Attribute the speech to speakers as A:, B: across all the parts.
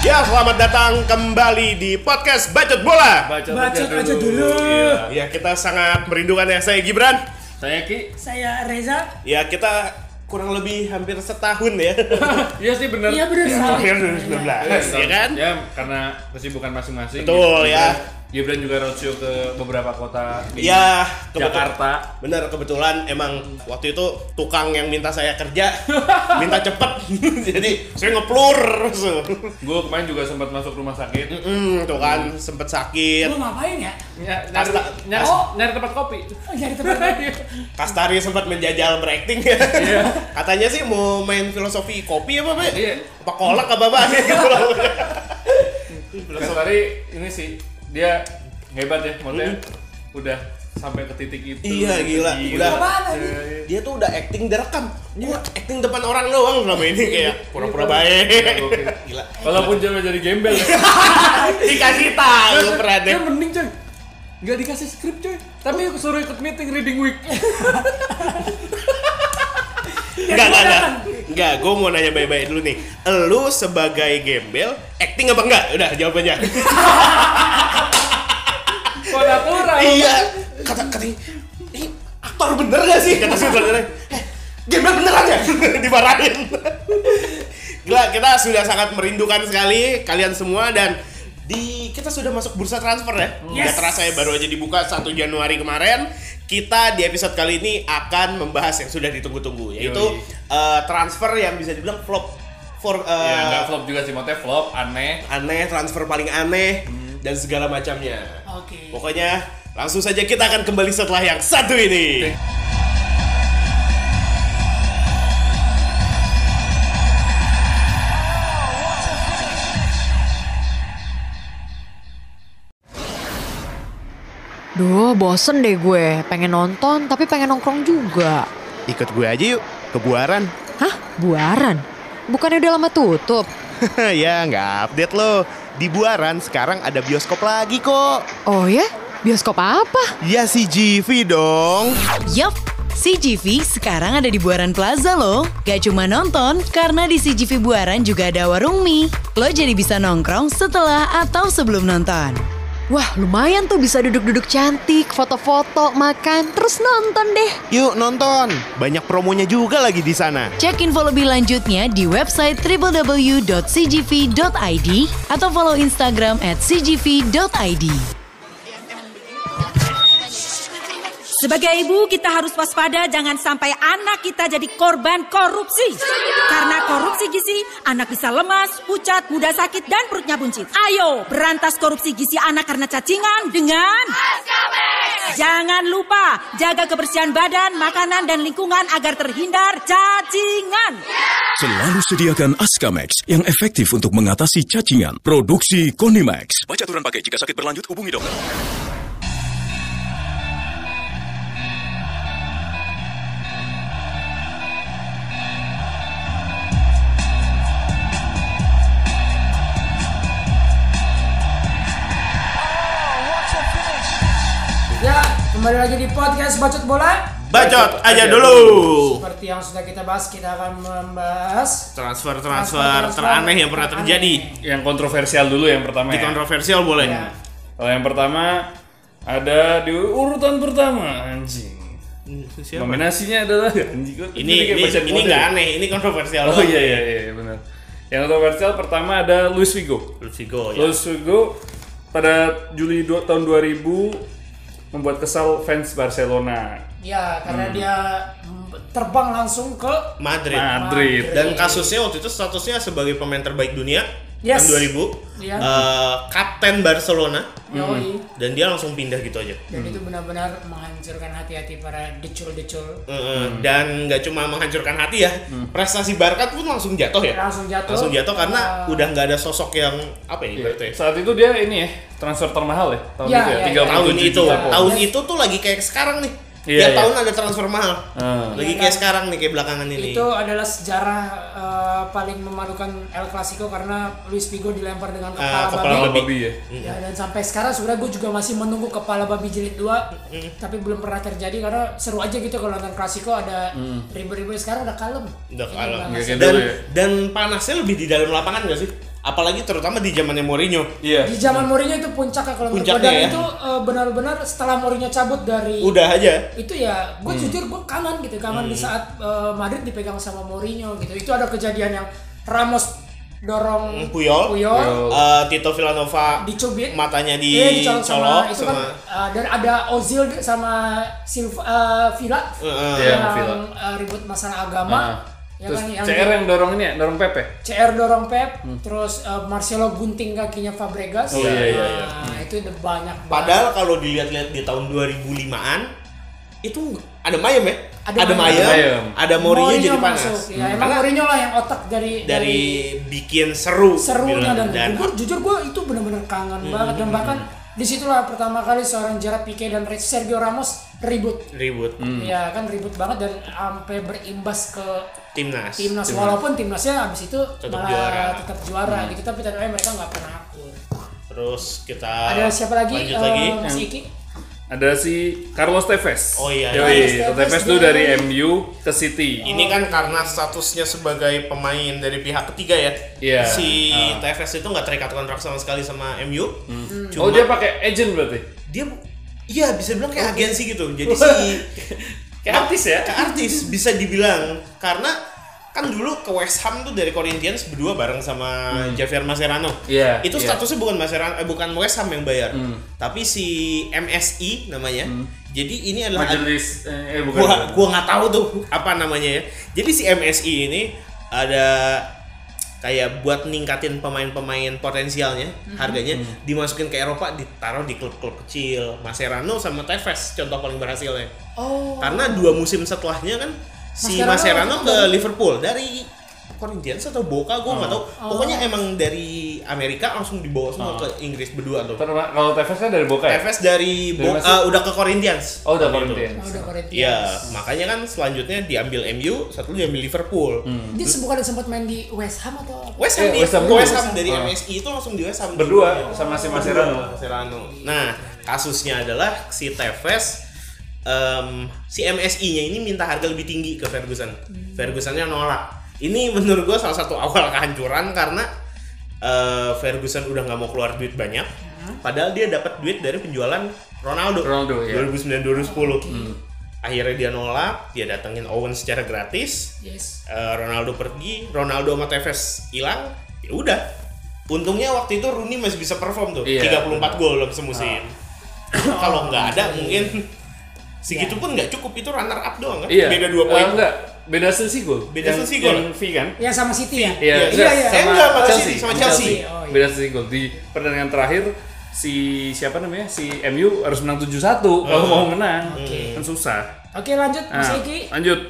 A: Ya, selamat datang kembali di podcast Bacot Bola.
B: Baca,
C: Bacot aja dulu.
B: Iya.
A: Ya, kita sangat merindukan ya. Saya Gibran.
B: Saya Ki.
C: Saya Reza.
A: Ya, kita kurang lebih hampir setahun ya.
B: Iya sih bener.
C: Iya benar sekali.
A: Hampir 2019,
D: iya.
A: ya kan?
B: Ya karena kesibukan masing-masing. Gitu.
A: Betul, ya.
B: Gibran juga roadshow ke beberapa kota di
A: Ya, kebetulan.
B: Jakarta.
A: Bener, kebetulan emang waktu itu tukang yang minta saya kerja minta cepet, jadi saya ngeplur. So.
B: Gue kemarin juga sempat masuk rumah sakit.
A: Mm, tuh kan sempet sakit.
C: Lu ngapain ya?
B: Ny- nyari,
A: Asta-
B: nyari,
C: Oh.
B: nyari tempat kopi. Iya.
C: Oh, Nyari tempat.
A: Kastari sempat menjajal berakting ya. Katanya sih mau main filosofi kopi apa, Pak?
B: Iya.
A: Apa kolak apa, Pak? Gitu loh.
B: Terus hari ini sih dia hebat ya, maksudnya udah sampai ke titik itu.
A: Hmm. Iya, gila. Udah.
C: Apaan
B: Iya,
C: lagi?
B: iya.
A: Dia tuh udah acting direkam. Gua acting depan orang doang selama ini kayak pura-pura baik.
B: Gokil.
A: Gila.
B: Walaupun jangan jadi gembel.
A: Dikasih tahu
B: Dia
A: Pradep.
B: Ya, mending coy. Gak dikasih skrip coy. Tapi aku suruh ikut meeting reading week.
A: Enggak, enggak, enggak. Enggak, gua mau nanya baik-baik dulu nih. Lu sebagai gembel acting apa enggak? Udah, jawabannya.
B: Kok natural?
A: iya. Kata katanya, "Ini aktor bener gak sih?" Kata saudaranya. "Eh, gembel beneran ya?" Dimarahin. Gila, kita sudah sangat merindukan sekali kalian semua dan di kita sudah masuk bursa transfer ya.
B: Hmm.
A: Nggak
C: Yes.
A: terasa ya baru aja dibuka 1 Januari kemarin. Kita di episode kali ini akan membahas yang sudah ditunggu-tunggu yaitu
B: Yoi.
A: eh, transfer yang bisa dibilang flop for eh,
B: Ya nggak flop juga sih, maksudnya flop, aneh.
A: aneh, transfer paling aneh
B: Hmm.
A: dan segala macamnya.
C: Oke.
A: Pokoknya langsung saja kita akan kembali setelah yang satu ini.
E: Duh, bosen deh gue. Pengen nonton, tapi pengen nongkrong juga.
A: Ikut gue aja yuk ke buaran.
E: Hah? Buaran? Bukannya udah lama tutup?
A: ya nggak update lo. Di buaran sekarang ada bioskop lagi kok.
E: Oh ya? Bioskop apa?
A: Ya si GV dong.
F: Yap, CGV sekarang ada di Buaran Plaza loh. Gak cuma nonton, karena di CGV Buaran juga ada warung mie. Lo jadi bisa nongkrong setelah atau sebelum nonton.
E: Wah, lumayan tuh bisa duduk-duduk cantik, foto-foto, makan, terus nonton deh.
A: Yuk nonton. Banyak promonya juga lagi di sana.
F: Cek info lebih lanjutnya di website www.cgv.id atau follow Instagram at cgv.id.
G: Sebagai ibu kita harus waspada jangan sampai anak kita jadi korban korupsi. Karena korupsi gizi, anak bisa lemas, pucat, mudah sakit, dan perutnya buncit. Ayo, berantas korupsi gizi anak karena cacingan dengan... Jangan lupa jaga kebersihan badan, makanan, dan lingkungan agar terhindar cacingan.
H: Selalu sediakan Askamex yang efektif untuk mengatasi cacingan. Produksi Konimax. Baca aturan pakai jika sakit berlanjut hubungi dokter.
C: Ya, kembali lagi di podcast Bacot Bola.
A: Bacot aja dulu.
C: Seperti yang sudah kita bahas, kita akan membahas
A: Transfer
C: Transfer,
A: transfer
C: transfer.
A: teraneh yang pernah terjadi.
B: Yang kontroversial dulu yang pertama ya.
A: Di kontroversial boleh.
C: Ya.
B: Kalau yang pertama ada di urutan pertama anjing. Nominasinya adalah anjing. gua
A: Ini
B: jadi kayak
A: ini
B: bacaan
A: ini
B: model.
A: nggak aneh, ini kontroversial.
B: Oh iya iya iya benar. Yang kontroversial pertama ada Luis Figo.
A: Lusigo ya.
B: Luis Figo pada Juli dua- tahun 2000 membuat kesal fans Barcelona.
C: ya karena dia mm, terbang langsung ke
A: Madrid.
B: Madrid.
A: Dan kasusnya waktu itu statusnya sebagai pemain terbaik dunia
C: Yes.
A: tahun 2000.
C: Iya.
A: Eh, kapten Barcelona
D: Hmm.
C: Yoi.
A: dan dia langsung pindah gitu aja.
C: Dan itu benar-benar menghancurkan hati-hati para decul-decul.
A: Eh, eh, Dan nggak cuma menghancurkan hati ya, prestasi Barca pun langsung jatuh ya.
C: Langsung jatuh.
A: Langsung jatuh karena udah nggak ada sosok yang apa
B: Iya.
A: ya ibaratnya.
B: Saat itu dia ini ya, transfer termahal ya tahun
C: Iya,
B: itu
C: iya,
B: ya, 37
A: Tahun itu,
B: juta pound.
A: tahun itu tuh lagi kayak sekarang nih.
B: Iya,
A: Tiap
B: iya.
A: tahun ada transfer mahal.
B: Ah.
A: Lagi kayak sekarang nih kayak belakangan ini.
C: Itu adalah sejarah eh, paling memalukan El Clasico karena Luis Figo dilempar dengan kepala,
A: Ah, kepala
C: babi.
B: Kalau
A: babi. Iya.
B: babi ya.
C: Ya, dan sampai sekarang sebenarnya gue juga masih menunggu kepala babi jilid 2 tapi belum pernah terjadi karena seru aja gitu kalau nonton klasiko ada ribu-ribu sekarang udah kalem.
A: Mm. Udah Iya, kalah.
B: Nggak kayak
A: Dan
B: dulu ya.
A: dan panasnya lebih di dalam lapangan gak sih? apalagi terutama di zamannya Mourinho
B: Iya.
C: Di zaman Mourinho itu puncaknya kalau menurut
A: Puncaknya
C: gua. Dan
A: ya.
C: itu eh, benar-benar setelah Mourinho cabut dari
A: udah Mm. aja
C: itu ya gue jujur gue kangen gitu kangen di saat eh, Madrid dipegang sama Mourinho gitu itu ada kejadian yang Ramos dorong
A: Hmm, Puyol.
B: Puyol.
A: Eh, Tito Villanova
C: dicubit
A: matanya
C: Iya,
A: dicolok
C: dicolok sama, itu kan
A: sama-
C: eh, dan ada Ozil sama Silva eh, Villa
A: Heeh.
B: Iya,
C: yang
B: Villa.
C: eh, ribut masalah
B: Nah,
C: agama ya
B: terus
C: kan yang
B: CR yang dorong ini ya, dorong Pepe.
C: CR dorong Pep terus eh, Marcelo gunting kakinya Fabregas
B: Hmm. Oh, iya, iya, iya.
C: Nah, itu udah banyak banget.
A: Padahal kalau dilihat-lihat di tahun 2005-an itu ada Mayem ya?
C: Ada
A: Ada,
C: Mayem.
A: Mayem, ada Mourinho jadi panas.
C: masuk, ya.
A: Hmm.
C: Emang
A: Karena
C: Mourinho lah yang otak dari
A: dari bikin seru
C: serunya dan,
A: bilang,
C: dan gue jujur gue itu benar-benar kangen
A: Hmm.
C: banget dan bahkan disitulah pertama kali seorang Gerard Pique dan Sergio Ramos ribut
A: ribut
B: Hmm.
C: ya kan ribut banget dan sampai berimbas ke
A: timnas.
C: timnas walaupun timnasnya abis itu
A: Tetap
C: malah
A: juara. Hmm.
C: tetap juara gitu tapi ternyata mereka nggak pernah akur
A: Terus kita
C: ada siapa lagi
A: Ah, Lanjut
C: Eh,
A: lagi.
C: Mas Iki
B: Ada si Carlos Tevez.
A: Oh iya.
B: Yoi,
C: Carlos Tevez
B: Tevez tuh
C: dia-
B: dari MU ke City.
A: Ini kan karena statusnya sebagai pemain dari pihak ketiga ya.
B: Iya.
A: Si TFS itu nggak terikat kontrak sama sekali sama MU. Cuma
B: Oh dia pakai agent berarti.
A: dia iya bisa bilang kayak agensi gitu. Jadi si
B: Kayak artis ya.
A: Ke artis bisa dibilang karena kan dulu ke West Ham tuh dari Corinthians berdua bareng sama Javier Mascherano.
B: Hmm. Iya, Hmm.
A: Itu
B: iya.
A: statusnya bukan Mascherano eh, bukan West Ham yang bayar. Tapi si MSI namanya. Jadi ini adalah
B: Majelis eh eh, bukan.
A: gua gua nggak tahu tuh apa namanya ya. Jadi si MSI ini ada kayak buat ningkatin pemain-pemain potensialnya,
C: Hmm.
A: harganya dimasukin ke Eropa, ditaruh di klub-klub kecil. Mascherano sama Tevez contoh paling berhasilnya.
C: oh
A: Karena dua musim setelahnya kan si
C: Mascherano
A: Mascherano
C: waktu
A: ke
C: itu dari-
A: Liverpool dari Corinthians atau Boca gue
C: Oh.
A: nggak tahu. Pokoknya emang dari Amerika langsung dibawa
B: Ah.
A: semua ke Inggris berdua tuh.
B: Terus, Kalau Tevez kan dari Boca ya.
A: Tevez dari Bo-
B: Dari
A: eh,
B: Mas-
A: udah ke Corinthians.
B: Oh udah
A: Waktu itu.
B: Corinthians.
C: udah Corinthians
A: Iya, makanya kan selanjutnya diambil MU, satu diambil Liverpool.
B: Hmm.
C: dia bukan sempat main di West Ham atau apa
A: West Ham,
B: Iya,
A: di-
B: West Ham
A: ke West
B: dulu.
A: Ham dari
B: Ah.
A: MSI itu langsung di West Ham
B: Berdua sama si Mascherano.
A: Serrano. Nah, kasusnya adalah si Tevez em, si MSI-nya ini minta harga lebih tinggi ke Ferguson. Fergusonnya nolak. Ini menurut gua salah satu awal kehancuran karena eh, Ferguson udah nggak mau keluar duit banyak. Padahal dia dapat duit dari penjualan Ronaldo.
B: Ronaldo, Hmm. ya.
A: 2009 2010. Akhirnya dia nolak, dia datengin Owen secara gratis.
C: yes
A: Eh, Ronaldo pergi, Ronaldo sama Tevez hilang, ya udah. Untungnya waktu itu Rooney masih bisa perform tuh,
B: Iya. Ah.
A: 34 gol dalam semusim. Kalau nggak ada mungkin segitu pun nggak cukup itu runner up doang kan?
B: Iya.
A: Beda dua poin.
B: Eh, enggak. Beda selisih gol.
A: Beda
B: Yang-
A: selisih gol.
B: Yang V kan.
C: yang sama City ya
B: Iya,
A: Iya,
B: enggak,
A: iya. Eh, enggak, sama Chelsea, sama
C: Oh,
A: Chelsea.
C: iya.
B: Beda selisih gol di pertandingan terakhir si siapa namanya? Si MU harus menang 7-1 kalau mau menang. Kan susah.
C: oke lanjut
B: Nah,
A: Ah.
C: Mas Iki
B: lanjut.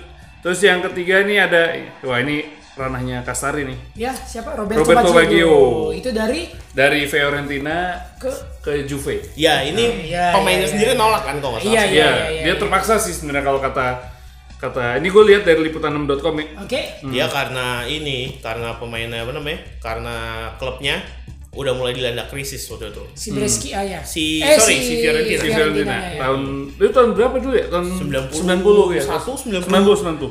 B: Terus yang ketiga ini ada wah ini ranahnya Kastari nih.
C: ya siapa Roberto,
B: Roberto
C: Baggio.
B: Baggio.
C: itu dari
B: Dari Fiorentina
C: ke
B: ke Juve.
A: Ya ini
C: Iya,
A: pemainnya
C: iya,
A: sendiri nolak kan kalau nggak salah.
C: iya
B: Iya,
C: iya iya
B: dia terpaksa sih sebenarnya kalau kata kata ini gue lihat dari liputan6.com ya.
C: oke
A: Dia karena ini, karena pemainnya apa namanya? Karena klubnya udah mulai dilanda krisis waktu itu.
C: si Breski ah, ya
A: Hmm. Si- sorry, si Fiorentina.
B: Si
C: Fiorentina,
B: Fiorentina.
C: ya.
B: Tahun itu tahun berapa dulu ya? Tahun
A: 90,
B: 90 ya.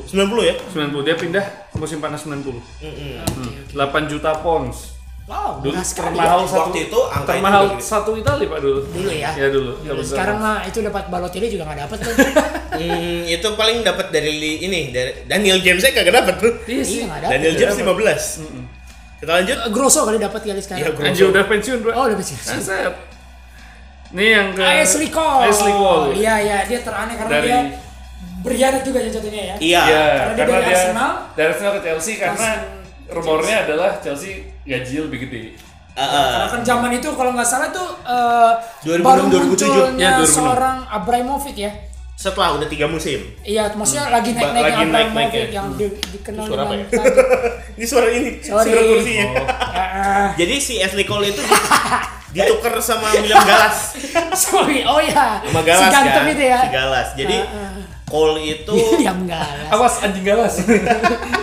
A: 1, 90.
B: 90 90.
A: 90 ya?
B: 90 dia pindah musim panas 90.
A: Mm-mm.
B: 8 juta pounds.
C: wow
B: Dulu
C: murah sekali ya.
B: termahal
A: Waktu
B: satu
A: itu angka itu
B: termahal
A: udah gede.
B: satu Itali Pak dulu.
C: Dulu ya?
B: Iya dulu.
C: Dulu.
B: Nggak besar.
C: sekarang mah itu dapat Balotelli juga nggak dapat tuh Iya,
A: Hmm, itu paling dapat dari li- ini dari Daniel James nya kagak dapat tuh.
C: iya sih nggak dapat
A: Daniel James 15. Kita lanjut.
C: Eh, Grosso kali dapat kali sekarang
A: Ya, gua-
B: Anjir udah pensiun, Pak.
C: oh dapat sih
B: Asep. Nih yang ke
C: Ashley Cole
B: Ashley Cole.
C: iya iya dia teraneh karena
B: Dari-
C: dia berkhianat juga jatuhnya ya
A: Iya.
B: Iya,
C: Karena dia
B: karena
C: dari
B: dia
C: Arsenal.
B: dari Arsenal ke Chelsea karena rumornya adalah Chelsea gajinya lebih gede.
A: Heeh.
C: Karena kan zaman itu kalau nggak salah tuh eh,
A: 2006,
C: baru
A: 2007.
C: munculnya
B: Ya, 2006.
C: seorang Abramovich ya.
A: Setelah udah tiga musim. Hmm.
C: Iya, maksudnya lagi naik-naik
A: Lagi
C: yang
A: naik-naik
C: Abramovich
A: ya.
C: yang di- dikenal
A: Suara apa
C: dengan
A: ya? ini suara ini,
C: Sorry.
A: suara kursinya.
C: Ah, ah.
A: Jadi si Ashley Cole itu ditukar sama William Gallas.
C: Sorry, oh ya.
A: Sama Gallas
C: si ganteng
A: kan?
C: itu ya.
A: Si Gallas. Jadi Cole itu
C: Diam Galas.
B: Awas anjing galas.
C: Iya,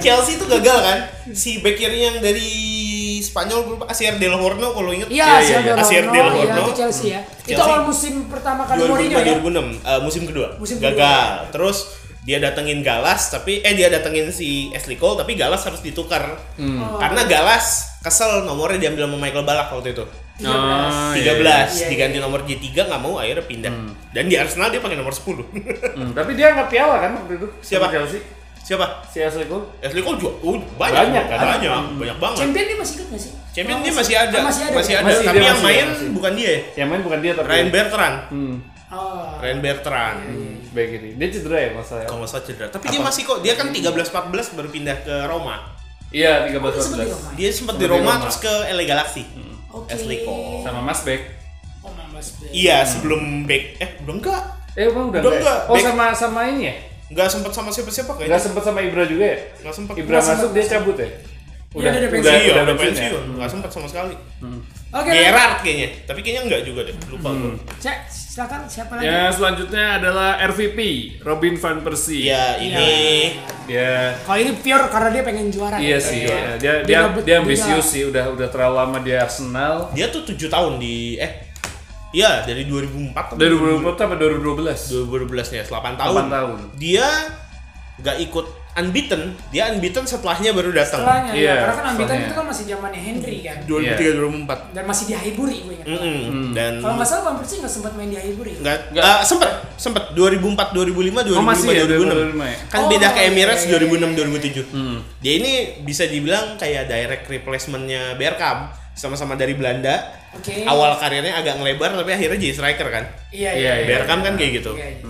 A: Chelsea itu gagal kan? Si back kiri yang dari Spanyol gue lupa Asier Del Horno kalau inget.
C: Iya,
B: Iya,
C: Asier
B: iya,
C: Del
A: iya. Asier Del
C: Horno, iya,
A: Horno.
C: itu Chelsea ya. Itu
A: Chelsea.
C: awal musim pertama kali Mourinho ya.
A: 2005 2006 eh, musim kedua
C: Musim
A: gagal
C: kedua.
A: terus dia datengin
B: Hmm.
A: Galas tapi eh dia datengin si Ashley Cole tapi Galas harus ditukar karena Galas kesel nomornya diambil sama Michael Balak waktu itu.
B: Oh,
A: 13
B: iya, iya.
A: diganti nomor J3 nggak mau akhirnya pindah. Dan di Arsenal dia pakai nomor 10.
B: Hmm, tapi dia nggak piala kan waktu itu? Sama
A: Siapa?
B: Chelsea?
A: Siapa?
B: Si Ashley Cole?
A: Ashley Cole juga oh, banyak,
B: Banyak, kan?
A: banyak, banyak banget.
C: Champion dia masih ikut nggak sih?
A: Champion
C: Kalau
A: dia masih ada,
C: Ah,
A: masih ada,
B: Masih,
A: tapi
B: dia
A: yang
B: masih,
A: main
B: masih.
A: bukan dia ya.
B: Yang main bukan dia tapi
A: Ryan Bertrand.
B: Hmm,
C: Oh.
A: Ryan Bertrand.
B: baik ini. Dia cedera ya masa ya?
A: Kalau nggak salah cedera. Tapi dia masih kok, dia kan 13-14 baru pindah ke Roma.
C: Oh,
B: Iya,
C: dia sempat di Roma.
B: 13 14.
A: Dia sempat
B: Sama
A: di
B: di
A: Roma, Iya,
B: Roma.
A: terus ke LA Galaxy.
C: Oke.
A: Ashley Cole.
B: Sama Mas Beck.
C: Oh, 16 play.
A: Iya, sebelum back eh belum enggak.
B: Eh, emang udah
A: Udah
B: nggak ya?
A: nggak,
B: Oh,
A: Beck.
B: sama sama ini ya?
A: Enggak sempat sama siapa-siapa kayaknya.
B: Nggak sempet sama Ibra juga ya?
A: Nggak sempet.
B: Ibra
A: Nggak
B: masuk dia cabut ya?
C: Iya, dia udah
A: Udah, iya,
B: pensiun
A: udah,
B: ya?
A: pensiun. Nggak sempat sama sekali.
C: Oke.
A: Gerard kayaknya, tapi kayaknya enggak juga deh. Lupa gue.
C: Cek, silakan siapa lagi?
B: Ya, selanjutnya adalah RVP, Robin van Persie.
A: Iya, ini
B: Dia
C: Kalau ini pure karena dia pengen juara. ya?
B: Iya sih,
C: Pengen
B: iya.
C: juara.
B: dia dia
C: ngebet-
B: dia
C: dia-
B: ambisius sih, udah udah terlalu lama di Arsenal.
A: dia tuh 7 tahun di eh Iya, dari 2004
B: Dari 2014 sampai 2012.
A: 2012 nya, 8
B: 8
A: tahun.
B: tahun.
A: Dia nggak ikut unbeaten, dia unbeaten setelahnya baru datang.
C: Setelahnya,
B: Iya,
C: ya. karena kan Ambitan
B: soalnya.
C: itu kan masih zamannya Henry kan.
B: Iya.
A: 2003 2004.
C: Dan masih di Highbury gue ingat.
A: Mm-mm. Hmm.
B: Hmm.
A: Dan
C: Kalau nggak salah Van Persie nggak sempat main di Highbury.
A: Enggak,
B: Nggak.
A: eh, sempet, sempet 2004, 2005, 2005,
B: Oh, masih ya,
A: 2006.
B: 2005 ya? Hmm.
A: Kan
C: Oh,
A: beda ke
C: iya,
A: Emirates
C: iya, iya,
A: 2006, 2007. Dia ini bisa dibilang kayak direct replacement-nya Bergkamp, sama-sama dari Belanda.
C: Oke.
A: Awal karirnya agak ngelebar tapi akhirnya jadi striker kan.
C: Iya,
B: Iya, Mm.
C: iya.
B: iya.
A: Bergkamp kan kayak gitu.
C: Iya, iya.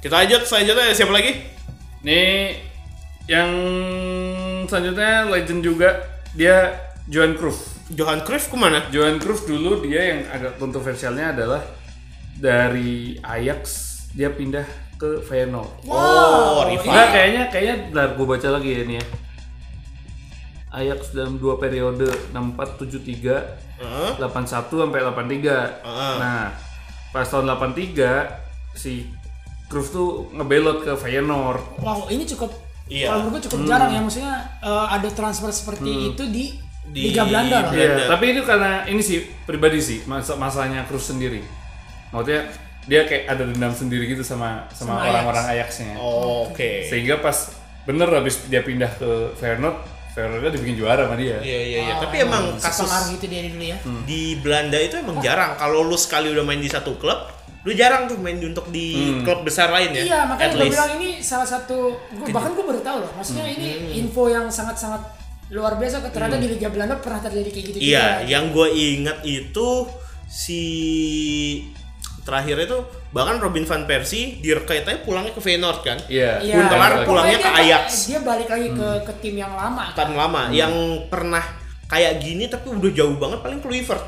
A: Kita lanjut, selanjutnya siapa lagi?
B: Nih yang selanjutnya legend juga dia Johan Cruyff.
A: Johan Cruyff kemana?
B: Johan Cruyff dulu dia yang agak kontroversialnya adalah dari Ajax dia pindah ke Feyenoord.
A: Oh,
B: Enggak
A: rival.
B: kayaknya kayaknya bentar gue baca lagi ya ini ya. Ajax dalam dua periode 64 73
A: Heeh.
B: 81 sampai 83.
A: Heeh.
B: Nah, pas tahun 83 si Cruyff tuh ngebelot ke Feyenoord.
C: Wow, ini cukup
A: Iya.
C: kalau menurut gue cukup jarang
B: Mm.
C: ya maksudnya eh, ada transfer seperti itu di,
A: Di-
C: Liga Belanda loh.
A: Belanda.
B: Iya, tapi itu karena ini sih pribadi sih masa masalahnya Cruyff sendiri. Maksudnya dia kayak ada dendam sendiri gitu sama sama orang-orang Ajaxnya.
A: Oh. Oke.
B: Sehingga pas bener habis dia pindah ke Feyenoord, Feyenoordnya dibikin juara sama dia.
A: Iya, iya, iya. Tapi emang
C: Pengaruh
A: kasus Hmm,
C: itu dia dulu ya.
A: di Belanda itu emang jarang. Kalau lu sekali udah main di satu klub, lu jarang tuh main di, untuk di klub besar lain ya.
C: Iya,
A: At
C: makanya gue
A: least. Hmm,
C: bilang ini salah satu gua, bahkan gue baru tahu loh. Maksudnya ini info yang sangat-sangat luar biasa ke- ternyata di Liga Belanda pernah terjadi kayak gitu
A: Iya,
C: juga.
A: yang gue ingat itu si terakhir itu bahkan Robin van Persie direkayatnya pulangnya ke Feyenoord kan.
B: Iya.
C: Iya.
A: Huntelaar
C: Pokoknya
A: pulangnya
C: dia
A: ke Ajax. Hmm.
C: Dia balik lagi ke ke tim yang lama. kan.
A: Tahun lama yang pernah kayak gini tapi udah jauh banget paling Kluivert.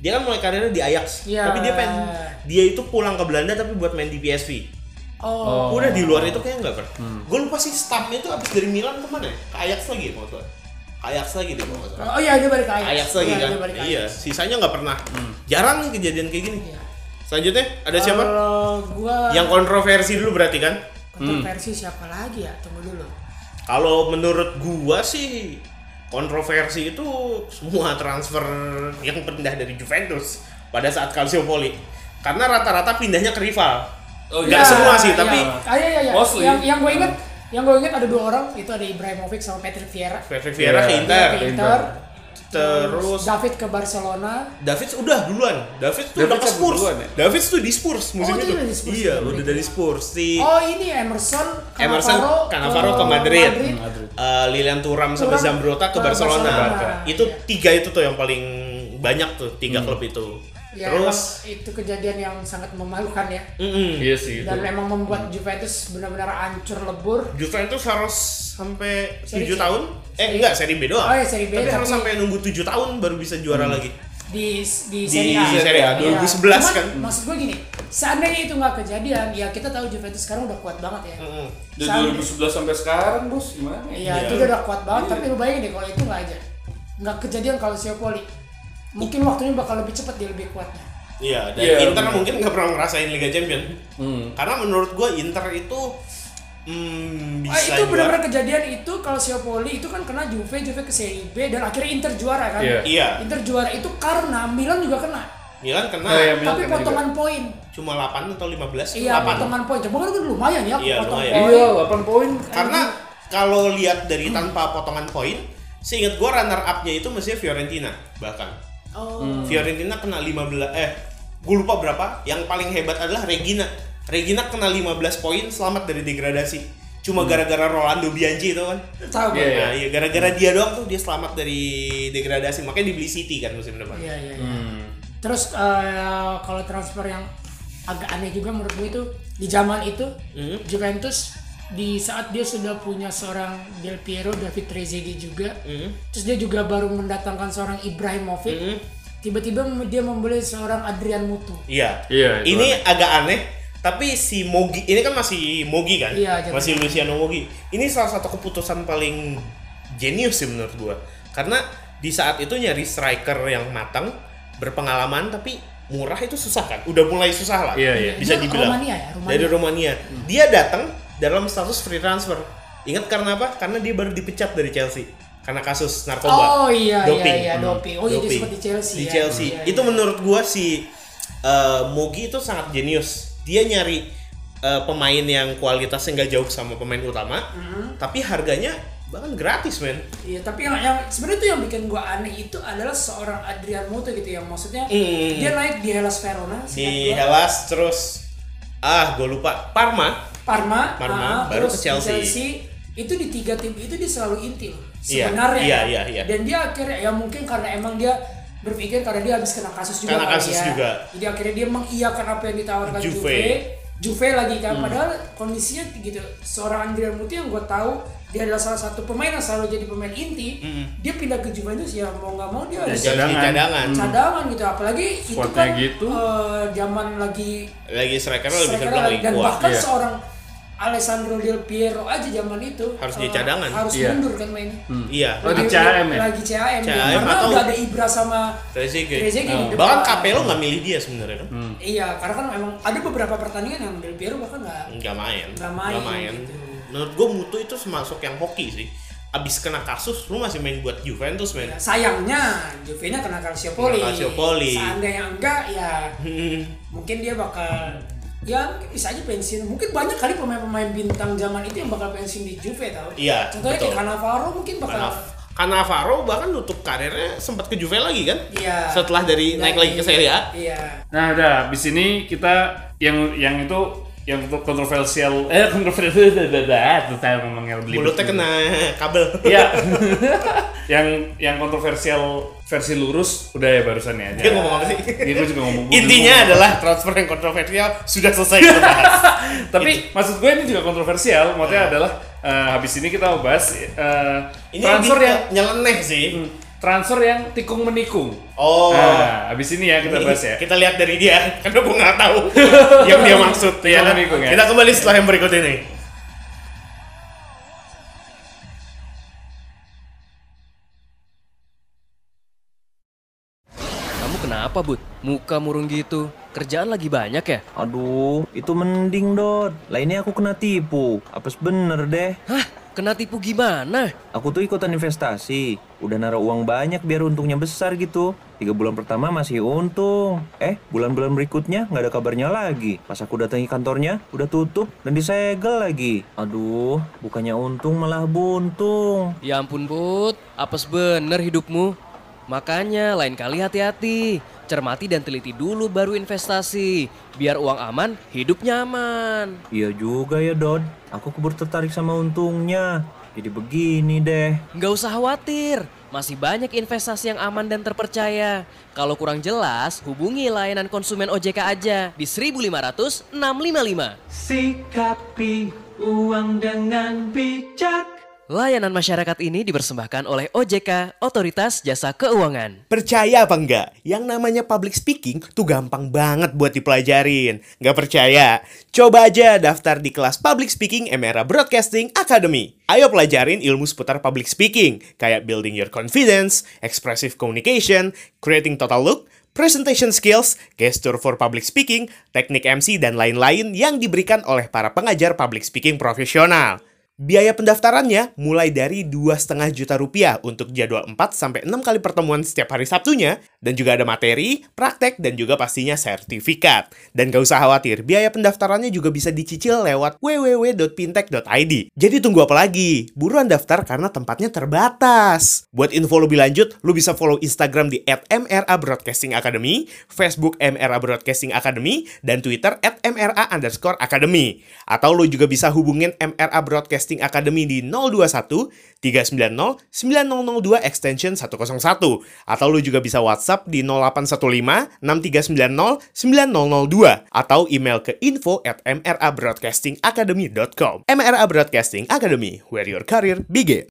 A: Dia kan mulai karirnya di Ajax,
C: Iya.
A: tapi dia pengen dia itu pulang ke Belanda tapi buat main di PSV.
C: Oh,
A: Udah di luar itu kayaknya nggak pernah. Gue lupa sih stampnya itu abis dari Milan kemana ya? Ke Ajax lagi ya kalau nggak salah. Ke Ajax lagi deh kalau nggak salah.
C: oh iya dia balik ke Ajax.
A: Ajax lagi
C: Iya,
A: kan?
C: dia balik ke
A: Iya,
C: Ajax.
A: sisanya nggak pernah. Jarang nih kejadian kayak gini.
C: Iya.
A: Selanjutnya ada siapa?
C: Kalau gua
A: Yang kontroversi dulu berarti kan?
C: kontroversi siapa lagi ya? Tunggu dulu.
A: Kalau menurut gua sih kontroversi itu semua transfer yang pindah dari Juventus pada saat Calciopoli. Karena rata-rata pindahnya ke rival.
B: Oh,
A: Nggak
B: iya.
A: semua sih,
C: Iya.
A: tapi Hmm.
C: ah, iya, iya, iya.
B: mostly.
C: yang yang gue inget yang gue inget ada dua orang itu ada Ibrahimovic sama Patrick Vieira.
A: Patrick
B: Iya.
A: Vieira ke Inter.
C: Ke
B: Inter.
C: Inter.
A: Terus
C: David ke Barcelona.
A: Davids udah duluan. Davids tuh
B: Davids
A: udah ke
B: udah
A: Spurs.
B: duluan ya?
A: Davids tuh di Spurs musim
C: Oh, dia
A: itu.
C: udah di Spurs.
A: Iya, udah dari Spurs. Si
C: Oh ini Emerson, Cannavaro,
A: Emerson Cannavaro ke Madrid.
C: Hmm,
A: Eh, Lilian Turam sama
C: Thuram
A: Zambrota ke
C: ke
A: Barcelona.
C: Barcelona.
A: Itu
C: Iya.
A: tiga itu tuh yang paling banyak tuh, tiga klub itu.
C: Ya,
A: Terus
C: emang itu kejadian yang sangat memalukan ya.
A: mm-mm.
B: Iya sih itu.
C: Dan memang membuat Juventus benar-benar hancur lebur.
A: Juventus harus sampai
C: Seri
A: tujuh
C: C.
A: tahun. Eh enggak, seri B doang.
C: Oh, iya, seri B,
A: Tapi, harus
C: tapi-
A: sampai nunggu 7 tahun baru bisa juara lagi.
C: di di
A: Di
C: Serie A.
A: Serie A,
C: Iya.
A: 2011
C: Cuman,
A: kan.
C: Maksud gue gini, seandainya itu nggak kejadian, ya kita tahu Juventus sekarang udah kuat banget ya.
A: Mm-mm.
B: Dari
C: Seandainya-
B: 2011 sampai sekarang, Bos, gimana?
C: Iya, itu udah udah kuat banget. Tapi lu bayangin deh kalau itu nggak aja, nggak kejadian kalau Siopoli, mungkin waktunya bakal lebih cepat dia lebih kuatnya.
A: Iya, Hmm. dan
B: Iya,
A: Inter
B: benar.
A: mungkin nggak pernah ngerasain Liga Champion. Karena menurut gua Inter itu hmm,
C: Ah,
A: bisa
C: itu
A: juara.
C: benar-benar kejadian itu kalau Siopoli itu kan kena Juve, Juve ke Serie B dan akhirnya Inter juara kan.
B: Iya.
A: Iya.
C: Inter juara itu karena Milan juga kena,
A: Milan kena
B: Oh, iya, Milan
C: tapi
B: kena
C: potongan poin.
A: cuma 8 atau 15
C: Iya,
A: Delapan.
C: potongan poin. Coba kan itu lumayan ya,
A: Iya,
C: potong
A: lumayan.
C: poin.
B: Iya, 8 poin.
A: Karena kalau lihat dari tanpa potongan poin, Seingat gue runner up-nya itu mestinya Fiorentina bahkan.
C: Oh.
B: Hmm.
A: Fiorentina kena 15 eh gue lupa berapa. Yang paling hebat adalah Regina. Regina kena 15 poin selamat dari degradasi. Cuma gara-gara Rolando Bianchi itu kan.
C: Tahu Bang?
B: Hmm. Iya, iya.
A: Nah, iya gara-gara dia doang tuh dia selamat dari degradasi. Makanya dibeli City kan musim depan.
C: Iya, iya, iya.
A: Hmm.
C: Terus eh, kalau transfer yang agak aneh juga menurut gue itu di zaman itu
A: Hmm.
C: Juventus di saat dia sudah punya seorang Del Piero, David Trezeguet juga,
A: Hmm.
C: terus dia juga baru mendatangkan seorang Ibrahimovic, tiba-tiba dia membeli seorang Adrian Mutu.
A: Iya.
B: Iya, itu
A: Ini agak aneh, tapi si Mogi ini kan masih Mogi kan?
C: Iya, jadi-
A: masih Luciano Mogi. Ini salah satu keputusan paling jenius sih menurut gua. Karena di saat itu nyari striker yang matang, berpengalaman tapi murah itu susah kan? Udah mulai susah lah.
B: Iya, Hmm. iya.
A: Bisa
C: Dia
A: dibilang.
C: Romania ya, Romania.
A: Dari Romania. Dia datang dalam status free transfer. Ingat karena apa? Karena dia baru dipecat dari Chelsea karena kasus
C: Oh
A: narkoba.
C: iya,
A: Doping. Hmm.
C: iya, iya, doping. Oh iya, dia
A: Doping.
C: sempat di Chelsea.
A: Di
C: ya.
A: Chelsea.
C: Iya,
A: Itu
C: iya.
A: menurut gua si eh, Mogi itu sangat jenius. Dia nyari eh, pemain yang kualitasnya nggak jauh sama pemain utama,
C: Hmm.
A: tapi harganya bahkan gratis, men.
C: Iya, tapi yang, yang sebenarnya tuh yang bikin gua aneh itu adalah seorang Adrian Mutu gitu yang maksudnya
A: Hmm.
C: dia naik di Hellas Verona,
A: Si
C: seingat gua.
A: Hellas terus ah, gue lupa Parma.
C: Parma, ah,
A: Parma, baru
C: terus
A: ke Chelsea.
C: di Itu di tiga tim itu dia selalu inti loh.
A: Iya,
C: Sebenarnya.
A: iya,
C: ya.
A: iya, iya.
C: Dan dia akhirnya ya mungkin karena emang dia berpikir karena dia habis kena kasus juga.
A: Kena
C: kali
A: kasus
C: ya.
A: juga.
C: Jadi akhirnya dia mengiyakan apa yang ditawarkan
A: Juve. Hmm.
C: Juve. Juve, lagi kan padahal kondisinya gitu. Seorang Andrea Muti yang gue tahu dia adalah salah satu pemain yang selalu jadi pemain inti. Dia pindah ke Juventus ya mau nggak mau dia harus
A: Jadi
B: cadangan.
A: Hmm. cadangan.
C: cadangan gitu apalagi itu
B: Squadnya
C: kan
B: gitu.
C: eh, zaman lagi
A: Lagi striker lebih
C: Striker
A: terbang
C: dan
A: lingkuan.
C: bahkan
B: Iya.
C: seorang Alessandro Del Piero aja zaman itu
A: Harus
C: eh,
A: jadi cadangan.
C: harus
B: Iya.
C: mundur kan mainnya
A: Iya.
B: Oh, di CAM ya?
C: lagi CAM, dia.
A: CAM
C: karena
A: atau-
C: udah ada Ibra sama
A: Trezeguet.
C: Trezeguet di depan.
A: Bahkan Capello nggak milih dia sebenarnya kan.
B: Hmm.
C: iya karena kan emang ada beberapa pertandingan yang Del Piero bahkan nggak
A: nggak main
C: Nggak main, gitu.
A: menurut gue mutu itu termasuk yang hoki sih abis kena kasus lu masih main buat Juventus men
C: Iya. sayangnya Juve nya kena Calciopoli
A: Kena Calciopoli.
C: seandainya enggak ya
A: Hmm.
C: mungkin dia bakal ya mungkin bisa aja pensiun mungkin banyak kali pemain-pemain bintang zaman itu yang bakal pensiun di Juve tau
A: Iya,
C: contohnya
A: betul.
C: kayak Cannavaro mungkin bakal
A: karena Cannavaro bahkan nutup karirnya sempat ke Juve lagi kan
C: Iya.
A: setelah dari naik lagi ke Serie A
C: Iya.
B: Nah, udah habis ini kita yang yang itu yang itu kontroversial eh kontroversial saya ngomongnya beli
A: mulutnya kena kabel
B: Iya. yang yang kontroversial versi lurus udah ya barusan ya.
A: Dia ngomong apa sih?
B: Iya, gua juga ngomong. gua juga
A: intinya
B: ngomong.
A: adalah transfer yang kontroversial sudah selesai kita bahas Gitu. Nah.
B: Tapi maksud gue ini juga kontroversial. Maksudnya adalah eh, habis ini kita mau bahas eh,
A: ini
B: transfer
A: lebih
B: yang
A: ke nyeleneh sih
B: transfer yang tikung menikung.
A: oh
B: Nah, habis ini ya kita
A: Ini
B: bahas ya.
A: Kita lihat dari dia, karena gue nggak tahu yang dia maksud. ya kan?
B: Tikung ya.
A: Kita kembali setelah yang berikut ini.
I: Kamu kenapa, Bud? Muka murung gitu. Kerjaan lagi banyak ya?
J: Aduh, itu mending, Dot. Lainnya aku kena tipu. Apes bener deh.
I: Hah? Kena tipu gimana?
J: Aku tuh ikutan investasi. Udah naruh uang banyak biar untungnya besar gitu. Tiga bulan pertama masih untung. Eh, bulan-bulan berikutnya nggak ada kabarnya lagi. Pas aku datangi kantornya, udah tutup dan disegel lagi. Aduh, bukannya untung malah buntung.
I: Ya ampun, Bud. Apes bener hidupmu. Makanya lain kali hati-hati. Cermati dan teliti dulu baru investasi. Biar uang aman, hidup nyaman.
J: Iya juga ya, Dot. Aku kebur tertarik sama untungnya. Jadi begini deh.
I: Nggak usah khawatir. Masih banyak investasi yang aman dan terpercaya. Kalau kurang jelas, hubungi layanan konsumen OJK aja di 1500 655.
K: Sikapi uang dengan bijak.
I: Layanan masyarakat ini dipersembahkan oleh OJK, Otoritas Jasa Keuangan.
A: Percaya apa enggak? Yang namanya public speaking tuh gampang banget buat dipelajarin. Nggak percaya? Coba aja daftar di kelas Public Speaking Emera Broadcasting Academy. Ayo pelajarin ilmu seputar public speaking, kayak building your confidence, expressive communication, creating total look, presentation skills, gesture for public speaking, teknik MC, dan lain-lain yang diberikan oleh para pengajar public speaking profesional. Biaya pendaftarannya mulai dari 2,5 juta rupiah untuk jadwal 4 sampai 6 kali pertemuan setiap hari Sabtunya dan juga ada materi, praktek dan juga pastinya sertifikat. Dan gak usah khawatir, biaya pendaftarannya juga bisa dicicil lewat www.pintech.id. Jadi tunggu apa lagi? Buruan daftar karena tempatnya terbatas. Buat info lebih lanjut, lu bisa follow Instagram di @mra Broadcasting Academy, Facebook MRA Broadcasting Academy, dan Twitter @mra underscore Academy. Atau lu juga bisa hubungin MRA Broadcasting Academy di 021 390 9002 extension 101 atau lu juga bisa WhatsApp di 0815 6390 9002 atau email ke info at mrabroadcastingacademy.com MRA Broadcasting Academy, where your career begins.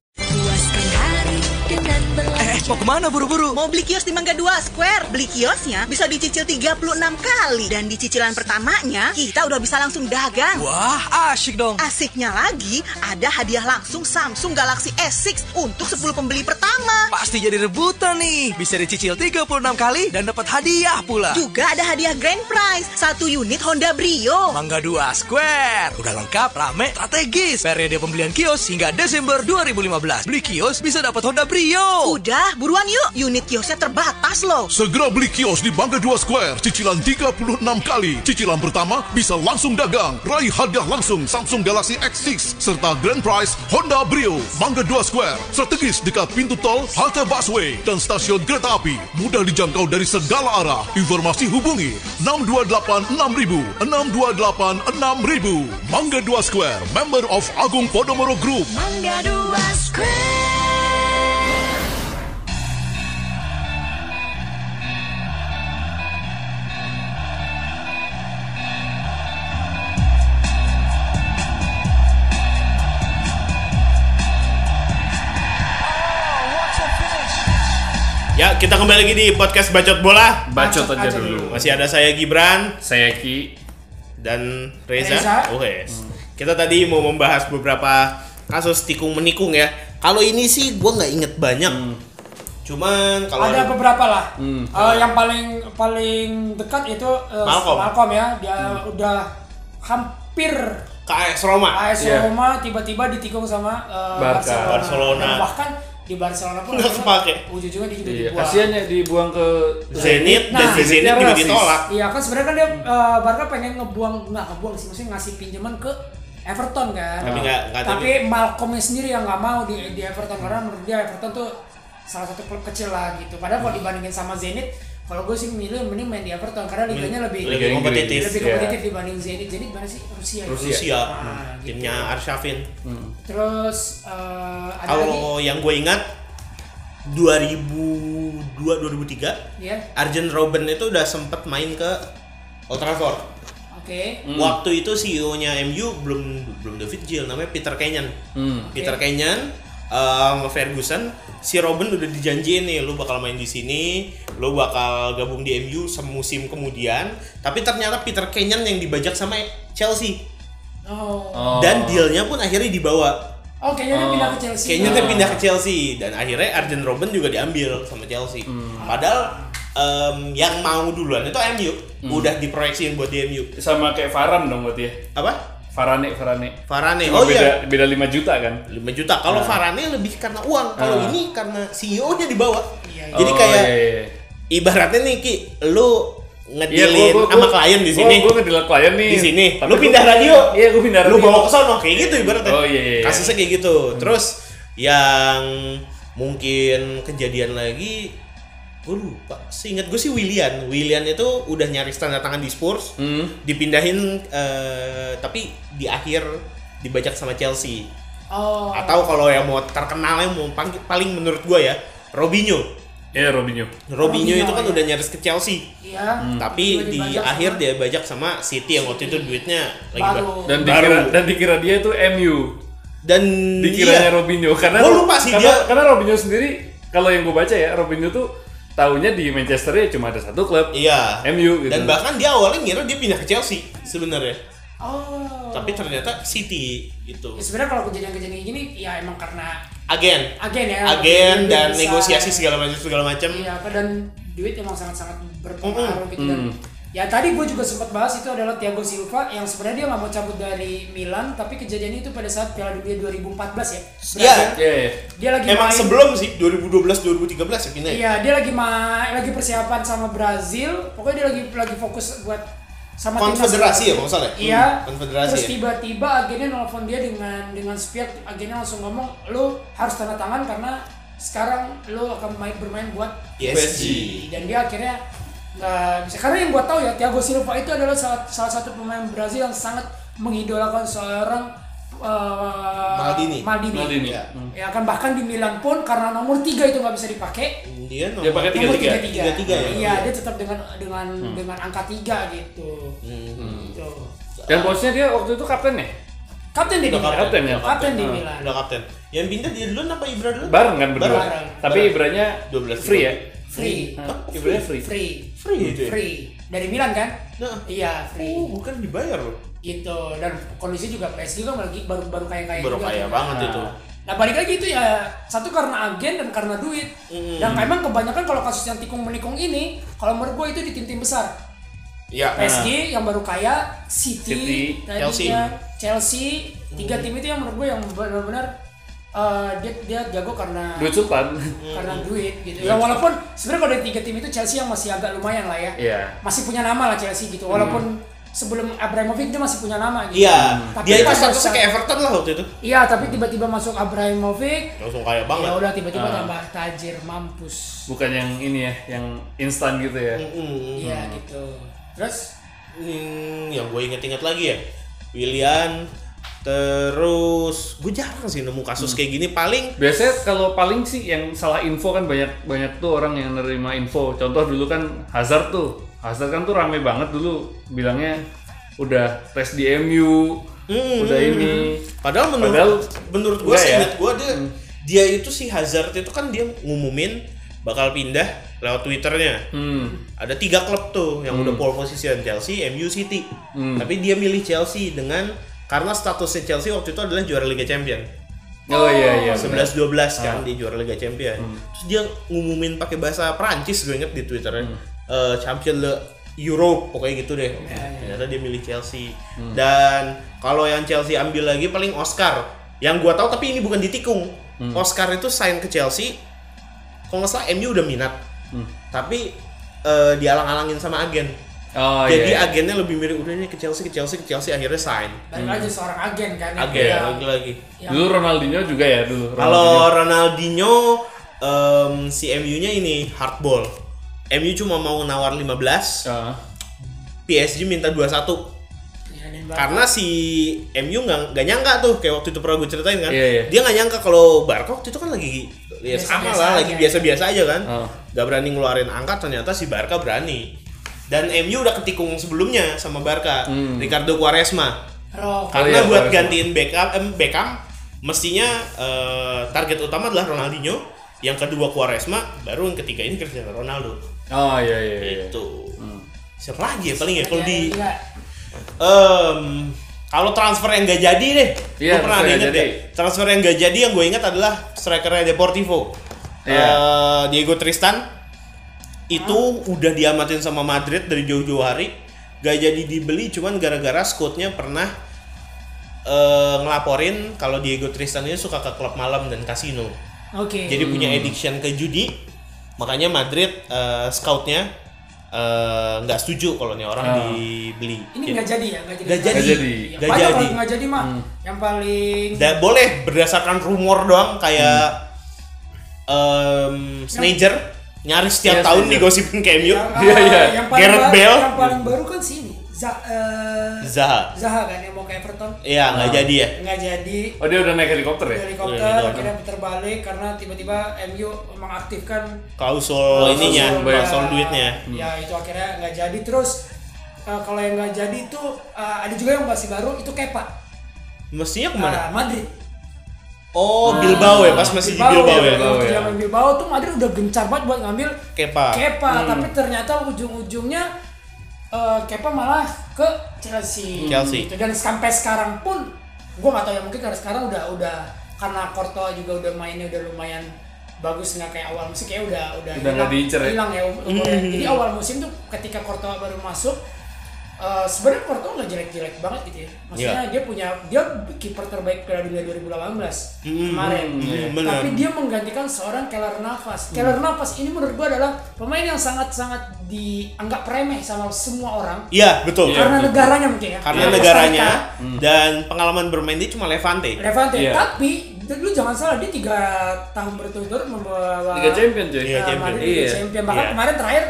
L: Eh, mau kemana buru-buru? Mau beli kios di Mangga 2 Square. Beli kiosnya bisa dicicil 36 kali. Dan di cicilan pertamanya, kita udah bisa langsung dagang.
M: Wah,
L: asik dong. Asiknya lagi, ada hadiah langsung Samsung Galaxy S6 untuk 10 pembeli pertama.
M: Pasti jadi rebutan nih. Bisa dicicil 36 kali dan dapat hadiah pula.
L: Juga ada hadiah grand prize, satu unit Honda Brio.
M: Mangga 2 Square. Udah lengkap, rame, strategis. Periode pembelian kios hingga Desember 2015. Beli kios bisa dapat Honda Brio.
L: Udah, buruan yuk. Unit kiosnya terbatas loh.
N: Segera beli kios di Bangga 2 Square, cicilan 36 kali. Cicilan pertama bisa langsung dagang, raih hadiah langsung Samsung Galaxy X6, serta grand prize Honda Brio. Bangga 2 Square, strategis dekat pintu tol halte busway dan stasiun kereta api. Mudah dijangkau dari segala arah. Informasi hubungi 628 6000, 628 6000. Mangga 2 Square, member of Agung Podomoro Group.
L: Mangga 2 Square.
A: Ya, kita kembali lagi di podcast Bacot Bola.
B: Bacot aja dulu.
A: Masih ada saya Gibran,
B: saya Ki
A: dan Reza.
B: Reza.
A: Oh, yes. Kita tadi mau membahas beberapa kasus tikung menikung ya. Kalau ini sih gua nggak inget banyak. Cuman kalau
C: ada beberapa lah.
A: Hmm.
C: Eh, yang paling paling dekat itu eh,
A: Malcolm. Hmm.
C: ya. Dia udah hampir
A: AS Roma.
C: AS
A: Iya.
C: Roma tiba-tiba ditikung sama eh,
B: Barca.
C: Barcelona.
B: Barcelona.
C: Dan bahkan di Barcelona pun
A: Nggak kepake.
C: Ujung-ujungnya dia juga
B: Iya,
C: dibuang.
B: kasihan ya dibuang ke
A: Zenit, dan si nah, Zenit juga ditolak.
C: Iya kan sebenarnya kan dia eh, Barca pengen ngebuang nggak ngebuang sih maksudnya ngasih pinjaman ke Everton kan.
A: Tapi nggak- nggak Iya.
C: Tapi Malcolmnya sendiri yang nggak mau di, di Everton karena menurut dia Everton tuh salah satu klub kecil lah gitu. Padahal
A: Hmm.
C: kalau dibandingin sama Zenit, kalau gue sih milih mending main di Everton karena liganya lebih
A: Liga Inggris. kompetitif.
C: lebih
A: Iya.
C: kompetitif dibanding Zenit. Zenit mana sih Rusia? ya?
A: Rusia,
C: Nah,
A: Hmm. timnya Arsyafin.
C: Terus eh, ada lagi
A: Kalau yang gue ingat 2002 2003
C: Iya.
A: Arjen Robben itu udah sempet main ke Old Trafford.
C: Oke.
A: Hmm. Waktu itu E CEO-nya MU belum belum David Gill, namanya Peter Kenyon.
B: Hmm.
A: Peter
B: Oke.
A: Kenyon eh, sama Ferguson, si Robin udah dijanjiin nih, lu bakal main di sini, lu bakal gabung di MU semusim kemudian. Tapi ternyata Peter Kenyon yang dibajak sama Chelsea
C: Oh.
A: dan dealnya pun akhirnya dibawa
C: Oh, kayaknya dia pindah ke Chelsea.
A: Kayaknya dia
C: Oh.
A: pindah ke Chelsea dan akhirnya Arjen Robben juga diambil sama Chelsea.
B: Hmm.
A: Padahal em, yang mau duluan itu MU
B: Hmm.
A: udah diproyeksiin buat di MU.
B: sama kayak Varan dong berarti ya.
A: Apa?
B: Varane, Varane.
A: Varane.
B: Cuma
A: Oh
B: beda,
A: iya.
B: Beda 5 juta kan?
A: 5 juta. Kalau Varane lebih karena uang, kalau
B: Ah.
A: ini karena E CEO-nya dibawa.
B: iya.
A: Jadi
B: Oh,
A: kayak
B: iya, iya.
A: ibaratnya nih Ki, lu
B: Iya,
A: ngedilin
B: gua- gua-
A: sama
B: gua-
A: klien di
B: gua-
A: sini.
B: gua ngedilin klien nih.
A: Di sini.
B: Iya. Tapi
A: lu
B: gua-
A: pindah radio.
B: Iya, gua pindah
A: Lu
B: radio.
A: bawa ke sono kayak gitu ibaratnya.
B: Oh, iya, iya, iya.
A: Kasusnya kayak gitu. Terus yang mungkin kejadian lagi gue lupa. Seingat gue sih Willian. Willian itu udah nyaris tanda tangan di Spurs,
B: Hmm.
A: dipindahin eh, tapi di akhir dibajak sama Chelsea.
C: Oh.
A: Atau kalau yang mau terkenalnya mau pang- paling menurut gue ya, Robinho.
B: Iya, Robinho.
A: Robinho itu kan
C: Robinho,
A: udah nyaris ke Chelsea.
C: Iya.
B: Hmm.
A: Hmm, Tapi
C: Juga
A: di
C: dibajak sama-
A: akhir dia bajak sama City yang waktu itu duitnya lagi
C: Baru.
A: ba-
B: Dan
A: baru.
B: dikira dan dikira dia itu MU.
A: Dan
B: dikiranya
A: iya.
B: Robinho karena
A: Gua lupa sih
B: karena,
A: dia-
B: karena Robinho sendiri kalau yang gue baca ya Robinho tuh tahunya di Manchester ya cuma ada satu klub.
A: Iya.
B: MU gitu.
A: Dan bahkan dia awalnya ngira dia pindah ke Chelsea sebenarnya.
C: Oh.
A: Tapi ternyata City gitu. itu.
C: Ya, sebenarnya kalau kejadian-kejadian kayak gini ya emang karena
A: Agen.
C: agen ya.
A: Agen
C: Lebih
A: dan
C: besar.
A: negosiasi segala macam segala macam.
C: Iya, apa dan duit emang sangat-sangat berpengaruh gitu dan
A: Mm.
C: Ya tadi gue juga sempat bahas itu adalah Thiago Silva yang sebenarnya dia nggak mau cabut dari Milan tapi kejadian itu pada saat Piala Dunia 2014 ya.
A: Iya.
C: Brazil. Dia lagi
A: Emang
C: main-
A: sebelum sih 2012 2013 ya pindah. ya?
C: Iya dia lagi ma lagi persiapan sama Brazil pokoknya dia lagi lagi fokus buat sama timnas
A: Konfederasi
C: Brazil.
A: ya, kalau nggak salah ya?
C: Iya.
A: Hmm, konfederasi
C: Terus
A: ya.
C: tiba-tiba agennya nelfon dia dengan dengan spirit agennya langsung ngomong lu harus tanda tangan karena sekarang lu akan main bermain buat
A: PSG.
C: dan dia akhirnya nggak bisa karena yang gua tahu ya Thiago Silva itu adalah salah, salah satu pemain Brazil yang sangat mengidolakan seorang eh,
A: Maldini.
C: Maldini.
B: Maldini.
A: Ya.
C: Ya kan bahkan di Milan pun karena nomor 3 itu nggak bisa dipakai
A: Dia nomor
B: Dia pakai
C: nomor
B: 33.
C: 33.
A: 33 ya.
C: Iya, dia tetap dengan dengan dengan angka 3 gitu.
A: Hmm.
C: Gitu.
B: Dan posnya dia waktu itu kapten ya?
C: Kapten di
A: Udah
C: Milan.
B: kapten ya?
C: Kapten di
B: Hmm.
C: Milan.
A: Udah kapten. Yang pindah dia duluan apa Ibra duluan?
B: Bareng kan berdua.
A: Bareng.
B: Tapi
A: Bareng.
B: Ibranya
A: 12
B: free ya?
C: Free.
B: Nah, Ibranya free.
C: Free.
A: Free itu ya?
C: Free. Dari Milan kan? Iya, free.
A: Nah, Oh, bukan dibayar loh.
C: Gitu. Dan kondisi juga PSG kan lagi baru-baru kaya-kaya
A: Baru
C: juga. kan?
A: kaya banget
B: Nah.
A: itu.
C: Nah balik lagi itu ya satu karena agen dan karena duit.
A: Hmm.
C: Dan memang kebanyakan kalau kasus yang tikung menikung ini, kalau menurut gue itu di tim-tim besar.
A: Iya.
C: PSG yang baru kaya, City,
A: City,
C: tadi
A: Chelsea.
C: ya, Chelsea, tiga
A: Hmm.
C: tim itu yang menurut gue yang benar-benar eh, dia dia jago karena
B: Duit supan.
C: karena
A: Hmm.
C: duit gitu.
B: Duit.
C: Ya walaupun sebenarnya kalau dari tiga tim itu Chelsea yang masih agak lumayan lah ya.
B: Iya.
C: Masih punya nama lah Chelsea gitu. Walaupun sebelum Abramovich dia masih punya nama gitu.
A: Hmm. Iya.
C: Tapi
A: Dia itu
C: kan
A: statusnya
C: besar.
A: kayak Everton lah waktu itu.
C: Iya, tapi tiba-tiba masuk Abramovich,
A: Langsung kaya banget.
C: ya udah tiba-tiba
B: Ah.
C: tambah tajir mampus.
B: Bukan yang ini ya, yang instan gitu ya.
C: Iya gitu. Terus
A: Hmm, yang gue inget-inget lagi ya, William. Terus gue jarang sih nemu kasus
B: Hmm.
A: kayak gini. Paling
B: Biasanya kalau paling sih yang salah info kan banyak banyak tuh orang yang nerima info. Contoh dulu kan Hazard tuh. Hazard kan tuh rame banget dulu bilangnya udah tes di MU, udah ini.
A: hmm, Padahal menurut
B: Padahal
A: menurut gue
B: enggak
A: sih,
B: ya.
A: ingat gue dia dia itu si Hazard itu kan dia ngumumin bakal pindah lewat twitternya.
B: Hmm.
A: Ada tiga klub tuh yang udah pole position Chelsea, MU, City.
B: Hmm.
A: Tapi dia milih Chelsea dengan karena statusnya Chelsea waktu itu adalah juara Liga Champion.
B: Oh iya iya. benar.
A: 11 12 kan
B: Ah.
A: dia juara Liga Champion.
B: Hmm.
A: Terus dia ngumumin pakai bahasa Prancis gue inget di Twitternya.
B: Hmm.
A: Eh, Champion le Europe pokoknya gitu
B: Ya,
A: deh. Ternyata dia milih Chelsea.
B: Hmm.
A: Dan kalau yang Chelsea ambil lagi paling Oscar. Yang gua tahu tapi ini bukan ditikung.
B: Hmm.
A: Oscar itu sign ke Chelsea. Kalau nggak salah MU udah minat.
B: Hmm.
A: Tapi eh, dialang-alangin sama agen.
B: Oh
A: Jadi
B: iya.
A: agennya lebih mirip udah nih ke Chelsea ke Chelsea ke Chelsea akhirnya sign.
C: balik aja seorang agen kan. yang
A: Agen
C: dia-
A: lagi-lagi.
C: yang-
B: Dulu Ronaldinho juga ya dulu.
A: Kalau Ronaldinho em, si MU-nya ini hardball. MU cuma mau nawar 15,
B: Ronaldinho. Ah.
A: PSG minta 21.
C: Ya, dan balik-
A: Karena si MU nggak nggak nyangka tuh kayak waktu itu pernah gue ceritain kan.
B: Iya, iya.
A: Dia nggak nyangka kalau Barca waktu itu kan lagi ya
C: Biasa-biasa
A: sama lah,
C: aja.
A: lagi biasa-biasa aja kan.
B: Oh.
A: Nggak berani ngeluarin angka ternyata si Barca berani. Dan MU udah ketikung sebelumnya sama Barca,
B: Hmm.
A: Ricardo Quaresma.
C: Roh.
A: Karena
B: Oh, iya,
A: buat
B: Quaresma.
A: gantiin Beckham, em, Beckham mestinya eh, target utama adalah Ronaldinho, yang kedua Quaresma, baru yang ketiga ini Cristiano Ronaldo.
B: Oh iya iya iya.
A: Itu. Siapa lagi ya paling ya kalau
C: Ya,
A: di
C: ya.
A: em, kalau transfer yang gak jadi deh,
B: Iya,
A: Lu pernah
B: transfer
A: ada
B: yang
A: inget
B: nggak
A: ya? Transfer yang gak jadi yang gue ingat adalah strikernya Deportivo,
B: Iya.
A: Eh, Diego Tristan. Itu udah diamatin sama Madrid dari jauh-jauh hari, gak jadi dibeli cuman gara-gara scoutnya pernah eh, ngelaporin kalau Diego Tristan ini suka ke klub malam dan kasino.
C: Oke.
A: Jadi punya
B: Hmm.
A: addiction ke judi, makanya Madrid eh, scoutnya eh, nggak setuju kalau nih orang
B: Ah.
A: dibeli. Gitu.
C: Ini
A: Jadi-
C: nggak jadi ya, nggak jadi.
A: Gak jadi.
B: Nggak jadi.
C: Ya,
A: Nggak
C: banyak
A: jadi.
C: orang nggak jadi mah. Yang paling
A: Dan boleh berdasarkan rumor doang kayak em, Snager nyaris setiap
B: Iya,
A: tahun
B: Snager.
A: digosipin ke MU.
C: yang,
B: Iya,
C: ah,
B: iya.
C: yang paling
A: Gareth
C: baru,
A: Bale.
C: yang paling baru kan si ini. Za- eh,
A: Zaha.
C: Zaha kan yang mau ke Everton.
A: Iya,
B: Ah.
A: nggak jadi ya.
C: Nggak jadi.
B: Oh dia udah naik helikopter ya?
A: Iya,
C: Helikopter
A: helikopter.
C: akhirnya putar balik karena tiba-tiba MU mengaktifkan
B: Oh,
A: Klausul
C: Klausul,
A: ininya, klausul
C: ya.
A: duitnya.
C: Ya itu akhirnya nggak jadi terus eh, kalau yang nggak jadi itu eh, ada juga yang masih baru itu Kepa
A: Mestinya kemana?
C: Ah, Madrid.
A: Oh, Bilbao ya, pas masih di Bilbao ya.
B: Ah.
A: Ah.
B: Bilbao
C: Waktu
B: ya.
C: zaman Bilbao tuh Madrid udah gencar banget buat ngambil
A: Kepa.
C: Kepa, tapi ternyata ujung-ujungnya eh, Kepa malah ke Chelsea.
A: Chelsea.
C: Gitu. Dan sampai sekarang pun gua nggak tahu ya mungkin karena sekarang udah udah karena Courtois juga udah mainnya udah lumayan bagus nggak kayak awal musim kayak udah udah
B: Udah nggak diincer ya?
C: hilang ya umurnya.
B: Hmm.
C: Jadi awal musim tuh ketika Courtois baru masuk eh, sebenarnya Courtois nggak jelek-jelek banget gitu ya. Maksudnya
A: Iya.
C: dia punya dia kiper terbaik Piala Dunia 2018
A: Hmm,
C: kemarin.
A: iya.
C: Tapi
A: Benar.
C: dia menggantikan seorang Keller Navas.
A: Hmm.
C: Keller Navas ini menurut gua adalah pemain yang sangat-sangat dianggap remeh sama semua orang.
A: Iya, betul.
C: Karena negaranya mungkin ya.
A: Karena
D: Iya.
C: Costa Rica,
A: negaranya dan pengalaman bermain dia cuma Levante.
C: Levante,
A: Iya.
C: tapi dulu jangan salah dia tiga tahun berturut-turut membawa
A: Liga Champion, cuy. Liga
C: Liga
A: Champion.
C: Madrid Liga
A: Iya.
C: Champion. Bahkan
A: Iya.
C: kemarin terakhir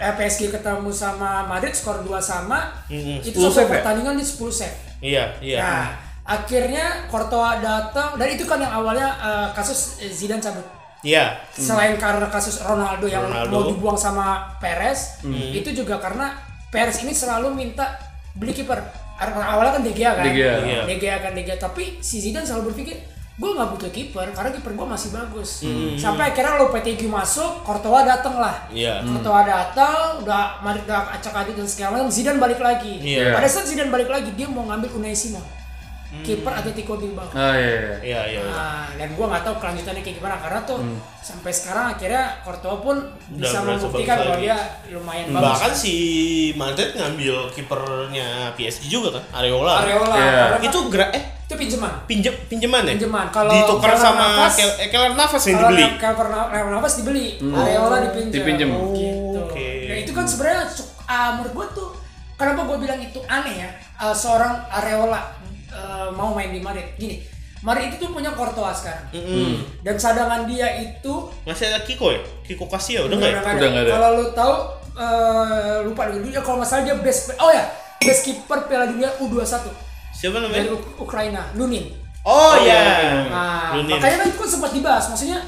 C: eh, PSG ketemu sama Madrid skor 2 sama.
A: Mm-mm.
C: Itu satu
A: 10 save ya?
C: pertandingan di 10 save.
A: Iya, iya.
C: Nah, akhirnya Courtois datang dan itu kan yang awalnya eh, kasus eh, Zidane cabut.
A: Iya.
C: Hmm. Selain karena kasus Ronaldo yang
A: Ronaldo.
C: mau dibuang sama Perez,
A: Hmm.
C: itu juga karena Perez ini selalu minta beli kiper. Ar- Awalnya kan De Gea kan,
B: De Gea. Iya.
C: De Gea kan De Gea. Tapi si Zidane selalu berpikir gue nggak butuh kiper karena kiper gue masih bagus.
A: Hmm.
C: Sampai akhirnya Lopetegui masuk, Courtois dateng lah.
A: Iya.
C: Courtois datang, udah Madrid udah acak adit dan segala macam. Zidane balik lagi.
A: Iya. Hmm.
C: Pada saat Zidane balik lagi dia mau ngambil Unai Simon, kiper Atletico Bilbao.
B: Ah iya.
A: Iya, iya.
C: Nah, dan gua nggak tahu kelanjutannya kayak gimana karena tuh
A: Hmm.
C: sampai sekarang akhirnya Courtois pun bisa
A: berasa
C: membuktikan
A: bagus
C: bahwa
A: lagi.
C: dia lumayan
A: Hmm.
C: bagus.
A: Bahkan si Madrid ngambil kipernya PSG juga kan, Areola.
C: Areola.
A: Iya.
C: Karena-
A: Itu gerak eh
C: itu pinjaman.
A: pinjam pinjaman ya?
C: Pinjaman. Kalau
A: ditukar
C: Keller
A: sama
C: Navas-
A: Kel- eh, Keller Navas yang
C: Kalau
A: dibeli.
C: Na- Kalau Perna- Leon Navas dibeli,
A: Hmm.
C: Areola dipinjam.
B: Dipinjam.
C: Oh, gitu. Ya, itu kan sebenarnya cuk- ah, menurut gua tuh kenapa gua bilang itu aneh ya ah, seorang Areola eh, mau main di Madrid. Gini, Madrid itu tuh punya Courtois sekarang.
A: Mm-mm.
C: Dan cadangan dia itu
A: Masih ada Kiko ya? Kiko Kasia
C: Iya,
A: udah nggak ya?
C: Kalau lu tahu eh, lupa dulu dia kalau nggak salah dia best oh ya best kiper Piala Dunia U21
A: Siapa
C: dari
A: namanya?
C: Uk- Ukraina Lunin.
A: Oh, iya.
C: Nah,
A: Lunin.
C: makanya kan itu kan sempat dibahas maksudnya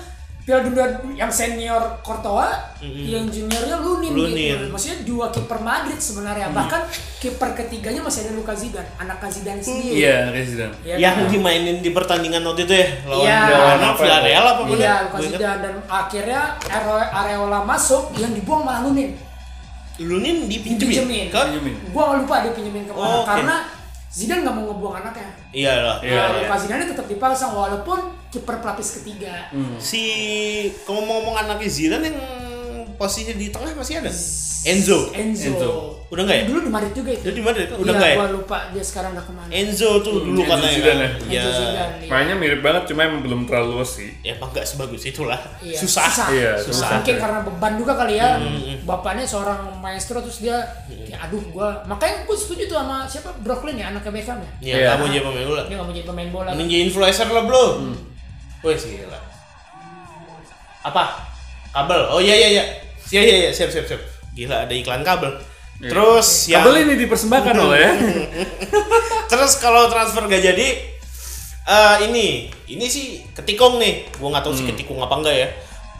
C: Piala Dunia yang senior Courtois,
A: Mm-mm.
C: yang juniornya Lunin,
A: Mm-hmm. Lunin. Mm-hmm.
C: gitu. Maksudnya dua kiper Madrid sebenarnya. Bahkan kiper ketiganya masih ada Luka Zidane, anak Zidane sendiri.
B: Iya, kayak Zidane.
C: Iya,
A: Mm-hmm. yang
C: kan?
A: dimainin di pertandingan waktu itu ya lawan
C: Iya.
A: lawan Villarreal apa bener?
C: Iya, Luka
A: Gua ingat.
C: Zidane dan akhirnya Are- Areola masuk, yang dibuang malah Lunin.
A: Lunin
C: Dipinjemin.
A: dipinjemin. Kan?
C: Gua nggak lupa dia pinjemin ke mana
A: Oh, oke.
C: karena Zidane nggak mau ngebuang anaknya.
A: Iya lah.
C: Nah, Luka Zidane tetap dipasang walaupun kiper pelapis ketiga.
A: Si kalau mau ngomong anaknya Zidane yang posisinya di tengah masih ada? Enzo.
C: Enzo.
A: Udah enggak ya?
C: Dulu di Madrid juga itu.
A: Dulu di Madrid kan? Udah
C: Iya,
A: enggak ya?
C: Gua lupa dia sekarang udah kemana.
A: Enzo tuh dulu
B: Enzo
A: katanya
B: Zidane
A: kan?
B: ya?
A: Iya.
B: Enzo
C: Zidane, iya.
B: Mainnya mirip banget, cuma emang belum terlalu luas sih.
A: Ya emang nggak sebagus itulah.
C: Iya,
A: Susah.
B: Iya,
A: Susah.
C: Mungkin karena beban juga kali ya.
A: Hmm. Iya.
C: Bapaknya seorang maestro terus dia kayak aduh gua. Makanya gua setuju tuh sama siapa Brooklyn ya anaknya Beckham ya.
A: Iya, nggak mau jadi pemain bola.
C: Dia nggak mau jadi pemain bola.
A: Mending jadi influencer lah bro.
B: Hmm.
A: Wih sih gila. Apa? Kabel. Oh iya iya iya. Iya iya iya siap siap siap. Gila ada iklan kabel. Terus
B: Iya.
A: yang
B: Kabel ini dipersembahkan ya. Iya,
A: Iya.
B: oleh
A: Terus kalau transfer gak jadi eh ini ini sih ketikung nih. Gua nggak tahu
B: Hmm.
A: sih ketikung apa enggak ya.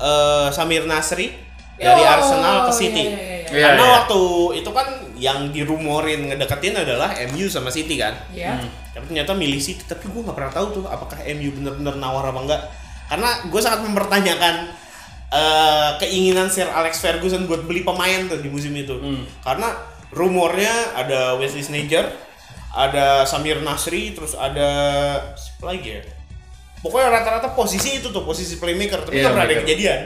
A: Eh Samir Nasri dari
C: Oh,
A: Arsenal ke
C: iya,
A: City.
C: iya,
A: Hmm.
C: iya,
B: iya.
A: Karena
B: Iya, iya.
A: waktu itu kan yang dirumorin ngedeketin adalah MU sama City kan.
C: Iya. Hmm.
A: Tapi ternyata milih City, tapi gue nggak pernah tahu tuh apakah MU bener-bener nawar apa enggak. Karena gue sangat mempertanyakan eh, keinginan Sir Alex Ferguson buat beli pemain tuh di musim itu.
B: Hmm.
A: Karena rumornya ada Wesley Sneijder, ada Samir Nasri, terus ada siapa lagi ya? Pokoknya rata-rata posisi itu tuh posisi playmaker, tapi
B: Iya,
A: nggak pernah ada
B: playmaker. Oh.
A: kejadian.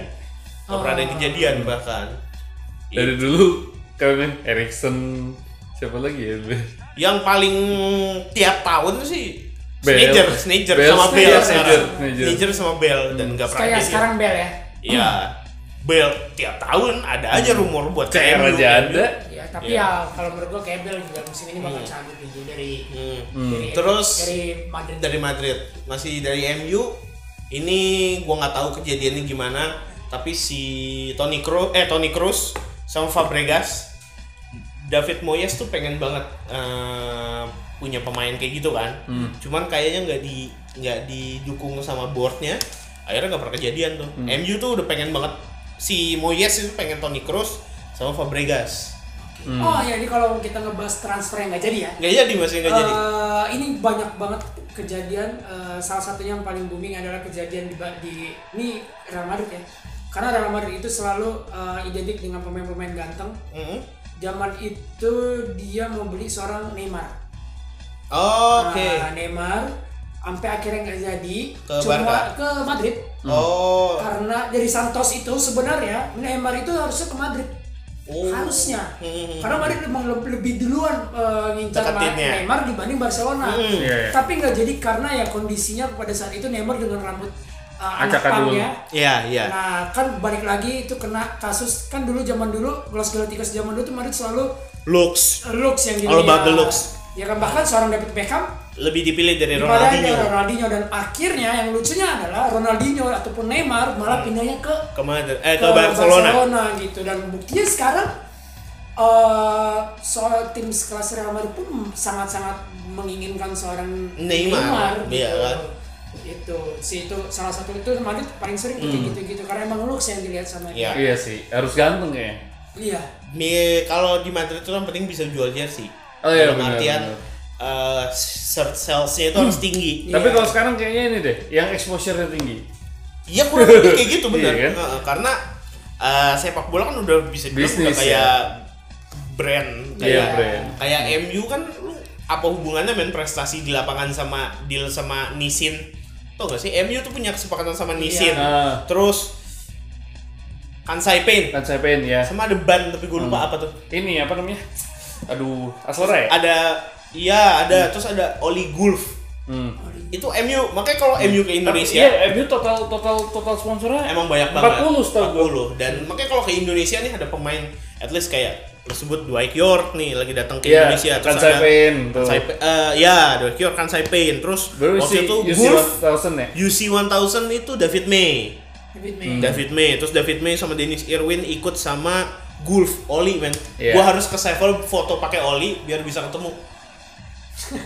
A: Nggak pernah ada kejadian bahkan.
B: dari dulu kan Erikson siapa lagi ya?
A: Yang paling tiap tahun sih
B: Bale.
A: Sneijder, Sneijder
B: Bale,
A: sama
B: Sneijder,
A: Bell sekarang.
B: Sneijder, Sneijder.
A: Sneijder sama Bell
B: Hmm.
A: dan nggak pernah
C: Kayak
A: jadi.
C: sekarang Bel ya.
A: Iya. Bell tiap tahun ada aja rumor buat
B: CR
A: MU,
B: aja
A: MU.
B: ada.
C: Ya, tapi
A: Iya.
C: ya kalau menurut gua kayak Bel juga musim ini bakal cabut nih dari
A: Hmm.
C: dari-
A: Terus
C: dari Madrid.
A: dari Madrid masih dari MU ini gua nggak tahu kejadiannya gimana tapi si Toni Kroos eh Toni Kroos sama Fabregas David Moyes tuh pengen banget eh, punya pemain kayak gitu kan
B: Hmm.
A: cuman kayaknya nggak di nggak didukung sama boardnya akhirnya nggak pernah kejadian tuh
B: Hmm.
A: MU tuh udah pengen banget si Moyes itu pengen Toni Kroos sama Fabregas
C: Oh ya, ini kalau kita ngebahas transfer yang nggak jadi ya.
A: nggak jadi masih Hmm. nggak jadi
C: Eh, ini banyak banget kejadian. eh, salah satunya yang paling booming adalah kejadian di, di ini Real Madrid ya. Karena Real Madrid itu selalu eh, identik dengan pemain-pemain ganteng.
A: Mhm.
C: Zaman itu dia mau beli seorang Neymar.
A: Oke.
C: Nah, Eh, Neymar sampai akhirnya nggak jadi
A: Ke
C: cuma
A: Barca?
C: ke Madrid
A: Oh.
C: karena dari Santos itu sebenarnya Neymar itu harusnya ke Madrid
A: Oh.
C: harusnya karena Madrid memang leb- lebih duluan eh, ngincar Ma-
A: Hmm. Deketinnya.
C: Neymar dibanding Barcelona
A: Hmm. Iya, iya.
C: tapi nggak jadi karena ya kondisinya pada saat itu Neymar dengan rambut eh, anak
B: Acak-acak dulu.
C: pangnya
A: Iya, iya.
C: Nah, kan balik lagi itu kena kasus kan dulu zaman dulu Los Galacticos zaman dulu tuh Madrid selalu
A: Looks
C: looks yang
A: All about the
C: dilihat.
A: looks.
C: Ya kan bahkan seorang David Beckham
A: lebih dipilih dari
C: daripada
A: Iya, Ronaldinho
C: Ronaldinho dan akhirnya yang lucunya adalah Ronaldinho ataupun Neymar malah pindahnya ke
A: ke Madrid eh Hmm. ke Barcelona.
C: gitu dan buktinya sekarang eh soal tim sekelas Real Madrid pun sangat-sangat menginginkan seorang
A: Neymar.
C: gitu.
A: Iya kan?
C: itu si itu salah satu itu Madrid paling sering kayak
B: Hmm.
C: gitu-gitu karena emang looks yang dilihat sama dia.
A: Iya.
B: Iya sih, harus ganteng ya. kayaknya.
C: Iya.
A: Mi- kalau di Madrid itu yang penting bisa jual jersey.
B: Oh iya,
A: Dalam
B: benar,
A: artian
B: benar. Hmm.
A: eh, search sales-nya itu harus tinggi.
B: Tapi kalau sekarang kayaknya ini deh, yang exposure-nya tinggi.
A: Iya kurang lebih kayak gitu benar.
B: Iya kan?
A: Heeh, karena eh, sepak bola kan udah bisa dibilang udah
B: Bisnis,
A: kayak
B: ya.
A: brand
B: Iya,
A: kayak
B: brand.
A: kayak MU kan lu apa hubungannya main prestasi di lapangan sama deal sama Nissin. Tau gak sih MU tuh punya kesepakatan sama Nissin.
B: Ah.
A: Terus Kansai Paint
B: Kansai Paint ya.
A: Sama ada ban tapi gue
B: Hmm.
A: lupa apa tuh.
B: Ini apa namanya? Aduh, Aslera ya?
A: Ada iya ada terus ada Oli Gulf.
B: Hmm.
A: Itu MU makanya kalau MU ke Indonesia
B: Iya, MU total total total sponsornya
A: emang banyak banget
B: 40 setahu gue.
A: 40 dan makanya kalau ke Indonesia nih ada pemain at least kayak tersebut Dwight York nih lagi datang ke
B: Iya,
A: Indonesia
B: Kansai Pain, tuh.
A: Kansai Pain, eh, ya Dwight York Kansai Pain terus
B: Baru
A: waktu
B: si
A: itu
B: UC
A: Wolf
B: 1000 ya?
A: UC 1000 itu David May
C: David May.
A: Hmm. David May terus David May sama Dennis Irwin ikut sama Gulf Oli men
B: Iya.
A: gua harus ke Sevel foto pakai Oli biar bisa ketemu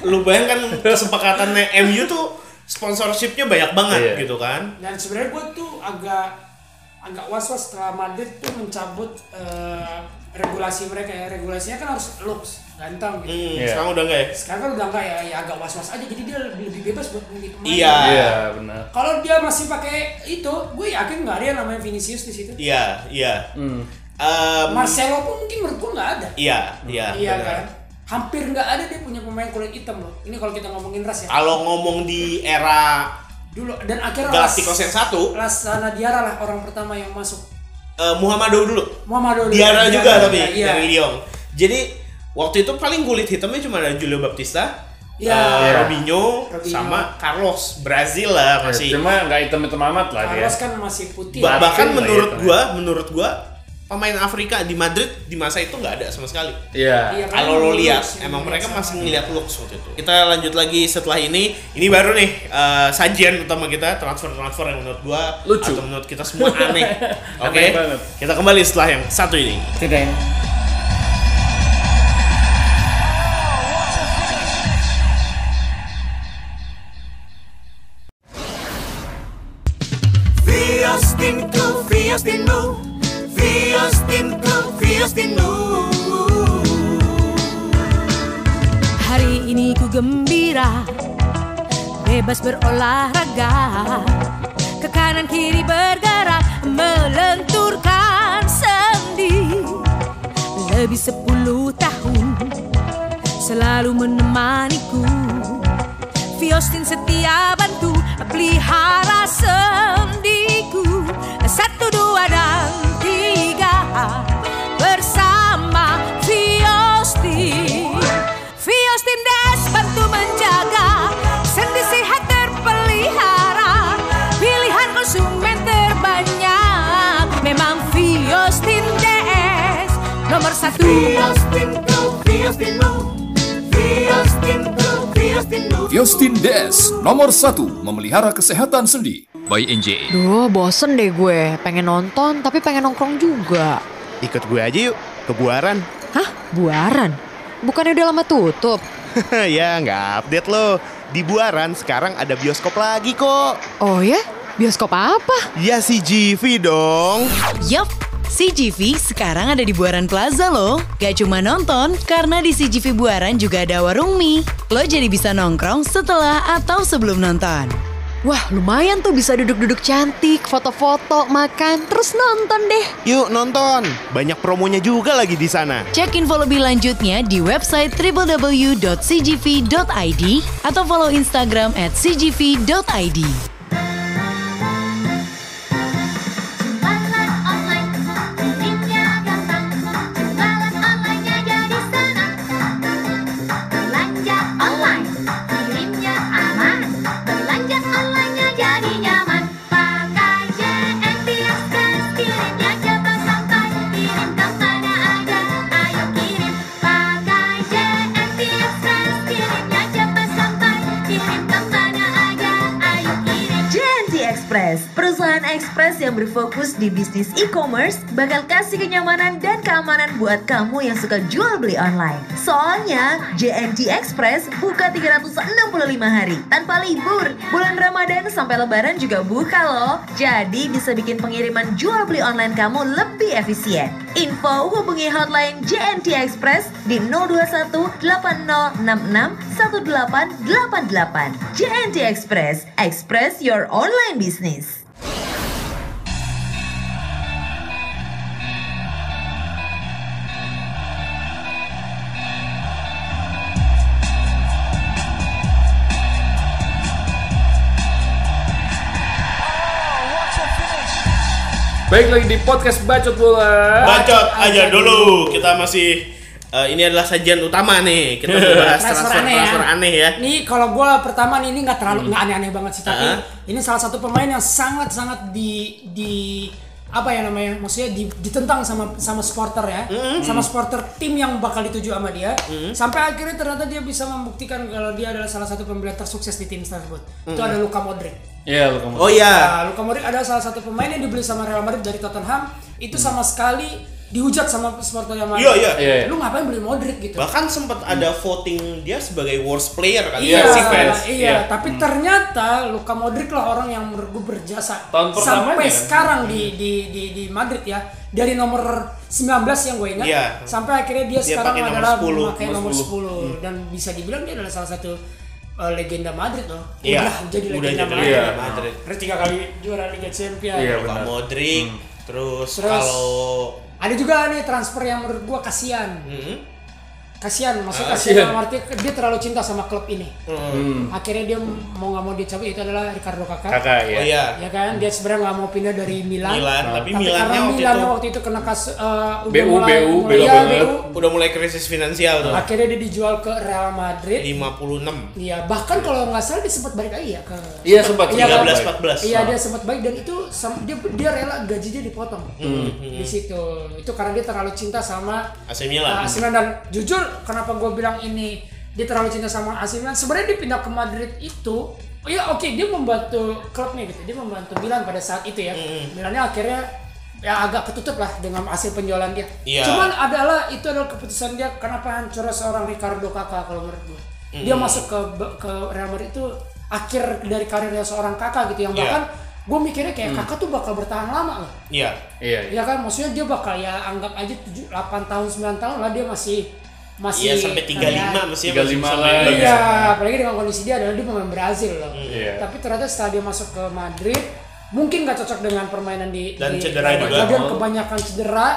A: lu bayangkan kesepakatannya MU tuh sponsorshipnya banyak banget
B: Iya.
A: gitu kan
C: Dan sebenarnya gue tuh agak agak was was setelah Madrid tuh mencabut eh, regulasi mereka ya regulasinya kan harus looks ganteng
A: Hmm,
C: gitu.
B: Iya.
A: sekarang udah enggak ya
C: Sekarang kan udah enggak ya, ya agak was was aja jadi dia lebih, lebih bebas buat milih pemain.
A: Iya.
B: Iya, benar.
C: Kalau dia masih pakai itu, gue yakin nggak ada yang namanya Vinicius di situ.
A: Iya, iya.
B: Hmm.
A: Em,
C: Marcelo pun mungkin menurut gue nggak ada.
A: Iya, iya.
C: iya
A: benar.
C: kan? Hampir nggak ada dia punya pemain kulit hitam loh. Ini kalau kita ngomongin ras ya.
A: Kalau ngomong di era
C: Dulu dan akhirnya
A: Galacticos yang satu,
C: Lasana Diarra lah orang pertama yang masuk.
A: eh, Muhammadu dulu.
C: Muhammad Odoi.
A: Diarra juga tapi
C: iya.
A: dari Lyon. Jadi waktu itu paling kulit hitamnya cuma ada Julio Baptista,
C: Iya.
A: eh,
B: Iya.
A: Robinho,
C: Robinho.
A: sama Carlos Brazil lah
B: Ya,
A: masih.
B: Cuma nggak hitam-hitam amat lah
A: ya.
B: dia.
C: Carlos kan masih putih.
A: Ba- bahkan
B: Batin lah
A: menurut
B: ya,
A: gua, menurut gua pemain Afrika di Madrid di masa itu nggak ada sama sekali.
B: Iya.
C: Iya, kan?
A: Kalau lo lihat,
C: Looks,
A: emang
C: looks
A: mereka
C: sama.
A: masih ngeliat looks waktu itu. Kita lanjut lagi setelah ini. Ini baru nih eh, sajian utama kita transfer transfer yang menurut gua
B: Lucu.
A: atau menurut kita semua aneh.
B: Aneh
A: Oke,
B: banget.
A: kita kembali setelah yang satu ini.
B: Tidak.
K: Fiostinku, Fiostinu, Fiostinku, Fiostinu.
G: Hari ini ku gembira, bebas berolahraga. Ke kanan kiri bergerak, melenturkan sendi. Lebih sepuluh tahun, selalu menemaniku. Fiostin setia bantu, pelihara sendiku. Satu, dua, dan tiga, bersama Fiostin. Fiostin Des bantu menjaga sendi sehat terpelihara Pilihan konsumen terbanyak Memang Fiostin Des Nomor satu
K: Fiostinku, Fiostinu, Fiostinku, Fiostinu.
O: Justin Des, nomor satu memelihara kesehatan sendi. By NJ.
E: Duh, bosen deh gue. Pengen nonton, tapi pengen nongkrong juga.
D: Ikut gue aja yuk, ke buaran.
E: Hah? Buaran? Bukannya udah lama tutup?
D: ya nggak update lo. Di buaran sekarang ada bioskop lagi kok.
E: Oh ya? Bioskop apa?
D: Ya si GV dong.
F: Yup, CGV sekarang ada di Buaran Plaza loh. Gak cuma nonton, karena di CGV Buaran juga ada warung mie. Lo jadi bisa nongkrong setelah atau sebelum nonton.
E: Wah lumayan tuh bisa duduk-duduk cantik, foto-foto, makan, terus nonton deh.
D: Yuk nonton. Banyak promonya juga lagi di sana.
F: Cek info lebih lanjutnya di website www.cgv.id atau follow Instagram at cgv.id.
K: Belanja online, kirimnya aman. Belanja online-nya jadi nyaman. Pakai JNT Express, kirimnya cepat sampai. Kirim kemana aja, ayo kirim. Pakai JNT Express, kirimnya cepat sampai. Kirim kemana aja, ayo kirim.
P: JNT Express, perusahaan ekspres yang berfokus di bisnis e-commerce, bakal kasih kenyamanan dan keamanan buat kamu yang suka jual beli online. Soalnya, JNT Express buka 365 hari tanpa libur. Bulan Ramadan sampai Lebaran juga buka loh. Jadi bisa bikin pengiriman jual beli online kamu lebih efisien. Info hubungi hotline JNT Express di 021 8066 1888. JNT Express, express your online business.
B: Baik lagi di podcast Bacot Bola.
A: Bacot aja dulu. Kita masih eh, ini adalah sajian utama nih. Kita mau bahas transfer transfer aneh, ya.
C: Ini kalau gue pertama nih ini nggak terlalu nggak aneh-aneh banget sih, tapi
A: Ah.
C: ini salah satu pemain yang sangat-sangat di di apa ya namanya? Maksudnya di- ditentang sama sama supporter ya,
A: Hmm.
C: sama supporter tim yang bakal dituju sama dia.
K: Mm.
C: Sampai akhirnya ternyata dia bisa membuktikan kalau dia adalah salah satu pembela tersukses di tim tersebut. Itu
A: Mm.
C: ada Luka Modric.
B: Iya, Luka Modric.
A: Oh, iya.
C: Nah, Luka Modric adalah salah satu pemain yang dibeli sama Real Madrid dari Tottenham. Itu sama sekali dihujat sama supporter yang
A: Iya, Hmm. iya. Iya, iya.
C: Lu ngapain beli Modric gitu?
A: Bahkan sempat ada voting dia sebagai worst player kan
C: Iya,
A: si fans.
C: iya, tapi ternyata Luka Modric lah orang yang menurut gue berjasa
A: Tahun pertamanya
C: sampai
A: kan?
C: sekarang di, di di di Madrid ya. Dari nomor 19 yang gue ingat
A: Iya.
C: sampai akhirnya dia,
A: Dia
C: sekarang
A: pakai nomor
C: adalah
A: 10,
C: memakai
A: nomor Hmm.
C: nomor 10,
A: 10.
C: dan bisa dibilang dia adalah salah satu uh, legenda Madrid loh.
A: Iya,
C: Udah jadi
A: udah
C: legenda
A: jadi Iya.
C: Madrid.
A: legenda Madrid.
C: Nah, Terus tiga kali juara Liga Champions.
A: Luka Modric, terus,
C: Terus-
A: kalau
C: Ada juga nih transfer yang menurut gua kasihan.
A: Hmm.
C: Kasihan, maksudnya
A: Ah,
C: kasihan
A: kasihan.
C: dalam arti dia terlalu cinta sama klub ini.
A: Hmm.
C: Akhirnya dia mau nggak mau dicabut itu adalah Ricardo Kakak.
A: Kakak, iya. Oh, iya.
C: kan, dia sebenarnya nggak mau pindah dari Milan.
A: Milan, tapi Milannya
C: karena
A: waktu
C: Milan
A: itu-
C: waktu itu kena kasus eh, udah
A: BU
C: mulai,
A: BU
C: mulai- iya, BU.
A: udah mulai krisis finansial tuh.
C: Akhirnya dia dijual ke Real Madrid.
A: 56.
C: Iya, bahkan kalau nggak salah dia sempat balik lagi ya ke
A: Iya,
C: kan?
A: sempat. 13, 14.
C: Iya, dia sempat balik dan itu sam- dia dia rela gajinya dipotong.
A: Hmm,
C: Di situ. Itu karena dia terlalu cinta sama
A: AC Milan.
C: uh, AC Milan. dan jujur kenapa gue bilang ini dia terlalu cinta sama AC Milan. Sebenarnya dia pindah ke Madrid itu oh ya oke dia membantu klubnya gitu. Dia membantu Milan pada saat itu ya. Milannya akhirnya ya agak ketutup lah dengan hasil penjualan dia.
A: Iya.
C: Cuman adalah itu adalah keputusan dia kenapa hancurnya seorang Ricardo Kakak kalau menurut gue. Dia
A: Mm.
C: masuk ke ke Real Madrid itu akhir dari karirnya seorang kakak gitu yang bahkan gue mikirnya kayak
A: Iya. Mm.
C: kakak tuh bakal bertahan lama loh.
A: Iya. Iya.
C: Ya kan maksudnya dia bakal ya anggap aja 7 8 tahun 9 tahun lah dia masih masih
A: Iya, sampai 35 masih-
B: 35
A: masih
B: lah.
A: bisa main.
C: Iya, apalagi dengan kondisi dia adalah dia pemain Brazil loh.
A: Mm,
B: Iya.
C: Tapi ternyata setelah dia masuk ke Madrid mungkin nggak cocok dengan permainan di
A: Dan
C: di-
A: cedera
C: di-
A: juga.
C: Dan kebanyakan cedera.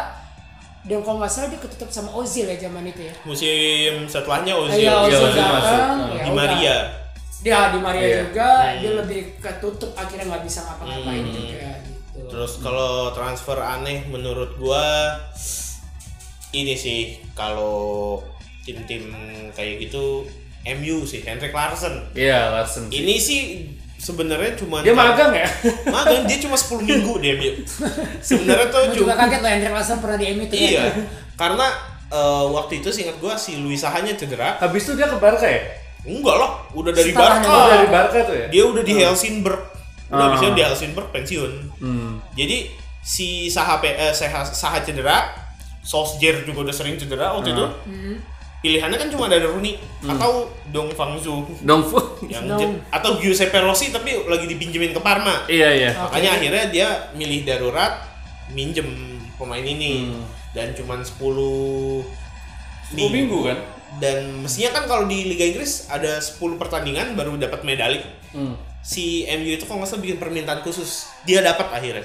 C: Dan kalau nggak salah dia ketutup sama Ozil ya zaman itu ya.
A: Musim setelahnya Ozil.
C: Iya, Ozil datang, ya
A: Di
C: udah.
A: Maria.
C: Dia di Maria
A: Iya.
C: juga, dia lebih ketutup akhirnya nggak bisa ngapa-ngapain
A: Hmm.
C: juga. gitu.
A: Terus kalau transfer aneh menurut gua ini sih kalau tim-tim kayak gitu MU sih Henrik Larsson.
B: Iya, Larsen. sih.
A: Ini sih sebenarnya cuma
B: Dia magang ya?
A: Magang dia cuma 10 minggu dia. dia. Sebenarnya tuh
C: Gua juga kaget loh Hendrik Larsson pernah di MU itu. kan.
A: Iya. Karena eh, waktu itu singkat gua si Luis Sahanya cedera.
B: Habis itu dia ke Barca ya?
A: Enggak lah, udah dari
B: Setelah
A: Barca.
B: dia dari Barca tuh ya?
A: Oh. Dia udah di
B: Hmm.
A: Helsingborg. Udah
B: Ah.
A: habisnya di Helsingborg pensiun.
B: Hmm.
A: Jadi si Saha P- eh, Saha, Saha cedera, Solskjaer juga udah sering cedera waktu
B: Ah.
A: itu. Pilihannya kan cuma ada Rooney
B: Hmm.
A: atau Dong Fangzu.
B: Dong Fu.
A: yang
B: Dong.
A: je- atau Giuseppe Rossi tapi lagi dipinjemin ke Parma.
B: Iya, iya.
A: Makanya
B: Oke.
A: akhirnya dia milih darurat minjem pemain ini
B: Hmm.
A: dan cuman 10
B: 10 minggu kan?
A: Dan mestinya kan kalau di Liga Inggris ada 10 pertandingan baru dapat medali. si MU itu kalau nggak salah bikin permintaan khusus dia dapat akhirnya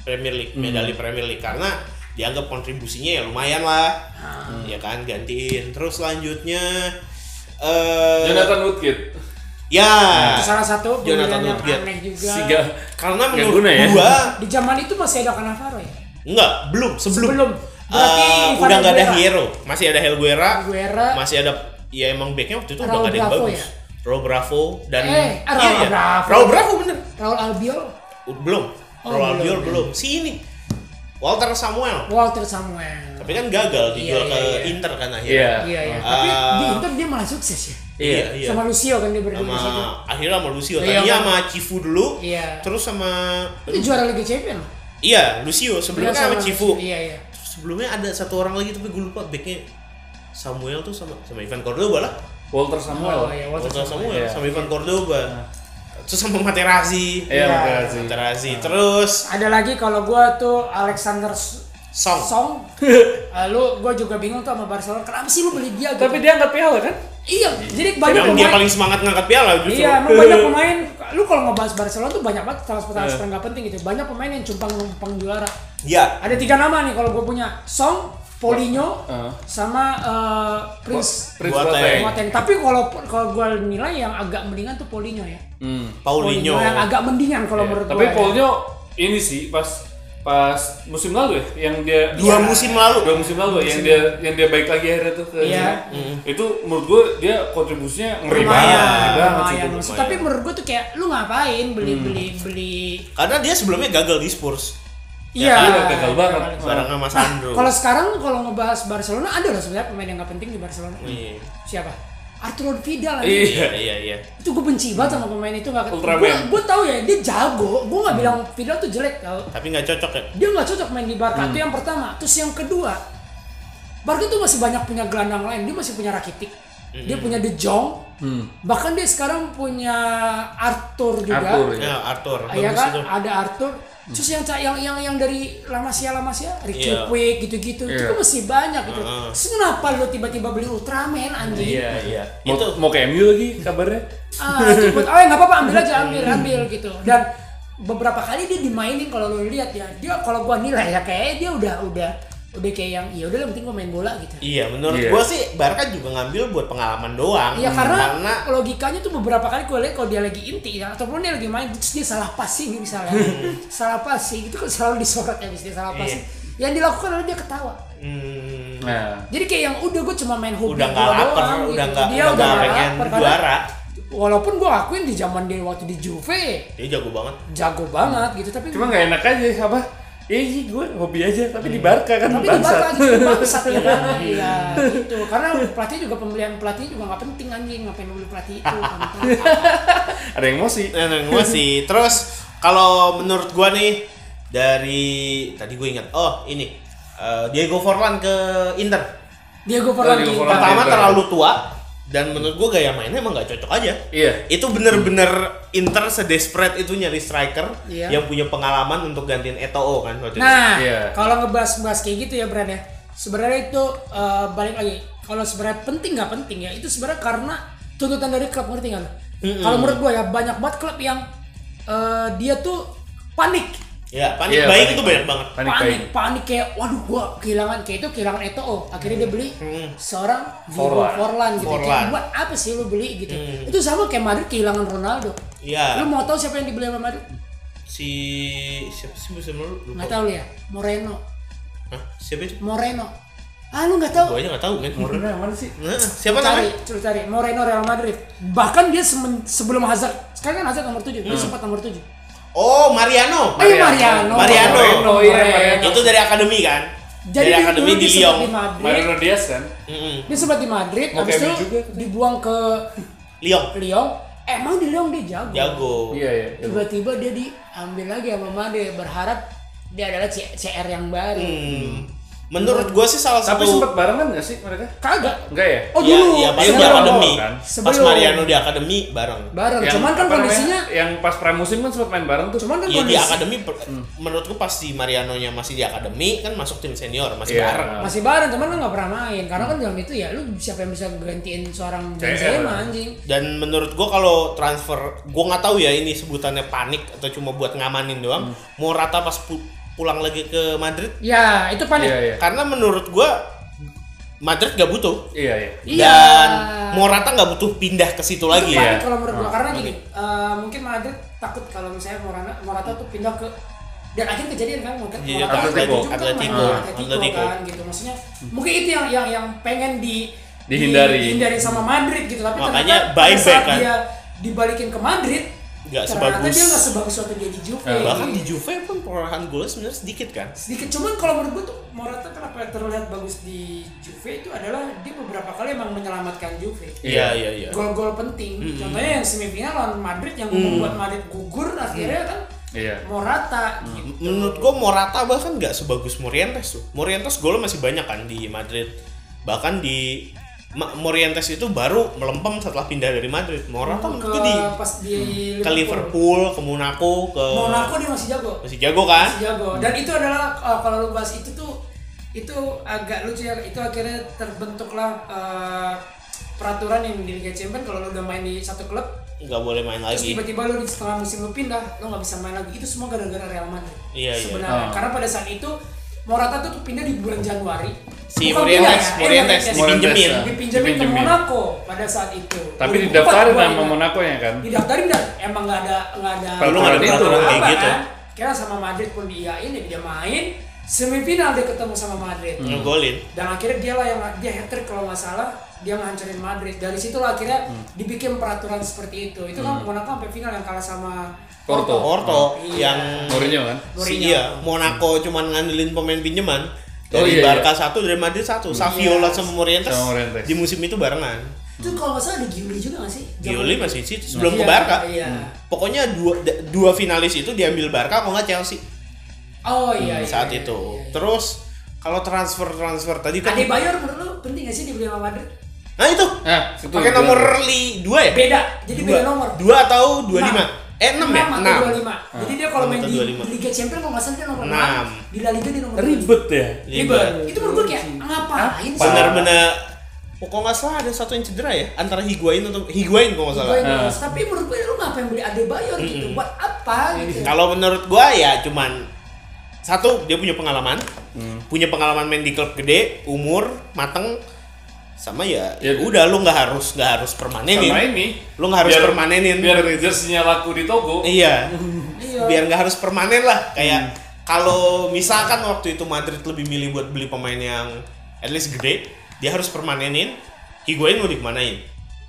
A: Premier
C: Hmm.
A: League medali Premier League karena dianggap kontribusinya ya lumayan lah
C: Hmm.
A: ya kan gantiin terus selanjutnya
C: Ya,
A: eh
B: Jonathan Woodgate.
A: ya
C: Itu salah satu
A: Jonathan
C: pilihan yang
A: Woodgate
C: aneh juga.
A: karena
B: Nggak
A: menurut
B: guna ya.
A: gua
C: di zaman itu masih ada Cannavaro ya
A: Enggak, belum, sebelum.
C: Sebelum. Berarti
A: Eh,
C: Ivan
A: udah nggak ada
C: Aguilera.
A: Hierro, masih ada Helguera,
C: Guerra
A: masih ada ya emang backnya waktu itu udah
C: Raul
A: nggak ada yang
C: Bravo
A: bagus.
C: ya?
A: Raul Bravo dan
C: eh ah, Raul
A: Iya, iya.
C: Bravo
A: Raul Bravo bener.
C: Raul Albiol
A: U- Belum.
C: Oh,
A: Raul
C: belum,
A: Albiol
C: belum.
A: belum. Si ini Walter Samuel.
C: Walter Samuel
A: Tapi kan gagal dijual
C: Iya,
A: ke
C: iya, iya.
A: Inter kan akhirnya.
B: Iya.
C: iya iya
A: Eh,
C: tapi di Inter dia malah sukses ya
A: Iya, iya.
C: sama Lucio kan dia berdua
A: sama
C: satu
A: akhirnya sama Lucio.
C: Iya,
A: Tadinya
C: kan.
A: sama Cifu dulu,
C: iya
A: terus sama
C: itu juara Liga Champion
A: Iya, Lucio sebelumnya
C: Iya,
A: sama,
C: sama
A: Cifu.
C: Lucio. iya iya
A: Sebelumnya ada satu orang lagi tapi gue lupa backnya Samuel tuh sama sama Ivan Cordoba lah.
B: Walter Samuel.
A: Oh, iya, Walter, Samuel,
B: Samuel.
A: sama Ivan Cordoba.
C: Nah.
A: Terus sama Materazzi.
B: Iya, Materazzi.
A: Materazzi.
C: Nah.
A: Terus
C: ada lagi kalau gua tuh Alexander S-
A: Song.
C: Song lalu gua juga bingung tuh sama Barcelona kenapa sih lu beli dia gitu?
B: Tapi dia nggak piala kan
C: iya jadi banyak
A: yang dia
C: pemain
A: paling semangat ngangkat piala justru.
C: Iya, emang banyak pemain. Lu kalau ngebahas Barcelona tuh banyak banget transfer-transfer
A: Iya.
C: nggak penting gitu. Banyak pemain yang cumpang-cumpang juara.
A: Iya.
C: Ada tiga nama nih kalau gue punya. Song, Paulinho,
B: Heeh.
C: sama eh, Prince.
B: Prince Boateng.
C: Boateng. Tapi kalau kalau gue nilai yang agak mendingan tuh Paulinho ya.
B: Hmm.
A: Paulinho.
C: yang agak mendingan kalau menurut
B: Iya.
C: ya.
B: Tapi
C: gue.
B: Paulinho ini sih pas pas musim lalu ya yang dia
A: Dua musim lalu.
B: dua musim lalu ya,
A: Musim
B: yang dia yang dia baik lagi akhirnya tuh ke
C: Iya.
B: Juve. itu menurut gue dia kontribusinya ngeri banget ngeri
C: lumayan,
B: banget sih
C: lumayan.
B: itu.
C: Maksud- Tapi menurut gue tuh kayak lu ngapain beli beli beli.
A: Karena dia sebelumnya gagal di Spurs.
C: Iya.
B: Ya,
A: kan?
C: Iya, gagal banget.
A: Bareng sama Sandro.
C: Kalau sekarang kalau ngebahas Barcelona ada loh sebenarnya pemain yang nggak penting di Barcelona.
A: Iya.
C: Siapa? Arturo Vidal. anjing.
A: Iya, iya, iya.
C: itu gue benci banget sama pemain itu gak
A: Ultraman. Hmm.
C: gue gue tau ya dia jago gue nggak bilang Vidal tuh jelek tau
A: Tapi nggak cocok ya.
C: dia nggak cocok main di Barca
A: Hmm.
C: itu yang pertama terus yang kedua Barca tuh masih banyak punya gelandang lain dia masih punya Rakitic dia
A: Mm-mm.
C: punya De Jong
A: Hmm.
C: bahkan dia sekarang punya Arthur juga
A: Arthur, ya. Ya, Arthur.
C: Ah, iya
A: Bagus
C: kan
A: itu.
C: ada Arthur terus yang ca- yang yang yang dari La Masia La Masia Ricky
A: Iya. Ah,
C: Puig gitu-gitu itu kan
B: Iya.
C: masih banyak gitu
B: Heeh.
C: terus kenapa lu tiba-tiba beli Ultraman anjing
B: iya iya mau, mau ke MU lagi kabarnya
C: ah itu buat oh ya nggak apa-apa ambil aja ambil ambil gitu dan beberapa kali dia dimainin kalau lo lihat ya dia kalau gua nilai ya kayak dia udah udah udah kayak yang ya udah lah, yang penting gua main bola gitu
A: Iya, menurut
B: Iya.
A: gua sih Barca juga ngambil buat pengalaman doang.
C: Iya karena, logikanya tuh beberapa kali gue lihat kalau dia lagi inti ya, ataupun dia lagi main terus dia salah passing misalnya,
A: Hmm.
C: salah passing itu kan selalu disorot ya, dia
A: Iya.
C: salah passing. Yang dilakukan adalah dia ketawa.
A: Hmm,
C: Jadi kayak yang udah gue cuma main hobi
A: udah nggak
C: gua
A: lapar,
C: doang gitu.
A: udah nggak
C: Dia
A: udah nggak
C: nggak
A: pengen
C: lapar, karena
A: juara.
C: Walaupun gue akuin di zaman dia waktu di Juve
A: Dia jago banget.
C: jago banget gitu tapi
B: cuma nggak enak aja apa Iya, iya, gue hobi aja, tapi di Barca kan
C: Iya. tapi di Barca aja juga bangsat ya kan?
B: Iya.
C: Iya, gitu. Karena pelatih juga pembelian pelatih juga nggak penting anjing ngapain beli pelatih itu.
B: Ada yang emosi.
A: Ada yang emosi. nah, Terus kalau menurut gua nih dari tadi gue ingat, oh ini eh, Diego Forlan ke Inter.
C: Diego Forlan Diego ke Inter. Forlan
A: Pertama
C: ke Inter.
A: terlalu tua dan menurut gua gaya mainnya emang nggak cocok aja.
B: Iya.
A: Itu bener-bener Inter sedesperate itu nyari striker
C: Iya.
A: yang punya pengalaman untuk gantiin Eto'o kan waktu itu.
C: Nah, kalau ngebahas-bahas kayak gitu ya Bran ya. Sebenarnya itu eh, balik lagi. Kalau sebenarnya penting nggak penting ya itu sebenarnya karena tuntutan dari klub ngerti nggak? lo?
A: Mm-mm.
C: Kalau menurut gua ya banyak banget klub yang eh, dia tuh panik.
A: Ya, panik
B: Iya,
A: baik itu banyak banget.
C: Panik, panik, kayak waduh gua kehilangan kayak itu kehilangan Eto'o. Akhirnya dia beli
A: Hmm.
C: seorang Diego
A: Forlan.
C: Forlan gitu. Kayak,
A: Forlan.
C: buat apa sih lu beli gitu?
A: Mm.
C: Itu sama kayak Madrid kehilangan Ronaldo.
A: Iya.
C: Lu mau tahu siapa yang dibeli sama Madrid?
A: Si siapa sih musim lalu? Lupa.
C: Nggak tahu lu ya. Moreno.
A: Hah? Siapa itu?
C: Moreno. Ah lu nggak tahu?
A: Gue aja nggak tahu kan.
B: Moreno yang mana sih?
A: siapa
C: Lu cari,
A: namanya?
C: lu cari Moreno Real Madrid. Bahkan dia semen- sebelum Hazard, sekarang kan Hazard nomor 7, dia
A: Hmm.
C: sempat nomor 7.
A: Oh, Mariano.
C: Oh, iya, Mariano.
A: Mariano.
C: Moreno, iya, Mariano.
A: Itu dari akademi kan?
C: Jadi
A: dari
C: dia
A: akademi
C: dulu
A: di
C: disebut
A: Lyon.
C: di Madrid. Mariano
B: Diaz kan?
C: Dia sempat di Madrid,
A: Oke,
C: habis itu
A: dia juga.
C: dibuang ke
A: Lyon.
C: Lyon. Emang di Lyon dia jago.
A: Jago.
B: Iya, iya.
C: Tiba-tiba dia
A: Hmm.
C: diambil lagi sama Made berharap dia adalah C- CR yang baru.
A: Menurut gua sih salah
B: Tapi
A: satu
B: sempat barengan gak sih mereka?
C: Kagak.
B: Enggak ya?
C: Oh, dulu.
A: Iya, pas di
C: Sebelum.
A: akademi.
B: Kan?
A: Pas
C: Sebelum.
A: Mariano di akademi bareng.
C: Bareng. Cuman kan
B: Iya, apa namanya?
C: kondisinya-
B: yang pas pramusim kan sempat main bareng tuh.
C: Cuman
A: Iya di akademi per-
C: Hmm.
A: menurutku pas si Marianonya masih di akademi kan masuk tim senior masih
B: Iya.
A: bareng.
C: masih bareng cuman lu nggak pernah main karena kan dalam itu ya lu siapa yang bisa gantiin seorang Benzema anjing
A: Dan menurut gua kalau transfer, gua nggak tahu ya ini sebutannya panik atau cuma buat ngamanin
C: Hmm.
A: doang. Mau rata pas pu- pulang lagi ke Madrid?
C: Ya, itu
A: kan
C: panik. Iya, iya.
A: Karena menurut gua Madrid gak butuh.
B: Iya, iya.
A: Dan Morata nggak butuh pindah ke situ lagi. ya. Nah,
C: itu panik kalau menurut gua karena gini eh, mungkin Madrid takut kalau misalnya Morata Morata tuh pindah ke dan akhirnya kejadian kan mungkin
A: Iya,
C: Morata kan
A: Atletico.
C: juga kan main
A: Atletico.
C: di Atletico
A: Atletico. Hmm.
C: kan gitu maksudnya mungkin itu yang yang yang pengen di
A: Dihindari.
C: dihindari sama Madrid gitu tapi
A: Makanya
C: ternyata pada
A: buyback
C: saat
A: kan.
C: dia dibalikin ke Madrid
A: Nggak
C: ternyata
A: sebagus-
C: dia nggak sebagus waktu dia di Juve
A: Eh, Bahkan di Juve pun perolehan golnya sebenarnya sedikit kan.
C: sedikit cuman kalau menurut gue tuh Morata kenapa terlihat bagus di Juve itu adalah dia beberapa kali emang menyelamatkan Juve
A: Iya, iya, iya.
C: gol-gol penting
A: Mm-mm.
C: contohnya yang semifinal lawan Madrid yang
A: Mm.
C: membuat Madrid gugur akhirnya kan
B: Iya.
C: Morata Gitu.
A: Mm. Menurut gua Morata bahkan nggak sebagus Morientes tuh. Morientes golnya masih banyak kan di Madrid. Bahkan di Ma- Morientes itu baru melempem setelah pindah dari Madrid. Morata menurut
C: Hmm, ke
A: gua di
C: pas di
A: ke Liverpool, ke Monaco, ke
C: Monaco dia masih jago
A: masih jago kan?
C: masih jago dan itu adalah uh, kalau lu bahas itu tuh itu agak lucu ya itu akhirnya terbentuklah uh, peraturan yang di Liga Champions kalau lu udah main di satu klub
A: nggak boleh main
C: Terus
A: lagi.
C: tiba-tiba lu di setengah musim lu pindah, lu nggak bisa main lagi. Itu semua gara-gara Real Madrid.
A: Iya, iya.
C: Sebenarnya
B: Oh.
A: Ah.
C: karena pada saat itu Morata tuh pindah di bulan Januari.
A: Si
C: Bukan
A: Morientes,
C: pindah Eh,
A: Morientes, dipinjemin.
C: ya. Dipinjemin ke
B: Dipinjemin.
C: Monaco pada saat itu.
B: Tapi
C: Udah
B: didaftarin
C: empat
B: sama
C: bulan.
B: Monaco ya kan?
A: Iya.
C: Didaftarin dan emang nggak ada nggak ada.
B: Peraturan
C: nggak ada
B: itu.
C: peraturan
B: Kayak
C: apa
B: gitu.
C: kan. Kira sama Madrid pun diiyain ya dia main semifinal dia ketemu sama Madrid.
A: Hmm. Ngegolin.
C: Dan akhirnya dia lah yang dia hat trick kalau nggak salah dia menghancurin Madrid. Dari situlah akhirnya dibikin peraturan seperti itu. Itu kan
A: Hmm.
C: Monaco sampai final yang kalah sama
A: Porto. Porto
C: Iya.
A: yang
B: Mourinho kan?
A: Si,
C: Mourinho.
A: iya, Monaco cuman ngandelin pemain pinjaman.
B: Oh, iya,
A: Dari
B: iya.
A: Barca satu, dari Madrid satu.
B: Hmm. Iya.
A: Saviola sama Morientes,
B: Sama Morientes.
A: di musim itu barengan.
C: Itu kalau nggak salah ada Giuli juga nggak sih?
A: Gioli masih di situ
C: Iya,
A: sebelum ke Barca.
C: Iya.
A: Hmm. Pokoknya dua da- dua finalis itu diambil Barca kalau nggak Chelsea.
C: Oh iya.
A: Hmm,
C: iya.
A: saat itu. Terus kalau transfer-transfer tadi kan
C: Ade Bayor menurut lu penting nggak sih dibeli sama Madrid?
A: Nah itu.
B: Eh, itu
A: Pakai
B: gua-
A: nomor li 2 ya?
C: Beda. Jadi
A: Dua.
C: beda nomor.
A: Dua atau 25? Eh 6 ya?
C: Enam atau
A: 6.
C: 25. Jadi dia kalau main di Liga Champions kalau nggak salah dia nomor
A: Enam.
C: enam. Di La Liga dia nomor
B: Ribet ya?
C: Ribet. Itu menurut gue kayak ngapain sih?
A: Benar-benar Pokok nggak salah ada satu yang cedera ya antara Higuain atau Higuain kalau nggak salah.
C: Gue nggak ngerti. Tapi menurut gue lu ngapain beli Ade Bayor gitu?
A: Mm-mm. Iya.
C: Buat apa gitu?
A: Kalau menurut gua ya cuman satu dia punya pengalaman,
B: Hmm.
A: punya pengalaman main di klub gede, umur, mateng, sama ya, ya udah lu nggak harus nggak harus permanenin.
B: Sama ini.
A: Lu nggak harus
B: Biar-
A: permanenin.
B: biar jersey-nya laku di toko.
A: Iya.
C: Iya.
A: biar nggak harus permanen
B: Hmm.
A: lah. Kayak kalau misalkan waktu itu Madrid lebih milih buat beli pemain yang at least gede, dia harus permanenin. Higuain mau dikemanain?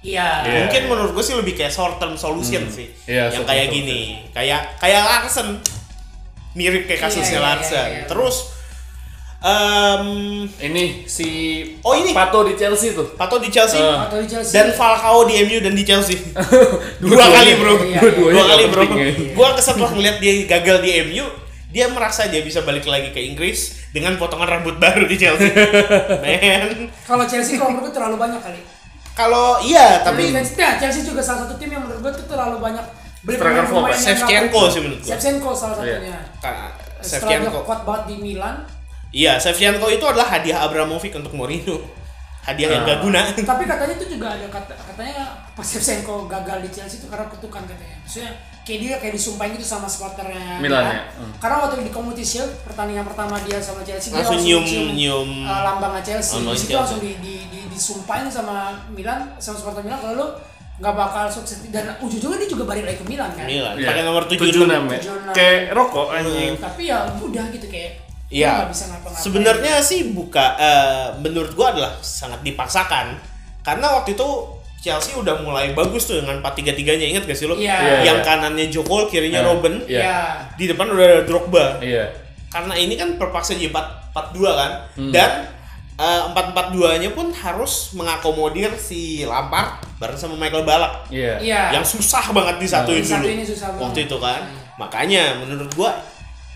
C: Iya.
A: Mungkin menurut gue sih lebih kayak short term solution
B: Hmm.
A: sih.
B: Iya,
A: yang
B: short term
A: kayak
B: solution.
A: gini, kayak kayak Larsen. Mirip kayak kasusnya
B: Iya, iya,
A: Larsen.
B: iya, iya.
A: Terus em
B: ini si
A: Oh ini
B: Pato di Chelsea tuh.
A: Pato di Chelsea.
B: Eh. Pato
C: di Chelsea.
A: Dan Falcao di MU dan di Chelsea. dua,
B: Dua-duanya.
A: kali, Bro.
B: Iya,
A: Dua,
B: dua-duanya
A: kali,
B: gak
A: Bro.
B: penting, ya.
A: Gua setelah ngeliat dia gagal di MU, dia merasa dia bisa balik lagi ke Inggris dengan potongan rambut baru di Chelsea. Man.
C: Kalau Chelsea kalau menurut gue terlalu banyak kali.
A: Kalau iya, tapi-
C: Nah,
B: kan
C: Chelsea, nah, Chelsea juga salah satu tim yang menurut gue tuh terlalu banyak beli
A: Striker
C: pemain-pemain
A: flop ya?
C: yang
A: Shevchenko
C: nggak-
A: sih menurut gue.
C: Shevchenko salah satunya.
A: Ka-
C: Setelah dia
A: Shevchenko.
C: kuat banget di Milan.
A: Iya, Shevchenko itu adalah hadiah Abramovich untuk Mourinho. Hadiah
B: Ah.
A: yang gak guna.
C: Tapi katanya itu juga ada kata katanya pas Shevchenko gagal di Chelsea itu karena kutukan katanya. Maksudnya kayak dia kayak disumpahin gitu sama supporternya
A: Milan
C: Milan.
A: ya? Hmm.
C: Karena waktu di Community Shield pertandingan pertama dia sama Chelsea dia
A: Langsung nyium- nyium
C: eh, lambangnya Chelsea.
A: lambang
C: Di situ
A: Chelsea.
C: langsung di, di, di, disumpahin sama Milan sama supporter Milan kalau lu nggak bakal sukses dan ujung-ujungnya dia juga balik lagi ke Milan kan.
A: Milan.
B: Iya.
A: Pakai nomor Hmm.
B: 76 ya.
C: 76.
B: Kayak rokok anjing.
C: Tapi ya udah gitu kayak lu
A: Iya.
C: nggak bisa ngapa-ngapain.
A: Sebenarnya sih buka eh, menurut gua adalah sangat dipaksakan karena waktu itu Chelsea udah mulai bagus tuh dengan 4-3-3-nya ingat gak sih lo?
C: Iya. Iya,
A: Yang
B: iya.
A: kanannya Jokol, kirinya
B: Iya.
A: Robben.
B: Iya. Iya.
A: Di depan udah ada Drogba.
B: Iya.
A: Karena ini kan terpaksa jadi 4-4-2 kan.
B: Hmm.
A: Dan eh, 4-4-2-nya pun harus mengakomodir si Lampard bareng sama Michael Ballack.
B: Iya.
C: Iya.
A: Ya. Yang susah banget disatuin
C: Disatuinnya
A: dulu.
C: susah banget.
A: Waktu itu kan. Makanya menurut gua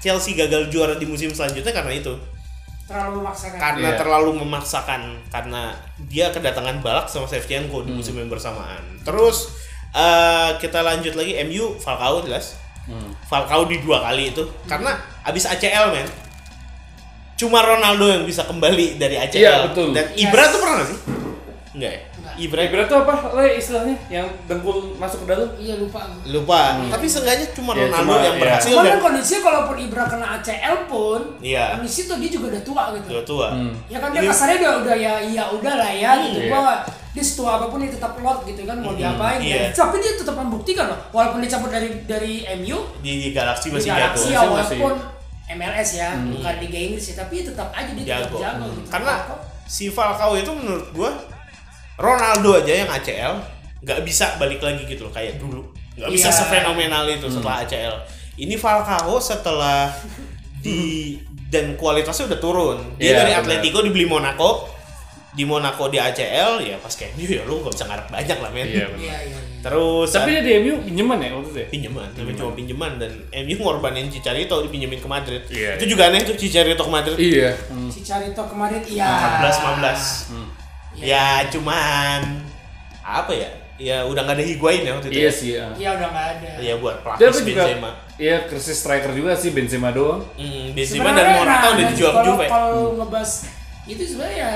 A: Chelsea gagal juara di musim selanjutnya karena itu.
C: terlalu memaksakan.
A: karena
C: Iya.
A: terlalu memaksakan karena dia kedatangan Balak sama Shevchenko
B: Hmm.
A: di musim yang bersamaan. Terus eh, kita lanjut lagi MU Falcao jelas.
B: Hmm.
A: Falcao di dua kali itu karena abis ACL men cuma Ronaldo yang bisa kembali dari ACL
B: Iya, betul.
A: dan Ibra
B: Yes.
A: tuh pernah nggak sih? Enggak ya? Ibra
B: Ibra tuh apa Le, istilahnya yang dengkul masuk ke dalam?
C: Iya lupa.
A: lupa tapi seenggaknya cuma
B: Ya, Hmm.
A: Ronaldo
B: cuma,
A: yang
B: ya.
A: berhasil
C: Cuman
A: dan
C: kan kondisinya kalaupun Ibra kena ACL pun,
A: Iya.
C: kondisi tuh dia juga udah tua gitu.
A: dua tua
B: Hmm.
C: Ya kan dia
A: Ini-
C: kasarnya udah udah ya iya udah lah ya gitu
A: Iya.
C: gua dia setua apapun dia tetap lot gitu kan mau
A: Mm,
C: diapain
A: iya.
C: ya. tapi dia tetap membuktikan loh walaupun dicabut dari dari MU
A: di, di Galaxy
C: di
A: masih
C: Galaxy
A: jago
C: ya walaupun MLS ya
A: Mm.
C: bukan Liga Inggris ya tapi tetap aja dia tetap
A: jago.
C: jago
A: Hmm.
C: gitu.
A: Karena si Falcao itu menurut gua Ronaldo aja yang ACL nggak bisa balik lagi gitu loh kayak dulu. Nggak bisa
D: Iya.
A: sefenomenal itu setelah ACL. Ini Falcao setelah di dan kualitasnya udah turun. Dia
D: Iya,
A: dari
D: benar.
A: Atletico dibeli Monaco. Di Monaco di ACL ya pas kayak ya lu nggak bisa ngarep banyak lah men.
B: Iya, benar.
A: Terus
B: Tapi dia di MU pinjaman ya waktu itu ya?
A: Pinjaman, tapi cuma pinjaman dan MU ngorbanin Cicarito dipinjemin ke Madrid.
B: Iya,
A: itu
B: iya.
A: juga aneh tuh Cicarito ke Madrid.
B: Iya.
C: si Carito kemarin iya
A: 14 15.
B: Hmm.
A: Ya cuman apa ya? Ya udah nggak ada higuain ya waktu itu.
B: Iya
A: ya.
B: sih, ya.
C: iya udah nggak ada
A: Ya buat
B: Dia
A: pelapis
B: apa juga?
A: Benzema.
B: Iya, krisis striker juga sih Benzema doang.
A: Hmm,
C: Sebenarnya
A: Morata
C: nah,
A: udah
C: nah,
A: dijual ke
C: kalau-
A: Juve.
C: kalau ngebahas itu sebenarnya ya,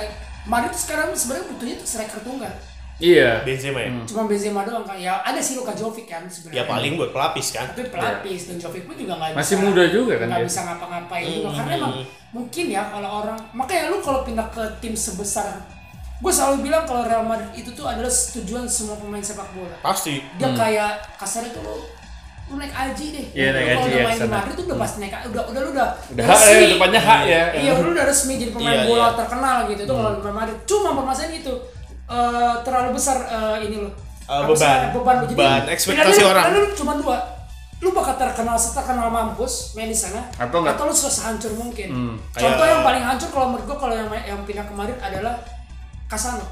C: Madrid tuh sekarang sebenarnya butuhnya tuh striker tunggal
B: Iya.
A: Benzema ya.
C: cuma Benzema doang kan ya ada si Luka Jovic kan sebenarnya
A: Ya paling buat pelapis kan.
C: tapi pelapis dan Jovic pun juga nggak
A: Masih
C: bisa-
A: muda juga kan
C: nggak
A: dia.
C: bisa ngapa-ngapain juga
A: Hmm.
C: karena emang mungkin ya kalau orang makanya lu kalau pindah ke tim sebesar gue selalu bilang kalau Real Madrid itu tuh adalah tujuan semua pemain sepak bola
A: Pasti.
C: dia
A: Hmm.
C: kayak kasarnya tuh lu lu naik aji deh
B: Iya,
C: Lu
B: naik
C: kalau
B: haji
C: udah
B: ya,
C: main di
B: kesana.
C: Madrid tuh udah pasti naik udah udah lu udah
B: Udah hak ya, depannya hak ya.
C: iya lu udah resmi jadi pemain
B: Iya,
C: bola
B: iya.
C: terkenal gitu tuh kalau Real Madrid cuma permasalahan itu eh, terlalu besar eh, ini lo
A: Eh, beban.
C: beban lu. Jadi,
A: Beban, ekspektasi
C: pilihan lu-
A: orang.
C: pilihan lu cuma dua lu bakal terkenal seterkenal mampus main di sana
A: Atau nggak-
C: lu sehancur mungkin
A: Hmm,
C: contoh
A: kayak-
C: yang paling hancur kalau menurut gua kalau yang yang pindah kemarin adalah Casano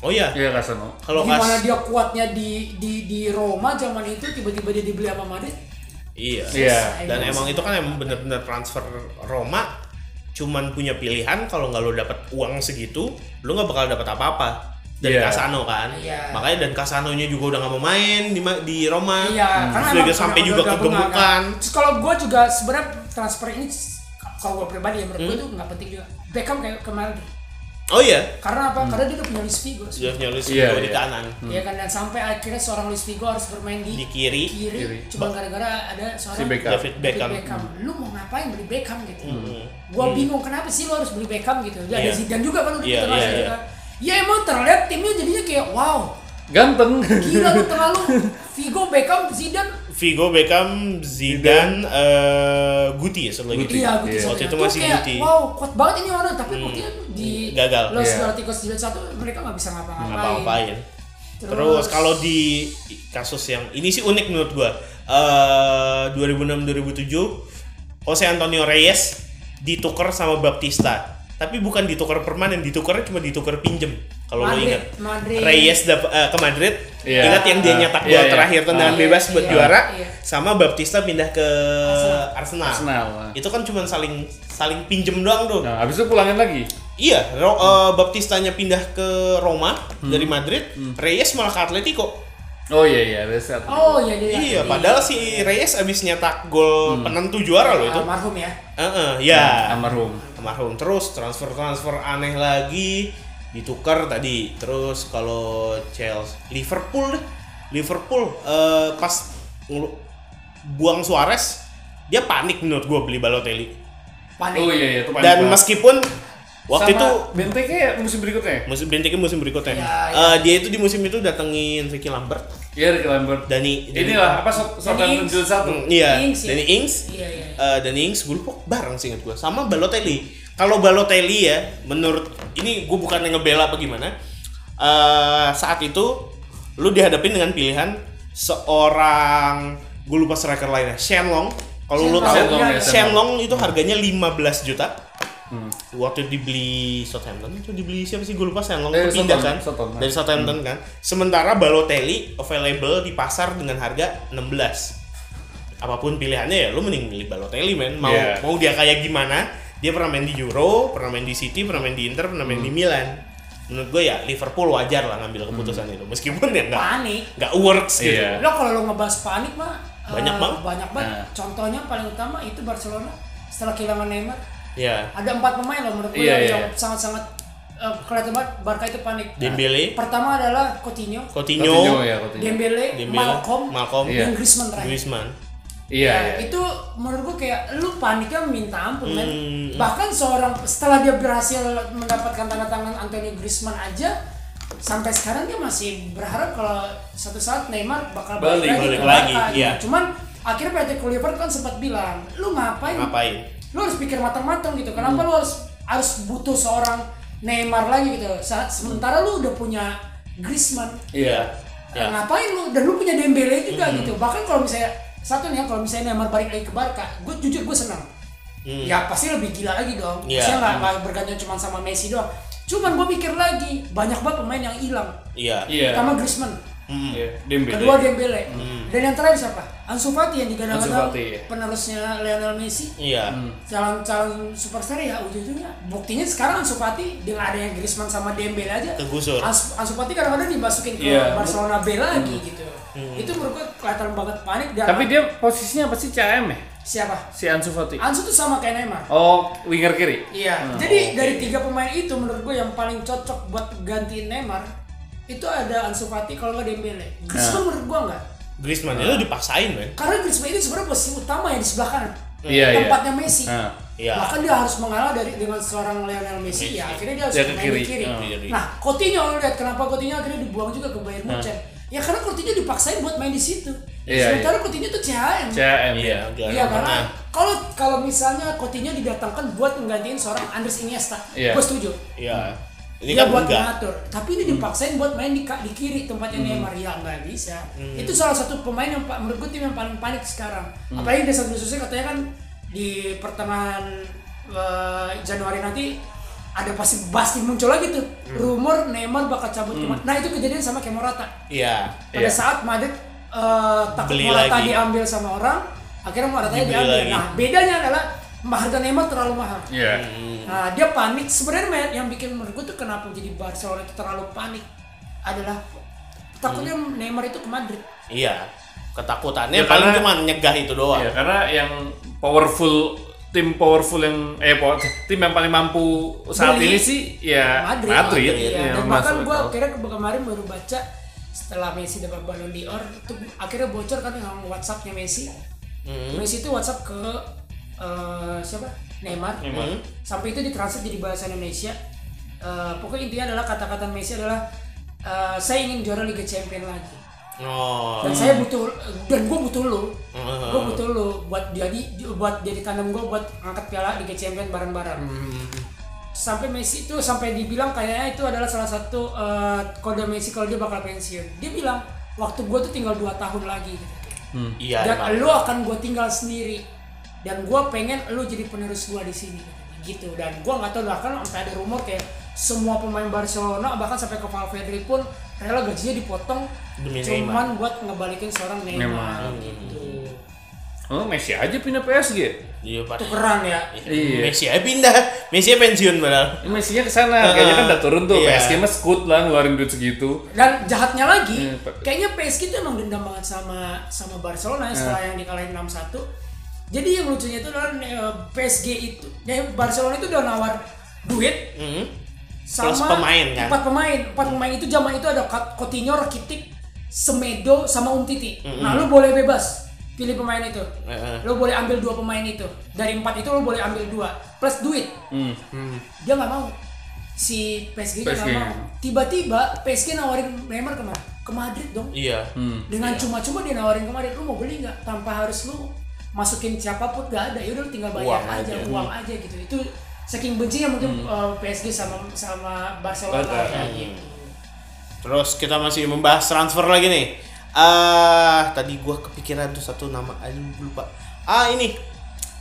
A: Oh iya.
B: Iya, Kasano.
A: Kalau
C: gimana
A: kas
C: dia kuatnya di di di Roma zaman itu tiba-tiba dia dibeli sama Madrid
A: Iya.
B: Iya.
A: Dan emang itu kan emang bener-bener transfer Roma cuman punya pilihan kalau nggak lo dapat uang segitu, lo nggak bakal dapat apa-apa dari
B: Iya.
A: Casano kan.
B: Iya.
A: Makanya dan Casanonya juga udah nggak mau main di, ma- di Roma.
C: Iya, karena
A: Terus
C: emang
A: juga Hmm, sampai
C: udah-
A: juga
C: udah gabungan,
A: kegemukan.
C: kan. Terus kalau gue juga sebenarnya transfer ini kalau gue pribadi ya menurut gue
A: Hmm?
C: itu nggak penting juga. Beckham kayak kemarin.
A: Oh iya.
C: Karena apa? Karena dia udah punya Luis Figo.
A: Sudah punya Luis
B: Iya,
A: Figo di
B: iya.
A: kanan.
C: Iya kan dan sampai akhirnya seorang Luis Figo harus bermain di,
A: Hmm. Di kiri.
C: kiri,
A: Kiri.
C: cuma gara-gara ada seorang
A: Si Beckham. David Beckham.
C: Lu mau ngapain beli Beckham gitu?
A: Hmm.
C: Gue
A: Hmm.
C: bingung kenapa sih lu harus beli Beckham gitu? Dan
A: Iya.
C: ada Zidane juga kan udah
A: Iya,
C: di tengah
A: iya,
C: sana
A: iya.
C: kan. Ya emang terlihat timnya jadinya kayak wow,
B: Ganteng.
C: gila lu tengah lu Figo, Beckham, Zidane
A: Figo, Beckham, Zidane, eh Guti ya satu lagi.
C: Guti. Iya, Guti satu
A: Waktu itu
C: lagi.
A: masih
C: Tuh kayak,
A: Guti.
C: Wow, kuat banget ini orang, tapi buktinya di
A: Gagal.
C: Los
A: Iya.
C: Galacticos 91 mereka nggak bisa ngapa-ngapain.
A: apa-apain.
C: Terus-
A: Terus, kalau di kasus yang ini sih unik menurut gua. Eh 2006-2007 Jose Antonio Reyes ditukar sama Baptista. Tapi bukan ditukar permanen, ditukarnya cuma ditukar pinjem. Kalau lo
C: Madrid,
A: ingat.
C: Madrid.
A: Reyes dap- eh, ke Madrid.
B: Iya.
A: Ingat yang dia
B: Ah,
A: nyetak
B: iya,
A: gol
B: iya.
A: terakhir tendangan
B: Ah.
A: bebas buat
B: Iya,
A: juara
B: iya.
A: sama Baptista pindah ke Arsenal.
B: Arsenal, ah.
A: Itu kan cuma saling saling pinjem doang tuh.
B: Nah, habis itu pulangin lagi.
A: Iya, Ro, eh, Baptistanya pindah ke Roma dari
B: Hmm.
A: Madrid, Reyes malah ke Atletico.
B: Oh iya iya, reset.
C: Oh iya dia.
A: Iya, padahal si Reyes abis nyetak
B: Hmm.
A: gol penentu juara loh itu.
C: Almarhum ya.
A: Heeh, ya.
B: Almarhum.
A: Almarhum terus transfer-transfer aneh lagi ditukar tadi. Terus kalau Chelsea, Liverpool deh. Liverpool eh, pas ngelu- buang Suarez, dia panik menurut gua beli Balotelli.
C: Panik.
B: Oh iya iya, itu panik
A: Dan
B: banget.
A: meskipun waktu
B: Sama
A: itu
B: Benteke ya musim berikutnya.
A: Musim Benteke musim berikutnya.
B: Ya,
A: Eh, dia itu di musim itu datengin Ricky Lambert.
B: Iya, Ricky Lambert.
A: Dani.
B: Inilah, apa, Sout- Southampton Ings. Shield satu?
A: Hmm, Iya.
B: Ings, ya?
A: Dani Ings.
C: Iya, iya.
A: Eh, Dani Ings gue lupa bareng sih ingat gue sama Balotelli. Kalau Balotelli ya menurut ini gue bukan yang ngebela apa gimana. Eh, saat itu lu dihadapin dengan pilihan seorang gue lupa striker lainnya, Shenlong. Kalau
B: Shenlong,
A: lu tahu
B: Shenlong,
C: iya,
B: ya, Shenlong.
A: Shenlong itu harganya 15 juta.
B: Hmm.
A: Waktu dibeli Southampton itu dibeli siapa sih gue lupa Shenlong
B: Dari
A: itu pindah
B: Southampton,
A: kan
B: Southampton.
A: dari Southampton kan. Sementara Balotelli available di pasar dengan harga 16. Apapun pilihannya ya lu mending milih Balotelli men. Mau
B: Iya.
A: mau dia kayak gimana Dia pernah main di Euro, pernah main di City, pernah main di Inter, pernah main
B: Hmm.
A: di Milan. Menurut gue ya Liverpool wajar lah ngambil keputusan
B: Hmm.
A: itu. Meskipun ya nggak
C: Panik.
A: nggak works gitu.
B: Iya.
C: Lo kalau lo ngebahas panik mah eh,
A: Banyak banget.
C: Banyak banget.
A: Nah.
C: Contohnya paling utama itu Barcelona setelah kehilangan Neymar.
A: Iya.
C: Ada empat pemain loh menurut gue
A: Iya,
C: yang-
A: iya.
C: yang sangat-sangat eh, kelihatan banget Barca itu panik. Nah,
A: Dembele.
C: Pertama adalah Coutinho.
A: Gitu. Coutinho,
B: Coutinho, Iya. ya, Coutinho.
C: Dembele, Malcolm,
A: Malcolm,
C: dan Griezmann terakhir.
A: Griezmann.
B: Iya,
C: Nah, Itu menurut gue kayak lu paniknya minta ampun
A: Hmm,
C: men. Bahkan seorang setelah dia berhasil mendapatkan tanda tangan Anthony Griezmann aja sampai sekarang dia masih berharap kalau satu saat Neymar bakal
A: Balik, balik
C: ke
A: lagi,
C: Barca, gitu.
A: iya.
C: Cuman akhirnya Patrick Kluivert kan sempat bilang, "Lu ngapain?
A: Ngapain? Hmm.
C: Lu harus pikir matang-matang gitu. Kenapa lu harus harus butuh seorang Neymar lagi gitu. Saat sementara lu udah punya Griezmann,
A: Iya. Ya.
C: Eh, ngapain lu dan lu punya Dembele juga
B: Hmm.
C: gitu bahkan kalau misalnya satu nih ya, kalau misalnya Neymar balik lagi ke Barca gue jujur gue senang
A: Hmm.
C: ya pasti lebih gila lagi dong
B: Ya.
A: Iya.
C: saya
B: Hmm.
C: nggak nggak bergantung cuma sama Messi doang cuman gue pikir lagi banyak banget pemain yang hilang
A: Iya.
C: pertama Griezmann
B: Iya, Ya. Dembele.
C: kedua Dembele
B: Hmm.
C: dan yang terakhir siapa Ansu Fati yang
B: Ansu
C: digadang-gadang
B: Fati, iya.
C: penerusnya Lionel Messi
A: Iya.
B: Hmm.
C: calon-calon superstar ya ujung-ujungnya buktinya sekarang Ansu Fati dengan adanya Griezmann sama Dembele aja
A: Kegusur.
C: Ansu, Ansu Fati kadang-kadang dimasukin ke
B: Iya.
C: Barcelona B lagi
B: Hmm.
C: gitu itu menurut gue kelihatan banget panik dan
B: Tapi dia posisinya apa sih CM ya?
C: siapa
B: Si Ansu Fati.
C: Ansu tuh sama kayak Neymar
B: Oh, winger kiri.
C: Iya.
B: Hmm.
C: Jadi
B: Oke.
C: dari tiga pemain itu menurut gue yang paling cocok buat gantiin Neymar itu ada Ansu Fati kalau nggak Dembele. Griezmann
A: Nah.
C: menurut gue enggak.
A: Griezmann itu
B: Ah.
A: dipaksain, men.
C: Karena Griezmann itu sebenarnya posisi utama yang di sebelah kanan.
A: Iya, iya.
C: Tempatnya Messi.
A: Nah, iya.
C: Bahkan dia harus mengalah dari dengan seorang Lionel Messi. Ya akhirnya dia harus
A: Dia ke
C: main
A: kiri.
C: di kiri.
A: Oh. Kiri.
C: Nah, Coutinho lo lihat kenapa Coutinho akhirnya dibuang juga ke Bayern
A: Nah.
C: Munchen. Ya karena Coutinho dipaksain buat main di situ.
A: Iya,
C: Sementara Coutinho itu CHM.
B: CM
A: Iya, gelandang
C: Iya karena
A: tengah.
C: kalau kalau misalnya Coutinho didatangkan buat menggantiin seorang Andres Iniesta,
A: Iya.
C: gue setuju.
A: Iya. Ini
C: Dia
A: kan
C: buat
A: enggak. Hmm.
C: mengatur, tapi ini dipaksain buat main di, ka- di kiri tempatnya Neymar ya nggak bisa.
A: Hmm.
C: Itu salah satu pemain yang pa- menurut gue tim yang paling panik sekarang.
A: Hmm.
C: Apalagi desa khususnya katanya kan di pertengahan eh, Januari nanti ada pasti pasti muncul lagi tuh rumor Neymar bakal cabut ke
A: Hmm.
C: Madrid. Nah itu kejadian sama kayak Morata.
A: Iya.
C: Pada
A: Iya.
C: saat Madrid eh, takut
A: Beli
C: Morata
A: lagi.
C: diambil sama orang, akhirnya Morata
A: Dibeli
C: diambil.
A: lagi.
C: Nah bedanya adalah harga Neymar terlalu mahal.
B: Iya.
C: Nah, dia panik sebenarnya men, yang bikin menurut gue tuh kenapa jadi Barcelona itu terlalu panik adalah takutnya Neymar itu ke Madrid.
A: Iya. Ketakutannya
B: Ya,
A: paling
B: karena-
A: cuma nyegah itu doang.
B: Iya, karena yang powerful tim powerful yang eh power- tim yang paling mampu saat
C: Beli
B: ini sih ya Madrid.
C: Iya,
B: Iya,
C: Dan
B: masuk
C: bahkan gue
B: akal.
C: akhirnya ke- kemarin baru baca setelah Messi dapat Ballon d'Or itu akhirnya bocor kan yang WhatsAppnya Messi.
A: Hmm.
C: Messi itu WhatsApp ke eh, siapa? Neymar.
A: Neymar.
C: Hmm. Sampai itu ditranslate jadi bahasa Indonesia. Eh, pokoknya intinya adalah kata-kata Messi adalah eh, saya ingin juara Liga Champions lagi.
A: Oh.
C: dan saya butuh dan gue butuh lo
A: Hmm.
C: gue butuh lo buat jadi buat jadi tandem gue buat angkat piala Liga Champions bareng-bareng
A: Hmm.
C: sampai Messi itu sampai dibilang kayaknya itu adalah salah satu eh, kode Messi kalau dia bakal pensiun dia bilang waktu gue tuh tinggal 2 tahun lagi gitu.
B: Hmm.
A: Iya.
C: dan
A: emang.
C: lo akan gue tinggal sendiri dan gue pengen lo jadi penerus gue di sini gitu dan gue nggak tahu bahkan sampai ada rumor kayak semua pemain Barcelona bahkan sampai ke Valverde pun rela gajinya dipotong
B: Demi
C: cuman buat ngebalikin seorang Neymar,
B: Neymar.
C: gitu
B: Oh, Messi aja pindah PSG.
A: Iya, Pak.
C: tukeran ya
B: Iya.
A: Messi aja pindah. Messi aja pensiun padahal.
B: Messi nya kesana, kayaknya kan udah turun tuh.
A: Iya.
B: PSG mah skut lah ngeluarin duit segitu.
C: dan jahatnya lagi
B: Iya, Pak.
C: kayaknya PSG itu emang dendam banget sama sama Barcelona ya,
B: Nah.
C: setelah yang dikalahin 6-1 jadi yang lucunya itu adalah eh, PSG itu ya Barcelona itu udah nawar duit
A: Hmm.
C: sama
A: Plus pemain, kan?
C: empat pemain empat pemain itu zaman itu ada Kat- Coutinho, Rakitic, Semedo sama Umtiti
A: Mm-mm.
C: nah lu boleh bebas pilih pemain itu
A: Heeh.
C: lu boleh ambil dua pemain itu dari empat itu lu boleh ambil dua plus duit
B: Hmm.
C: dia nggak mau si PSG nya nggak
B: PSG.
C: mau tiba-tiba PSG nawarin Neymar kemana ke Madrid dong
A: Iya.
C: dengan cuma-cuma dia nawarin ke Madrid lu mau beli nggak tanpa harus lu masukin siapapun nggak ada yaudah lu tinggal bayar
A: Uang
C: aja,
A: aja.
C: uang
A: Hmm.
C: aja gitu itu saking bencinya mungkin eh, PSG sama sama Barcelona ya,
A: Barca. Hmm.
C: gitu.
A: Terus kita masih membahas transfer lagi nih. Ah, tadi gua kepikiran tuh satu nama aduh lupa. Ah, ini.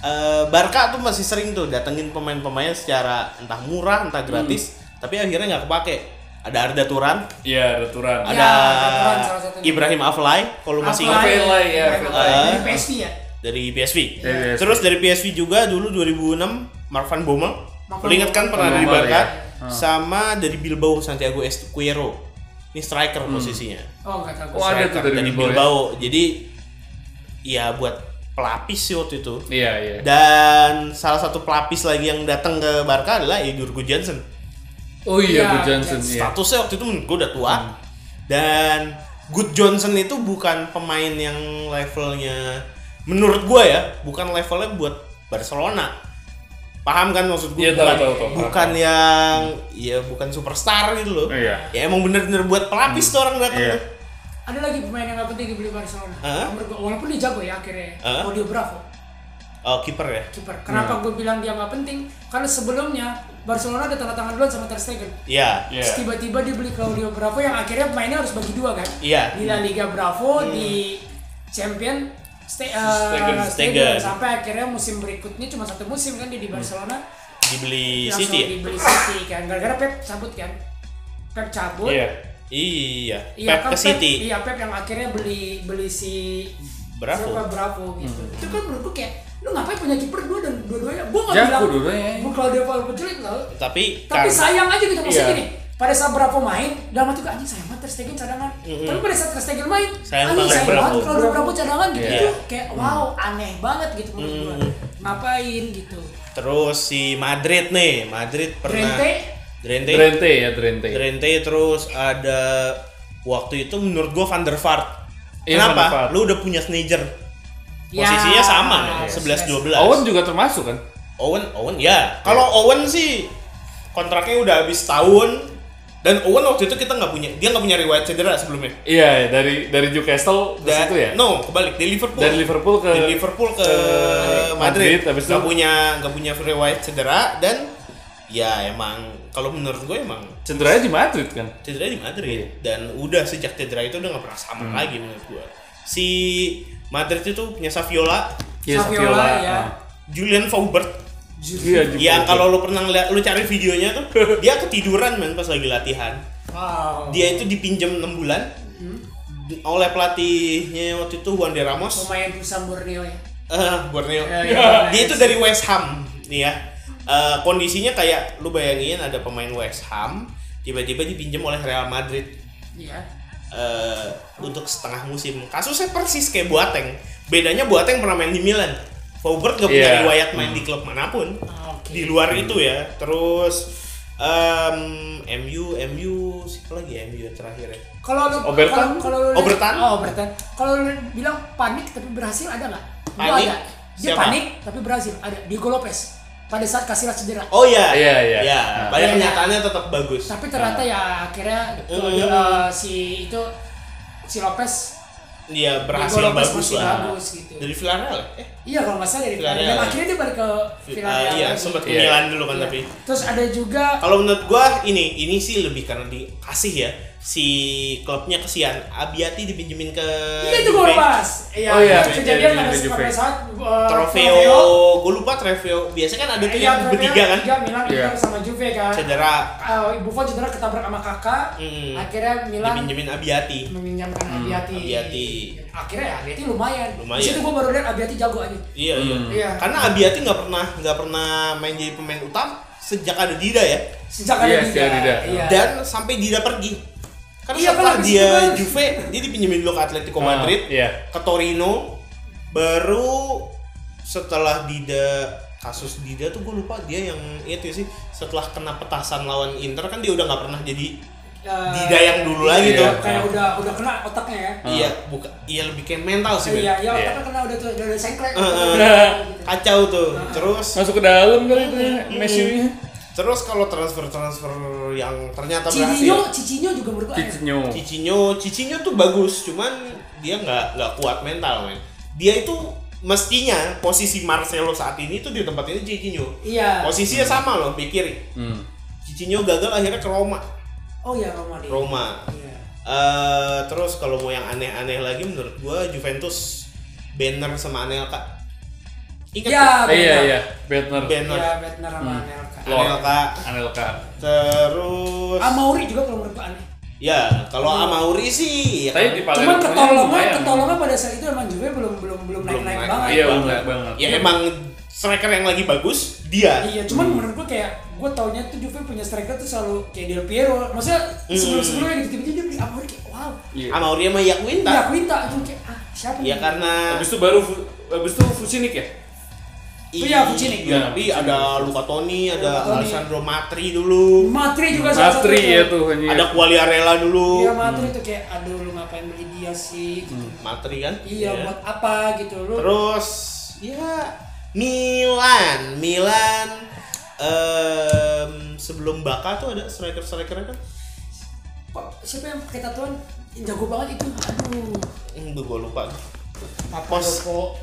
A: Eh, Barca tuh masih sering tuh datengin pemain-pemain secara entah murah, entah gratis, tapi akhirnya nggak kepake. Ada Arda Turan,
B: Iya, ada
C: Ya,
B: Turan.
A: ada Ibrahim Aflai, kalau masih ingat.
B: Aflai, Aflai, ya, Aflai.
A: Eh,
C: Dari PSV ya?
A: Dari PSV.
B: Dari PSV.
A: Terus dari PSV juga dulu 2006 Marvan Bommel.
D: Marvan
A: Lo ingat kan
D: Bommel.
A: pernah ada di
D: Bommel,
A: Barca?
D: ya.
B: Ah.
D: Hmm.
A: Sama dari Bilbao Santiago Escuero. Ini striker posisinya.
C: Oh, nggak tahu.
B: Oh, Hmm. ada tuh
A: Striker
B: dari
A: dari
B: Bilbao ya.
A: Bilbao. Jadi ya buat pelapis sih waktu itu.
B: Iya, iya.
A: Dan salah satu pelapis lagi yang datang ke Barca adalah Edurgo Johnson.
B: Oh iya, Good Johnson, iya. Hmm.
A: Statusnya waktu itu menurut gue udah tua. Dan Good Johnson itu bukan pemain yang levelnya menurut gue ya, bukan levelnya buat Barcelona. Paham kan maksud gue?
B: Iya, tahu,
A: bukan
B: tahu, tahu,
A: bukan yang ya bukan superstar gitu loh.
B: Iya.
A: Ya emang bener-bener buat pelapis tuh orang datang
B: Iya.
A: tuh.
C: Ada lagi pemain yang nggak penting dibeli Barcelona.
A: Hah?
C: Nomor dua. Walaupun dia jago ya akhirnya.
A: Hah?
C: Claudio Bravo,
A: Oh, kiper ya.
C: kiper. Kenapa gue bilang dia nggak penting? Karena sebelumnya Barcelona ada tanda tangan duluan sama Ter Stegen.
A: Iya.
C: Terus tiba-tiba dia beli Claudio Bravo yang akhirnya mainnya harus bagi dua kan?
A: Iya. Hmm.
C: Di La Liga Bravo, di Champion Ste- eh,
A: Stegen. Stegen.
C: sampai akhirnya musim berikutnya cuma satu musim kan dia di Barcelona
A: Dibeli
C: langsung
A: City. ya?
C: dibeli City kan gara-gara Pep cabut kan Pep cabut
A: Iya.
C: Iya,
A: Pep
C: kan
A: ke City.
C: Iya Pep yang akhirnya beli beli si
A: Bravo.
C: siapa Bravo gitu.
A: Hmm.
C: Itu kan menurut gue kayak lu ngapain punya kiper dua dan dua-duanya? Gue nggak
A: Jago
C: bilang
A: dua-duanya.
C: gue kalau dia Paul penculik loh.
A: Tapi
C: Tapi
A: kar-
C: sayang aja gitu maksudnya
A: Kan. Iya.
C: gini. Pada saat Bravo main, dalam hati gue anjing sayang banget Ter Stegen cadangan.
A: Mm-mm.
C: Tapi pada saat Ter Stegen main,
A: Mm-hmm. Sayang
C: anjing
A: banget
C: sayang
A: Bravo.
C: banget kalau udah Bravo cadangan gitu.
A: Iya. Mm-hmm.
C: Itu kayak wow aneh banget gitu menurut gue. Ngapain gitu.
A: Terus si Madrid nih, Madrid pernah
C: Drente.
A: Drente.
B: Drente ya, Drente.
A: Drente terus ada waktu itu menurut gua Van der Vaart.
B: Iya,
A: Kenapa?
B: Van der Vaart.
A: Lu udah punya Sneijder.
B: Ya,
A: Posisinya sama
B: iya,
A: kan, 11 12.
B: Owen juga Iya. termasuk kan?
A: Owen Owen ya. Kalau Owen sih kontraknya udah habis tahun dan Owen waktu itu kita nggak punya dia nggak punya riwayat cedera sebelumnya.
B: Iya, dari dari Newcastle ke
A: Da-
B: situ ya.
A: No, kebalik dari Liverpool.
B: Dari Liverpool ke-
A: Dari Liverpool ke,
B: ke
A: Madrid.
B: Madrid, habis itu-
A: Gak punya gak punya riwayat cedera dan ya emang kalau menurut gue emang
B: Cederanya di Madrid kan?
A: cedera di Madrid dan udah sejak cedera itu udah gak pernah sama
B: Hmm.
A: lagi menurut gue. Si Madrid itu punya Saviola.
B: Iya, Saviola, Saviola, ya.
A: Julian Faubert.
B: Iya, Julian
A: Yang
B: Faubert.
A: kalau lu pernah lihat lu cari videonya tuh dia ketiduran men pas lagi latihan.
C: Wow.
A: Dia itu dipinjam 6 bulan di- oleh pelatihnya waktu itu Juan de Ramos.
C: Pemain Pusam Borneo ya.
A: Eh, Borneo.
C: Oh Ya, ya.
A: Dia itu dari West Ham, nih ya. Eh, kondisinya kayak lu bayangin ada pemain West Ham tiba-tiba dipinjam oleh Real Madrid
C: Iya.
A: eh, untuk setengah musim. Kasusnya persis kayak Boateng. Bedanya Boateng pernah main di Milan. Faubert gak punya
B: Iya.
A: riwayat main di klub manapun.
C: Ah,
A: Di luar itu ya. Terus em, MU, MU, siapa lagi ya MU yang terakhir ya?
C: Kalau lu kalau-
A: Obertan?
C: kalau lu-
A: Obertan?
C: Oh, Obertan. Kalau lu bilang panik tapi berhasil ada nggak? Gua
A: Panik?
C: Ada. Dia
A: Siapa?
C: panik tapi berhasil. Ada Diego Lopez. Pada saat Casillas cedera.
A: Oh iya.
B: Iya, iya.
A: Ya,
B: Nah.
A: padahal
B: Iya, iya.
A: kenyataannya tetap bagus.
C: Tapi
A: Nah.
C: ternyata ya akhirnya kalau
A: Mm.
C: dia- si itu si Lopez
A: Iya berhasil
C: Diego Lopez
A: bagus
C: masih
A: lah.
C: bagus gitu.
A: Dari Villarreal ya?
C: Iya kalau nggak salah dari
A: Villarreal.
C: Dan akhirnya dia balik ke
A: Vi-
C: Villarreal.
A: ah, iya,
C: lagi.
A: sempat ke
C: Iya.
A: Milan dulu kan
C: Iya.
A: tapi.
C: Terus ada juga
A: Kalau menurut gua ini ini sih lebih karena dikasih ya si klubnya kesian Abiati dipinjemin ke
C: Iya, itu gua
A: Juve.
C: lepas. Iya,
A: Oh iya,
C: kejadian
A: iya,
C: pada
A: iya,
C: pada
A: Juve.
C: saat uh,
A: Trofeo, gue lupa Trofeo. Biasanya kan ada tuh
C: Iya,
A: yang
C: Trofeo
A: bertiga kan?
C: Tiga Milan
A: Iya.
C: Inter sama Juve kan.
A: Cedera.
C: Eh, Buffon cedera ketabrak sama kakak. Akhirnya Milan
A: dipinjemin Abiati.
C: meminjamkan Abiati.
A: Mm, Abiati.
C: Akhirnya ya Abiati lumayan.
A: Lumayan.
C: Di situ gua baru lihat Abiati jago aja.
A: Iya, iya.
C: Iya.
A: Karena Abiati nggak pernah nggak pernah main jadi pemain utama sejak ada Dida ya.
C: Sejak ada Iya, Dida. sejak Dida. Iya.
A: Dan sampai Dida pergi. Karena
C: Iya,
A: setelah
C: kan, habis
A: dia
C: itu kan.
A: Juve, dia dipinjemin dulu ke Atletico
B: Ah,
A: Madrid,
B: iya.
A: ke Torino, baru setelah Dida kasus Dida tuh gue lupa dia yang itu sih setelah kena petasan lawan Inter kan dia udah nggak pernah jadi
C: Eh,
A: Dida yang dulu lagi
C: iya,
A: tuh.
B: Ah.
C: Kayak udah udah kena otaknya ya.
A: Iya, buka, iya lebih kayak mental sih.
C: Iya,
A: Ben.
C: iya otaknya kena udah tuh udah udah sengklek. gitu.
A: Eh, eh, kacau tuh.
C: Ah.
A: Terus
B: masuk ke dalam kali itu ya,
A: Mm-mm.
B: Messi-nya.
A: Terus kalau transfer-transfer yang ternyata
C: Cicinyo,
A: berhasil.
C: Cicinyo juga menurut gua aneh.
A: Cicinyo, Cicinyo tuh bagus, cuman dia nggak nggak kuat mental, men. Dia itu mestinya posisi Marcelo saat ini tuh di tempat ini Cicinyo.
C: Iya.
A: Posisinya sama loh, di kiri.
B: Hmm.
A: Cicinyo gagal akhirnya ke Roma.
C: Oh iya Roma Iya. deh.
A: Roma. Eh, terus kalau mau yang aneh-aneh lagi menurut gua Juventus Banner sama Anelka. Ingat
C: Iya,
A: nggak?
B: Iya, iya, Bettner.
A: Banner.
C: Iya, Bettner sama
B: Hmm.
C: Anelka.
B: Lord.
A: Anelka.
B: Anelka.
A: Terus
C: Amauri Ah, juga kalau menurut gua aneh.
A: Ya, kalau Amauri sih ya kan?
B: Tapi di Palermo
C: Cuman ketolongan, ketolongan pada saat itu emang Juve Iya, belum belum belum naik naik banget.
A: Iya, emang striker yang lagi bagus dia.
C: Iya, cuman menurut gue kayak gue taunya tuh Juve punya striker tuh selalu kayak Del Piero. Maksudnya
A: Hmm.
C: sebelum sebelumnya gitu tiba-tiba dia beli Amor kayak wow.
B: Iya.
A: Sama Auria sama Yakwinta.
C: Ya Quinta itu kayak ah siapa
A: Ya
C: nih?
A: karena
B: Habis itu baru habis itu Fusinik ya?
C: Iya, Fucinik.
A: Iya, tapi ada Luca Toni, ada
C: Toni.
A: Alessandro Matri dulu.
C: Matri juga salah Matri satunya. ya tuh, anjing.
A: Ada Quagliarella dulu.
C: Iya Matri tuh kayak aduh lu ngapain beli dia sih? gitu.
A: Matri kan?
C: Iya
A: Iya.
C: buat apa gitu lu?
A: Terus ya Milan, Milan em, sebelum Baka tuh ada striker-strikernya kan?
C: siapa yang pakai tatuan Yang jago banget itu? Aduh.
A: Enggak Hmm, gua lupa.
C: Papa
A: Pos
C: Loko.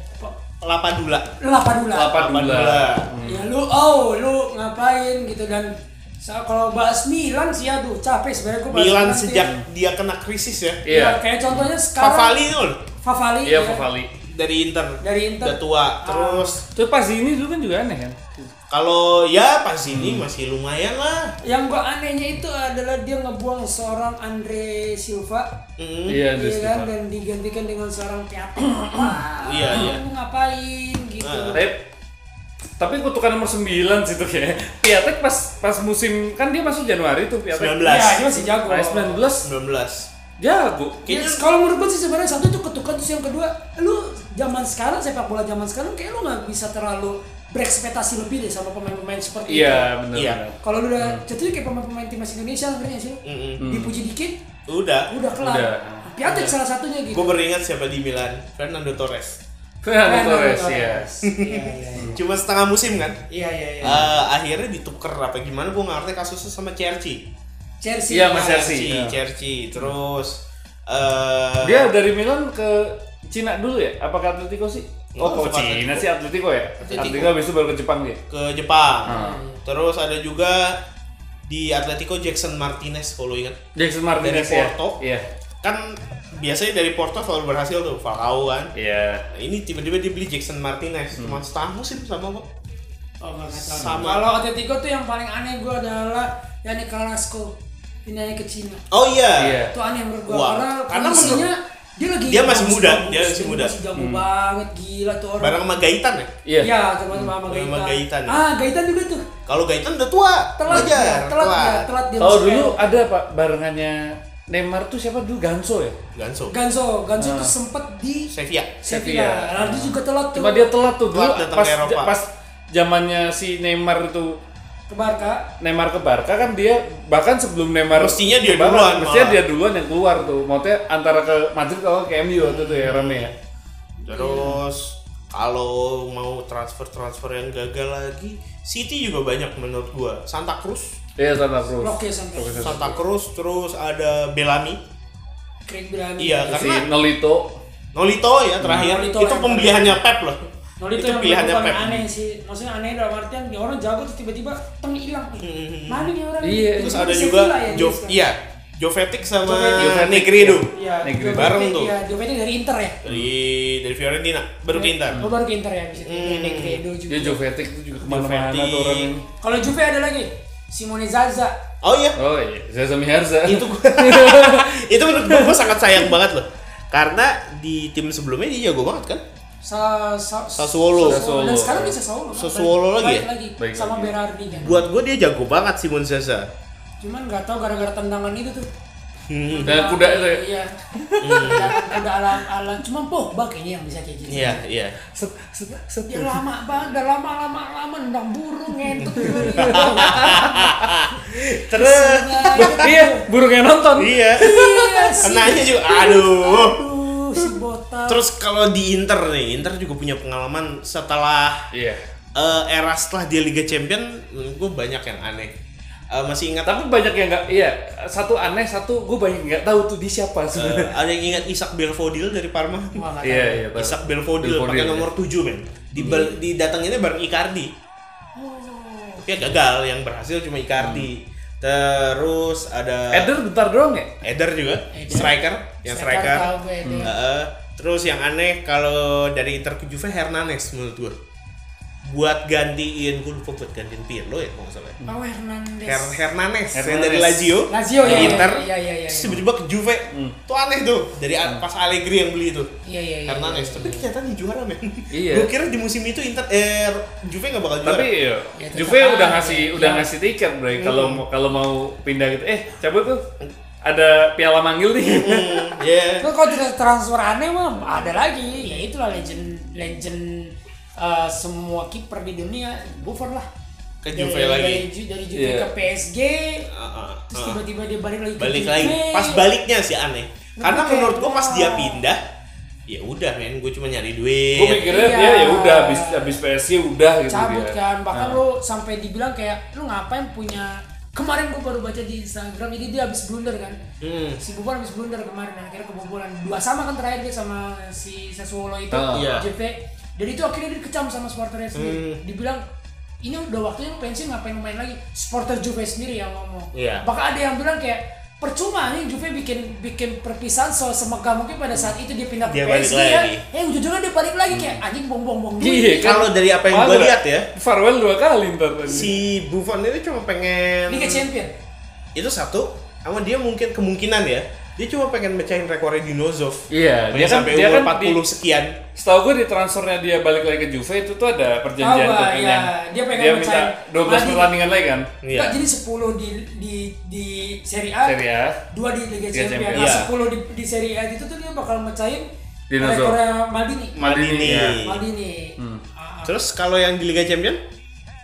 A: Lapadula.
C: Lapadula.
A: Lapadula.
C: Ya lu oh lu ngapain gitu dan sa- kalau bahas Milan sih aduh capek sebenarnya gue bahas
A: Milan
C: sih.
A: sejak dia kena krisis ya.
C: Iya. Ya, kayak contohnya sekarang-
A: Favali tuh.
C: Favali, Iya, ya.
B: Favali.
A: Dari Inter.
C: Dari Inter. Ah.
A: Udah tua. Terus
B: Tuh pas ini dulu kan juga aneh kan?
A: kalau ya pas
B: Hmm.
A: ini masih lumayan lah.
C: Yang gua anehnya itu adalah dia ngebuang seorang Andre Silva.
A: Iya, Andre
C: Iya kan
A: Silva.
C: dan digantikan dengan seorang Piatti. Wah,
B: Iya, iya. Nah,
C: Lu ngapain gitu.
B: Tapi tapi kutukan nomor 9 sih tuh kayak Piatek pas pas musim kan dia masuk Januari tuh Piatek.
A: 19.
B: Iya, dia masih jago.
A: Nah,
B: 19.
A: 19.
B: Jago.
C: Ya, kalau menurut gue sih sebenarnya satu itu ketukan terus yang kedua lu zaman sekarang sepak bola zaman sekarang kayak lu nggak bisa terlalu berekspektasi lebih deh sama pemain-pemain seperti
B: Iya,
C: itu.
B: benar, Iya. benar.
C: Kalau lu udah jatuhnya kayak pemain-pemain timnas Indonesia sebenarnya sih
B: Hmm.
C: dipuji dikit
A: Udah.
C: udah kelar.
A: Udah.
C: Piatek
A: Udah.
C: salah satunya gitu.
A: Gue beringat siapa di Milan? Fernando Torres.
B: Fernando Torres, iya.
A: Cuma setengah musim kan?
C: Iya iya iya.
A: Eh, akhirnya ditukar apa gimana gue ngerti kasusnya sama Chelsea.
C: Chelsea.
B: Iya, sama Chelsea. Iya.
A: Chelsea. Terus eh
B: Dia dari Milan ke Cina dulu ya? Apa ke Atletico sih? Oh,
A: Nggak,
B: ke
A: suka
B: Cina
A: Atletico.
B: sih Atletico ya?
A: Atletico.
B: Atletico habis itu baru ke Jepang dia.
A: ke Jepang.
B: Hmm.
A: Terus ada juga di Atletico Jackson Martinez kalau ingat.
B: Jackson Martinez,
A: dari
B: ya.
A: Porto.
B: Iya.
A: Kan biasanya dari Porto selalu berhasil tuh Falcao kan.
B: Iya.
A: Nah, ini tiba-tiba dia beli Jackson Martinez cuma setengah musim sama kok.
C: Oh, nggak kacau.
A: Sama.
C: Kalau Atletico tuh yang paling aneh gue adalah Yannick Carrasco pindahnya ke Cina.
A: Oh iya. Iya.
C: Itu aneh menurut gue
A: Wah,
C: karena
A: karena menurut-
C: kondisinya dia lagi
A: Dia masih
C: bagus-
A: muda,
C: bagus,
A: dia masih muda.
C: Masih jago
A: Hmm.
C: banget gila tuh orang.
A: Bareng sama Gaitan ya?
C: Iya. Iya, sama sama sama
A: Bareng
C: Gaitan.
A: sama Gaitan ya?
C: Ah, Gaitan juga tuh.
A: Kalau Gaitan udah tua, Iya,
C: Telat
A: wajar,
C: dia, telat dia, telat dia.
B: Kalau
C: masuk
B: dulu
C: era.
B: ada Pak barengannya Neymar tuh siapa dulu Ganso ya?
A: Ganso.
C: Ganso, Ganso
B: Ah.
C: tuh sempet di
A: Sevilla.
C: Sevilla. Nah, dia juga telat tuh.
B: Cuma dia telat tuh dulu
A: Telat datang
B: pas
A: ke Eropa.
B: pas zamannya si Neymar itu
C: ke Barca.
B: Neymar ke Barca kan dia bahkan sebelum Neymar
A: Mestinya dia
B: ke Barca,
A: duluan
B: Mestinya
A: malah.
B: dia duluan yang keluar tuh. Maksudnya antara ke Madrid atau ke MU waktu itu ya rame ya.
A: Terus kalau mau transfer-transfer yang gagal lagi, City juga banyak menurut gua. Santa Cruz.
B: Iya Santa Cruz.
C: Oke, Santa Cruz.
A: Santa Cruz terus ada Bellamy.
C: Craig Bellamy.
A: Iya,
B: Si
A: karena
B: Nolito.
A: Nolito ya terakhir.
C: Nolito
A: itu
C: yang
A: pembeliannya Pep loh.
C: Nah, itu, yang
A: pilihannya
C: paling
A: Pep.
C: aneh sih. Maksudnya aneh dalam artian dia orang jago tuh tiba-tiba teng hilang. Mana nih orang?
A: Hmm,
B: Iya.
A: Terus
C: Tiba-tiba
A: ada
C: di
A: juga
C: Sevilla ya dia
A: Jo
C: sekarang.
A: iya, Jovetic sama
C: Jovetic. Jovetic,
A: Negredo.
C: Iya, Jovetic,
A: bareng tuh.
C: Iya, Jovetic dari Inter ya.
A: Dari dari Fiorentina, baru Hmm. ke Inter.
C: Oh, baru ke Inter ya di situ. Negredo juga.
B: Dia Jovetic tuh juga kemana-mana tuh
A: Iya. Jovetic.
B: orang.
C: Kalau Juve ada lagi Simone Zaza.
A: Oh iya.
B: Oh iya, Zaza Miharza.
A: Itu gua- itu menurut gua, gua sangat sayang banget loh. Karena di tim sebelumnya dia jago banget kan?
C: Sa, sa,
A: Sassuolo. Sassuolo.
C: Dan sekarang dia Sassuolo. kan?
A: Sassuolo
C: Baik-
A: lagi ya?
C: baik
A: Baik
C: Sama
A: lagi.
C: Berardi kan.
A: Buat gua dia jago banget Simon Zaza.
C: Cuman nggak tahu gara-gara tendangan itu tuh.
A: Hmm.
B: Dan kuda itu
C: Iya.
B: ya?
C: Tendangan kuda ala ala cuman Pogba kayaknya yang bisa kayak gitu.
A: Iya, iya.
B: Set, set, set.
C: Ya lama banget, udah lama lama lama nendang burung ngentut dulu gitu.
A: Terus
B: iya, burungnya nonton.
A: Iya.
C: Iya sih.
A: Kenanya juga aduh.
C: Aduh, si botak.
A: Terus kalau di Inter nih, Inter juga punya pengalaman setelah
B: Iya.
A: eh, era setelah dia Liga Champion, gue banyak yang aneh. Eh, masih ingat
B: Tapi banyak yang nggak, iya satu aneh, satu gue banyak yang nggak tahu tuh di siapa
A: eh,
B: sebenarnya.
A: ada yang ingat Isak Belfodil dari Parma?
C: Wah, nggak
B: Iya, tahu. iya, tahu.
A: Isak Belfodil,
B: Belfodil,
A: pakai
B: iya.
A: nomor 7 men. Di didatanginnya bareng Icardi.
C: Oh.
A: Tapi ya gagal, yang berhasil cuma Icardi. Terus ada
B: Hmm. Eder bentar doang ya?
A: Eder juga, striker, yang
C: Striker
A: striker.
C: tahu gue, Eder.
A: Heeh. terus yang aneh kalau dari Inter ke Juve Hernanes menurut gue. buat gantiin Kunfo buat gantiin Pirlo ya kalau nggak salah.
C: Oh Hernandez.
A: Her Hernanes, Hmm. yang
B: Hernanes.
A: dari Lazio,
C: Lazio,
A: ke
C: iya, iya,
A: Inter,
C: iya, iya, iya,
A: terus
C: iya.
A: tiba-tiba ke Juve, tuh aneh tuh dari a- pas Allegri yang beli itu,
C: Iya, iya, iya,
A: Hernanes, tapi ternyata dia juara men.
B: Iya.
A: Gue kira di musim itu Inter, eh Juve nggak bakal juara.
B: Tapi ya,
A: Ya, tetap
B: Juve udah
A: aja.
B: ngasih udah
A: Iya.
B: ngasih tiket, Bro.
A: Hmm.
B: Kalau mau- kalau mau pindah gitu, eh cabut tuh. Ada piala manggil nih.
A: Iya.
C: Tapi kalau tidak transfer aneh mah ada lagi. Ya itulah legend legend eh, semua kiper di dunia Buffon lah. Dari-
A: Ke Juve lagi.
C: Dari, Ju- dari Juve
A: Iya.
C: ke PSG. Iya, terus
A: ah.
C: tiba-tiba dia balik lagi. ke
A: balik
C: Juve.
A: lagi pas baliknya sih aneh karena
C: Oke.
A: menurut gua pas dia pindah ya udah men gue cuma nyari duit
B: Gue mikirnya
A: Iya.
B: dia ya udah habis habis PSG udah gitu
C: cabut
B: dia.
C: kan bahkan
B: Nah.
C: lu sampai dibilang kayak lu ngapain punya kemarin gua baru baca di Instagram jadi dia habis blunder kan
A: Hmm.
C: si Buffon habis blunder kemarin akhirnya kebobolan dua sama kan terakhir dia sama si Sassuolo itu
A: Ah. Iya. Hmm.
C: JV dan itu akhirnya dia dikecam sama supporternya sendiri dibilang ini udah waktunya lu pensiun ngapain main lagi supporter Juve sendiri yang ngomong
A: Iya.
C: bahkan ada yang bilang kayak percuma nih Juve bikin bikin perpisahan so semegah mungkin pada saat itu dia pindah ke
A: Dia balik
C: PSG ya
A: lagi.
C: eh ujung-ujungnya dia balik lagi kayak anjing bong-bong-bong
A: Iya, kalau dari apa yang gue
B: Malah.
A: lihat ya,
B: farewell kan? dua kali ntar.
A: Si Buffon ini cuma pengen
C: Liga Champion.
A: Itu satu, sama dia mungkin kemungkinan ya, dia cuma pengen mecahin rekornya Dinozov.
B: Iya,
A: dia kan sampai umur 40 sekian.
B: Setahu gue di transfernya dia balik lagi ke Juve itu tuh ada perjanjian
C: Apa, ya,
B: perjanjian.
C: dia pengen
B: minta
C: mencari-
B: 12
C: Madi.
B: pertandingan lagi kan?
A: Iya.
C: Enggak, jadi 10 di di di Serie A,
B: Serie A.
C: 2 di Liga
B: Liga
C: Champions,
B: Champions.
C: nah,
B: Iya.
C: 10 di, di Serie A itu tuh dia bakal mecahin
B: Dinozo.
C: rekornya Maldini.
B: Maldini,
A: iya.
B: ya.
C: Maldini.
A: Hmm. Terus kalau yang di Liga Champion?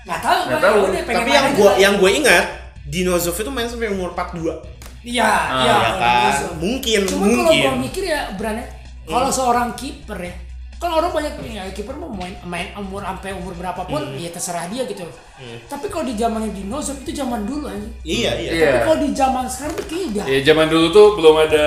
C: Nggak tahu,
A: Nggak
C: Bang.
A: tahu.
C: Udah, pengen
A: Tapi yang
C: main kan?
A: gue
C: aja.
A: yang gue ingat, Dinozov itu main sampai umur 42.
C: Iya,
A: Ah,
C: iya.
A: iya kan? Mungkin,
C: Cuma kalau
A: mungkin.
C: gua mikir ya, Bran ya, kalau
A: Hmm.
C: seorang kiper ya, kalau orang banyak ya kiper mau main, main umur sampai umur berapapun,
A: Hmm.
C: ya terserah dia gitu. Tapi kalau di zamannya Dinosaur itu zaman dulu aja.
A: Iya, iya.
C: Tapi kalau di zaman sekarang tuh kayaknya udah
B: Ya zaman dulu tuh belum ada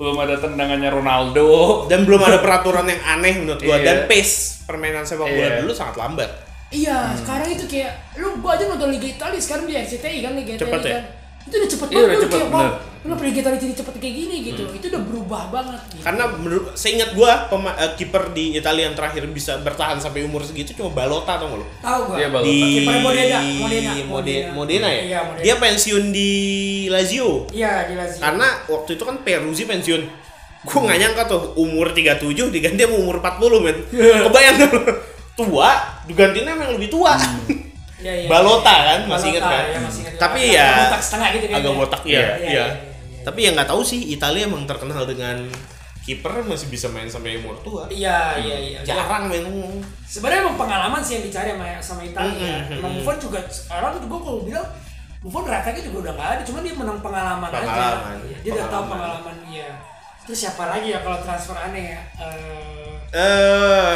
B: belum ada tendangannya Ronaldo
A: dan belum ada peraturan yang aneh menurut gua dan pace permainan sepak bola
B: Iya.
A: dulu sangat lambat. Hmm.
C: Iya, sekarang itu kayak lu gua aja nonton Liga Italia sekarang di RCTI kan Liga
A: Cepet
C: Italia
A: ya?
C: kan. Itu udah cepet
A: Iya,
C: banget
A: udah
C: lu
A: cepet,
C: kayak wow,
A: bener. Hmm.
C: kenapa Liga Italia jadi cepet kayak gini gitu. Itu udah berubah banget gitu.
A: Karena menurut seingat gua pema- eh, kiper di Italia yang terakhir bisa bertahan sampai umur segitu cuma Balota atau lo?
C: Tahu gua.
B: Iya,
A: Di
C: Kipernya Modena, Modena,
A: Mode- Modena ya?
C: Iya, Modena.
A: Dia pensiun di Lazio.
C: Iya, di Lazio.
A: Karena waktu itu kan Peruzzi pensiun. Gua nggak
C: Hmm.
A: nyangka tuh umur 37 diganti sama umur 40, men. Kebayang tuh. Tua, digantinya emang lebih tua.
C: Iya, iya.
A: Balota kan, masih ingat
C: Balota,
A: kan?
C: iya, masih ingat.
A: Tapi
C: Agak
A: ya
C: botak setengah gitu dia.
A: Agak botak ya.
C: Iya, iya,
A: Iya. Tapi ya nggak tahu sih Italia emang terkenal dengan kiper masih bisa main sampai umur tua.
C: Iya, iya, iya.
A: Hmm. Jarang men.
C: Sebenarnya emang pengalaman sih yang dicari sama sama Italia.
A: Mm, mm, mm,
C: Emang
A: mm.
C: Buffon juga orang tuh gua kalau bilang Buffon rakanya juga udah nggak ada, cuman dia menang pengalaman,
A: Pengalaman,
C: aja. Iya, Dia udah tahu
A: pengalaman.
C: pengalaman iya. Terus siapa lagi ya kalau transfer aneh ya? Eh,
A: Eh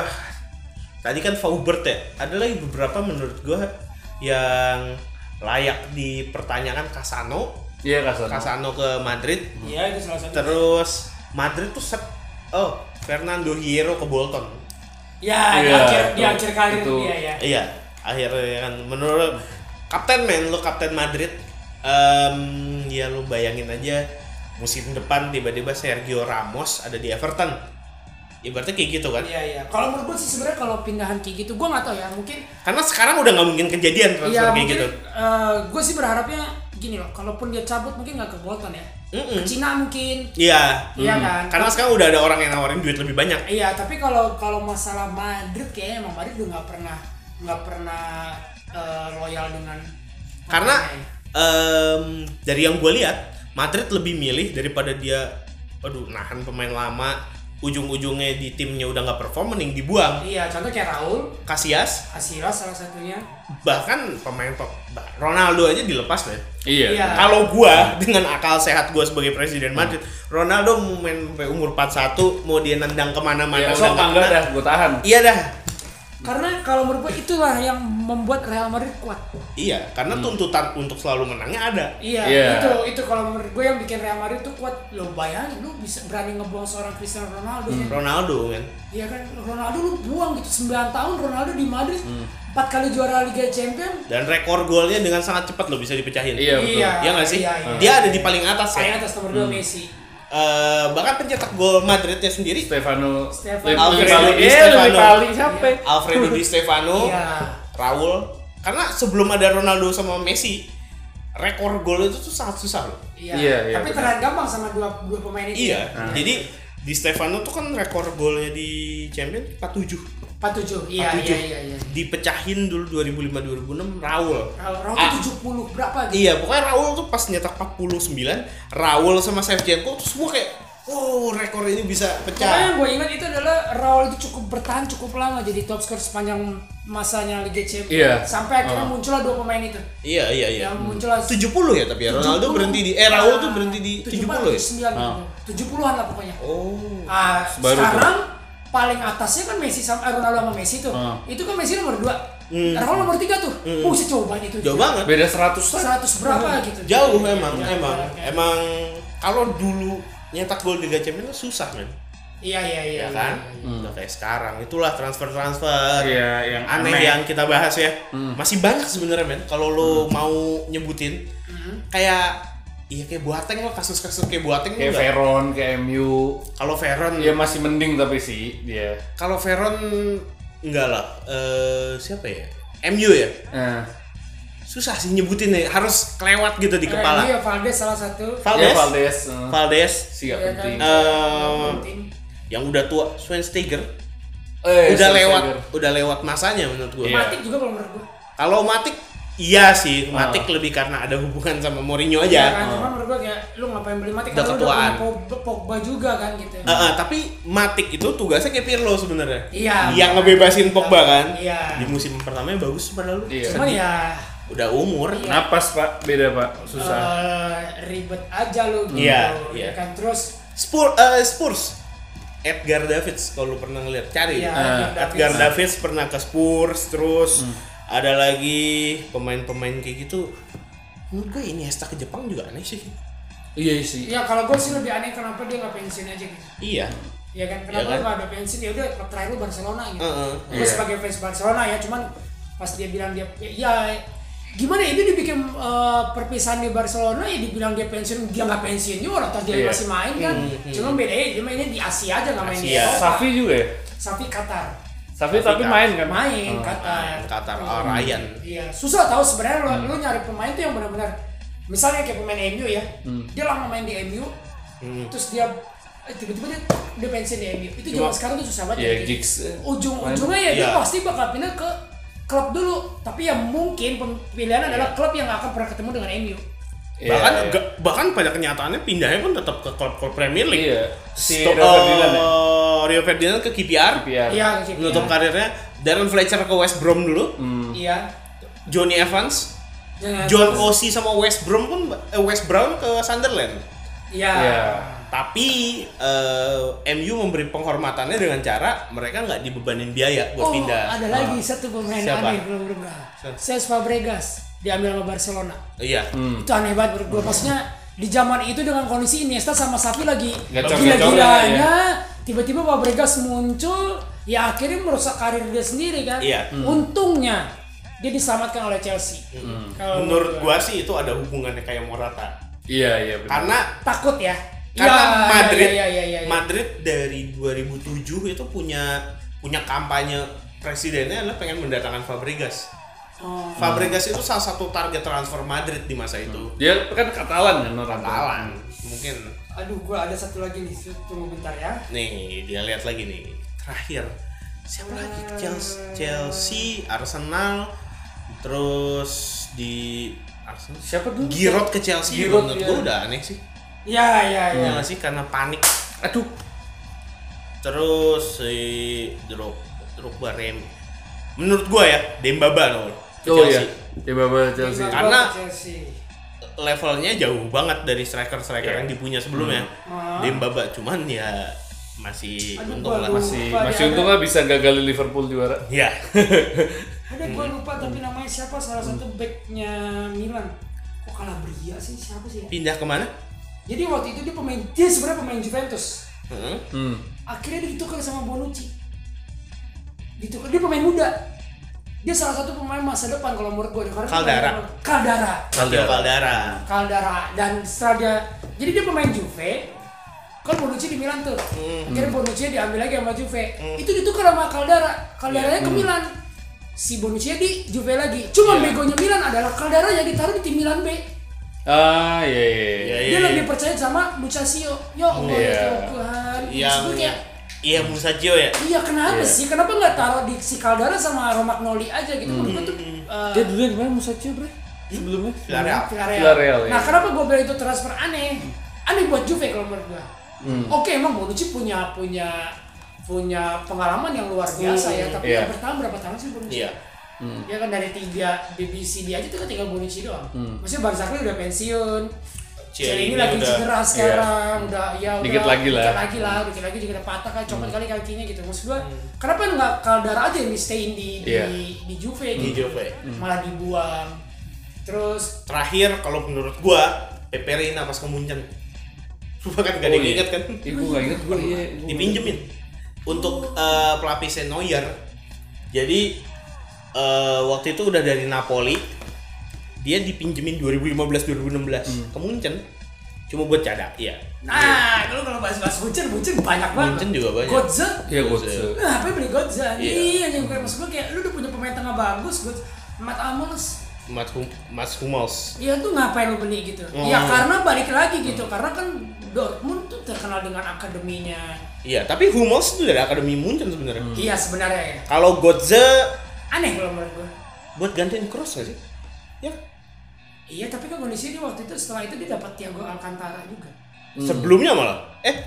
A: tadi kan Faubert ya. Ada lagi beberapa menurut gua yang layak dipertanyakan Casano.
B: Iya, Casano.
A: ke Madrid.
C: Iya, itu salah satu.
A: Terus Madrid tuh set oh, Fernando Hierro ke Bolton.
C: Ya, di
A: Iya,
C: akhir di
A: itu-
C: akhir karir
A: itu-
C: dia ya.
A: Iya, akhirnya kan menurut kapten men lu kapten Madrid em, ya lu bayangin aja musim depan tiba-tiba Sergio Ramos ada di Everton. Ya berarti kayak gitu kan.
C: Iya, iya. Kalau menurut gue sih sebenarnya kalau pindahan kayak gitu, gue nggak tahu ya. Mungkin
A: Karena sekarang udah nggak mungkin kejadian transfer
C: Iya,
A: kayak
C: mungkin
A: gitu.
C: gue sih berharapnya gini loh, kalaupun dia cabut mungkin nggak ke Bolton ya, ke Cina mungkin.
A: Iya.
C: Iya
A: Mm.
C: kan?
A: Karena sekarang udah ada orang yang nawarin duit lebih banyak.
C: Iya, tapi kalau kalau masalah Madrid kayaknya emang Madrid udah nggak pernah nggak pernah eh, loyal dengan
A: Karena em, dari yang gue lihat Madrid lebih milih daripada dia aduh nahan pemain lama ujung-ujungnya di timnya udah nggak perform mending dibuang.
C: Iya, contoh kayak Raul,
A: Casillas
C: Asila salah satunya.
A: bahkan pemain top bah- Ronaldo aja dilepas deh.
B: Iya. Iya.
A: Kalau gua dengan akal sehat gua sebagai presiden Madrid, Ronaldo mau main sampai umur 41 mau dia nendang
B: Iya,
A: kemana-mana udah
B: sok
A: nggak
B: enggak
A: kena.
B: dah, gua tahan.
A: Iya dah.
C: Karena kalau menurut gue itulah yang membuat Real Madrid kuat.
A: Iya, karena
B: Hmm.
A: tuntutan untuk selalu menangnya ada.
C: Iya, itu itu kalau menurut gue yang bikin Real Madrid tuh kuat. Lo bayangin lu bisa berani ngebuang seorang Cristiano Ronaldo ya.
A: Ronaldo kan.
C: Iya kan Ronaldo lu buang gitu 9 tahun Ronaldo di Madrid empat kali juara Liga Champions
A: Dan rekor golnya dengan sangat cepat loh bisa dipecahin.
C: Iya, betul. Iya,
A: Iya nggak sih?
C: iya, iya.
A: Dia ada di paling atas ya.
C: Hmm. paling atas nomor 2 Messi.
A: eh, bahkan pencetak gol Madridnya sendiri
B: Stefano
A: Stefano Iya.
B: Lip-
A: Alfredo
B: Lip-
A: Di
B: eh,
A: Stefano
B: Lipali, siapa?
A: Alfredo
C: Oh.
A: Di Stefano
B: Iya.
A: Raul karena sebelum ada Ronaldo sama Messi rekor gol itu tuh sangat susah loh
C: Iya. Tapi terlihat gampang sama dua dua pemain itu.
A: Iya. Jadi di Stefano tuh kan rekor golnya di Champion 47.
C: 47. Iya, iya, iya, iya.
A: Dipecahin dulu 2005 2006 Raul.
C: Raul, Raul
A: Ah,
C: 70 berapa gitu.
A: Iya, pokoknya Raul tuh pas nyetak 49, Raul sama Shevchenko tuh semua kayak wow, rekor ini bisa
C: Pokoknya yang
A: pecah.
C: gue ingat itu adalah Raul itu cukup bertahan cukup lama jadi top skor sepanjang masanya Liga Champions.
A: Iya.
C: Sampai akhirnya
A: Oh.
C: muncullah dua pemain itu.
A: Iya, iya, iya.
C: Yang
A: Hmm.
C: muncul lah-
A: 70 ya tapi ya Ronaldo
C: 70.
A: berhenti di
C: Iya.
A: eh Raul
C: Ah,
A: tuh berhenti di 70 ya.
C: 79 gitu.
A: Ah.
C: 70-an lah pokoknya.
A: Oh.
C: Ah,
A: Baru tuh.
C: sekarang paling atasnya kan Messi sama eh, Ronaldo sama Messi tuh.
B: Ah.
C: Itu kan Messi nomor 2.
A: Hmm.
C: Raul nomor 3 tuh.
A: Hmm.
C: Oh, secobaan itu.
A: Jauh banget. Hmm.
B: Beda 100
C: 100 berapa gitu.
A: Jauh emang, emang.
C: iya,
A: Emang kalau dulu nyetak gol di Liga Champions tuh susah, men.
C: Iya, iya, iya.
A: ya kan? Nggak kayak sekarang. Itulah transfer-transfer
B: Iya, yang
A: aneh,
B: aneh. Hmm.
A: yang kita bahas ya. Masih banyak sebenarnya, men. Kalau lo mau nyebutin
C: Hmm.
A: kayak iya kayak Boateng lo kasus-kasus kayak Boateng lo
B: Kayak
A: nggak-
B: Veron, kayak MU.
A: Kalau Veron
B: ya masih mending tapi sih dia.
A: Kalau Veron enggak lah. Eh siapa ya? MU ya?
B: Eh.
A: Susah sih nyebutin ya. Harus kelewat gitu di kepala.
C: Iya, Valdes salah satu.
A: Valdes.
B: Iya, Valdes, eh.
A: Valdes.
B: Si nggak Iya, penting. kan?
A: Eh, yang udah tua, Schweinsteiger.
B: Eh,
A: udah
B: Schweinsteiger. Iya.
A: lewat, udah lewat masanya menurut gue.
C: Matik juga kalau menurut gue.
A: Kalau Matik, iya sih.
B: Ah.
A: Matik lebih karena ada hubungan sama Mourinho aja.
C: Iya kan, cuma menurut gue kayak lu ngapain beli Matik
A: Udah
C: kan lu
A: ketuaan.
C: punya Pogba- Pogba juga kan gitu.
A: Eh, eh, tapi Matik itu tugasnya kayak Pirlo sebenarnya.
C: Iya.
A: Yang ngebebasin Pogba kan.
C: Iya.
A: Di musim pertamanya bagus padahal lu.
C: Cuman ya
A: Udah umur.
C: Iya.
B: Napas Pak, beda Pak, susah.
C: eh, ribet aja lu gitu.
A: Iya,
C: ya
A: iya.
C: kan terus
A: Spurs, eh, Spurs. Edgar Davids kalau lu pernah ngeliat cari
C: Iya,
A: ya.
C: Edgar
A: Edgar
C: Davids.
A: Davids pernah ke Spurs terus ada lagi pemain-pemain kayak gitu menurut gue ini Iniesta ke Jepang juga aneh sih
B: Iya sih.
C: ya kalau gue sih lebih aneh kenapa dia nggak pensiun aja gitu.
A: Iya.
C: Ya kan kenapa
A: Iya kan?
C: lu nggak ada pensiun ya udah klub terakhir lu Barcelona gitu.
A: Heeh.
C: Gue
A: Iya.
C: sebagai fans Barcelona ya cuman pas dia bilang dia ya, ya, gimana ya, ini dibikin eh, perpisahan di Barcelona ya dibilang dia pensiun dia nggak pensiun juga orang toh dia
B: Iya.
C: masih main kan.
B: Hmm, hmm.
C: Cuma bedanya dia mainnya di Asia aja nggak main di
B: Iya.
C: Eropa.
B: Safi juga ya?
C: Safi Qatar.
B: Safi tapi main kan?
C: Main
B: Oh.
C: Qatar.
A: Qatar
C: Hmm.
A: oh, Ryan
C: Iya, susah tahu sebenarnya lo, lo nyari pemain tuh yang benar-benar misalnya kayak pemain MU ya.
A: Hmm.
C: Dia lama main di MU,
A: Hmm.
C: terus dia eh, tiba-tiba dia dia pensiun di MU. Itu
A: Cuma-
C: zaman sekarang tuh susah banget.
A: Iya,
C: ya.
A: gigs, eh,
C: Ujung-ujungnya ya
A: main.
C: dia
A: Iya.
C: pasti bakal pindah ke klub dulu, tapi ya mungkin pem- pilihannya adalah
A: Iya.
C: klub yang nggak akan pernah ketemu dengan MU.
A: bahkan
B: iya.
A: ga- bahkan pada kenyataannya pindahnya pun tetap ke klub-klub Premier League
B: Iya. Si
A: Sto-
B: Rio Ferdinand ya?
A: eh, Rio Ferdinand ke KPR,
C: Iya, ke KPR.
A: menutup karirnya Darren Fletcher ke West Brom dulu
B: Hmm.
C: Iya. Ya,
A: Johnny Evans
C: Jangan-
A: Hmm. John Osi sama West Brom pun eh, West Brown ke Sunderland.
C: Iya.
A: Tapi eh, MU memberi penghormatannya dengan cara mereka nggak dibebanin biaya buat
C: oh,
A: pindah. Ah.
C: ada lagi satu pemain
A: Siapa?
C: aneh belum belum
A: Siapa?
C: Cesc Fabregas diambil sama Barcelona.
A: Iya.
B: Hmm.
C: Itu aneh banget menurut gue. Maksudnya di zaman itu dengan kondisi Iniesta sama Safi lagi
B: Gacor-gacoran,
C: gila-gilanya, tiba-tiba Fabregas muncul, ya akhirnya merusak karir dia sendiri kan.
A: Iya. Hmm.
C: Untungnya dia diselamatkan oleh Chelsea.
A: Mm.
C: Kalau
A: Menurut gua sih itu ada hubungannya kayak Morata.
B: Iya, iya benar.
A: Karena
C: takut ya.
A: karena
C: Ya,
A: Madrid
C: ya, ya, ya, ya.
A: Madrid dari 2007 itu punya punya kampanye presidennya adalah pengen mendatangkan Fabregas.
C: Oh.
A: Fabregas itu salah satu target transfer Madrid di masa itu.
B: Dia kan Katalan kan orang.
A: Katalan. Mungkin
C: Aduh, gue ada satu lagi nih. Tunggu bentar ya.
A: nih dia lihat lagi nih. Terakhir siapa lagi Chelsea, Chelsea, Arsenal, terus di Arsenal
B: siapa dulu?
A: Giroud ke Chelsea
B: Giroud,
A: menurut
B: iya.
A: gua udah aneh sih.
C: Ya, ya, ya.
A: Iya nggak sih karena panik.
B: Aduh.
A: Terus si Drog Drogba Rem. Menurut gua ya Dembaba no. ke
B: Oh
A: Chelsea.
B: iya. Dia bawa Chelsea.
A: Karena
C: Chelsea.
A: levelnya jauh banget dari striker-striker yang dipunya sebelumnya.
C: Hmm.
A: Dembaba cuman ya masih
C: Aduh,
A: untung
C: gua
A: lah
C: lupa
B: masih
C: dia
B: masih
C: ada.
B: untung lah bisa gagalin Liverpool juara.
A: Iya.
C: Ada gue lupa tapi namanya siapa salah satu backnya Milan. Kok Calabria sih siapa sih? ya?
A: Pindah kemana?
C: Jadi waktu itu dia pemain dia sebenarnya pemain Juventus.
A: Heeh.
B: Hmm.
C: Akhirnya ditukar sama Bonucci. Ditukar dia pemain muda. Dia salah satu pemain masa depan kalau menurut gue. Karena dia
A: Caldara.
C: pemain- Caldara.
A: Kaldara. Kaldara.
C: Caldara dan setelah dia jadi dia pemain Juve Kan Bonucci di Milan tuh. Akhirnya Bonucci diambil lagi sama Juve. Itu ditukar sama Caldara. Caldaranya ke
K: Hmm.
C: Milan. Si Bonucci di Juve lagi. Cuma
B: Iya.
C: begonya Milan adalah Caldara yang ditaruh di tim Milan B.
B: Ah, iya iya. iya.
C: Dia lebih percaya sama Lucasio. Ya Allah,
B: Iya. ya.
C: ya Tuhan.
A: Yang
C: Maksud gue kayak,
A: Iya Musajio ya.
C: Iya kenapa
A: Iya.
C: sih? Kenapa nggak taruh di si Caldara sama Romagnoli aja gitu? Menurut gue tuh
B: Hmm.
C: eh,
B: Dia dulunya di mana Musacchio, Bre? Sebelumnya?
A: Villarreal.
C: Villarreal.
B: Villarreal,
C: Nah
B: iya.
C: kenapa gue bilang itu transfer aneh? Aneh buat Juve kalau menurut gue.
B: Hmm.
C: Oke emang Bonucci punya punya punya pengalaman yang luar biasa ya.
A: Hmm,
C: Tapi
A: iya.
C: yang bertahun berapa tahun sih Bonucci?
A: Iya.
C: Ya kan dari tiga BBC dia aja tuh kan tinggal Bonucci doang.
B: Hmm.
C: Maksudnya Barzagli udah pensiun. Celi
A: Chiellini
C: ini lagi
A: udah-
C: cedera
A: iya.
C: sekarang, udah ya udah
B: Dikit lagi lah. Hmm.
C: dikit lagi lah, dikit lagi juga udah patah kan, copot kali kakinya gitu. Maksud gua,
A: Hmm.
C: kenapa nggak Caldara aja yang di stayin di di,
A: Iya.
C: di Juve
A: Di
C: gitu?
A: Juve. Hmm.
C: Malah dibuang. Terus
A: Terakhir kalau menurut gua Pepe Reina pas ke Munchen. Lu bahkan gak ada
B: Oh,
A: yang
B: iya.
A: inget kan?
B: Iya, gua nggak inget, gua, iya, gua
A: Dipinjemin. Untuk eh, pelapisnya Neuer. Jadi eh, waktu itu udah dari Napoli. Dia dipinjemin
B: Hmm.
A: 2015-2016 ke Munchen. Cuma buat cada, iya.
C: Nah, kalau kalau bahas-bahas Bucen, Bucen banyak banget.
A: Munchen juga banyak.
C: Godze?
B: Iya, Godze.
C: Nah, apa yang beli Godza?
A: Iya.
C: Iya, yang kayak maksud gua kayak lu udah punya pemain tengah bagus, Godza. Matt Hummels,
A: Mas, Hum Mas Hummels.
C: Iya tuh ngapain lu beli gitu?
A: Hmm.
C: Ya karena balik lagi gitu, karena kan Dortmund tuh terkenal dengan akademinya.
A: Iya, tapi Hummels itu dari Akademi Munchen sebenarnya.
B: Hmm.
C: Iya sebenarnya ya.
A: Kalau Godze
C: Aneh kalau menurut gua.
A: buat gantiin Cross gak sih? Ya.
C: Iya tapi kan kondisinya dia waktu itu setelah itu dia dapat Thiago Alcantara juga. Hmm.
A: Sebelumnya malah. Eh,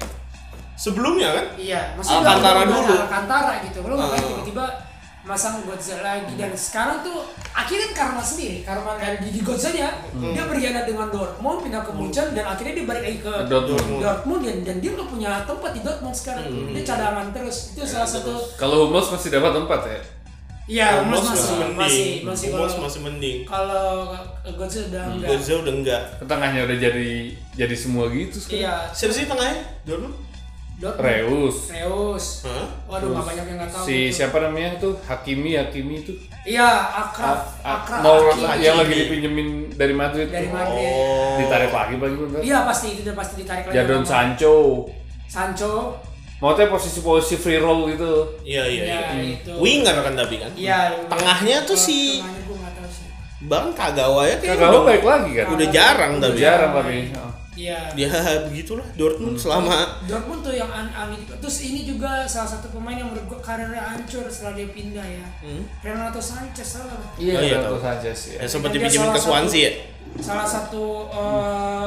A: sebelumnya kan?
C: Iya, maksudnya udah-
A: Alcantara
C: udah ada
A: dulu.
C: Alcantara gitu, lo ngapain
A: Ah.
C: tiba-tiba masang Godza lagi dan sekarang tuh akhirnya karena sendiri karena dari gigi Godzanya
B: Hmm.
C: dia berkhianat dengan Dortmund pindah ke Munchen dan akhirnya dia balik lagi ke
B: Ke Dortmund.
C: Dortmund, dan, dan dia nggak punya tempat di Dortmund sekarang
B: Hmm.
C: dia cadangan terus itu salah satu
B: Kalau Hummels masih dapat tempat ya?
C: Iya, Hummels
A: Hummels
C: masih,
A: masih
C: masih,
A: mending.
C: masih,
A: Hummels
C: kalau-
A: masih mending.
C: Kalau Godza udah enggak.
A: Godze udah enggak.
B: Tengahnya udah jadi jadi semua gitu
C: Iya.
B: sekarang.
A: Siapa sih tengahnya? Dortmund?
C: Dortmund.
B: Reus.
C: Reus.
A: Hah?
C: Waduh, nggak banyak yang nggak tahu. gitu.
B: Si
C: tuh.
B: siapa namanya tuh? Hakimi, Hakimi itu. Ah,
C: Iya, Akraf,
B: A-
C: Akraf.
B: mau
C: Hakimi.
B: yang lagi dipinjemin dari Madrid.
A: Oh.
C: Dari Madrid.
B: Ditarik lagi bagi bentar.
C: Iya pasti itu udah pasti ditarik lagi.
B: Jadon
C: sama
B: Ya, Sancho.
C: Sancho.
B: Maksudnya posisi-posisi free roll gitu.
A: Iya, iya,
C: Iya,
A: iya.
C: itu.
A: Winger kan tapi kan?
B: Hmm.
C: Iya.
A: Tengahnya tuh si
C: Tengahnya gua nggak tahu sih.
A: Bang Kagawa ya kayaknya
B: Kagawa
A: udah-
B: balik lagi kan?
A: Udah jarang
B: Udah
A: tapi.
B: jarang tapi. Oh.
C: Iya.
A: Ya begitulah Dortmund
B: Hmm.
A: selama
C: Dortmund tuh yang an aneh juga. Terus ini juga salah satu pemain yang menurut gua karirnya hancur setelah dia pindah ya.
A: Hmm.
C: Renato Sanchez salah.
B: Iya,
A: Oh, iya,
B: Renato
A: tahu.
B: Sanchez ya.
A: Yang sempat
C: Dan dia
A: dipinjemin
C: salah
A: ke Swansea ya?
C: satu- Salah satu eh,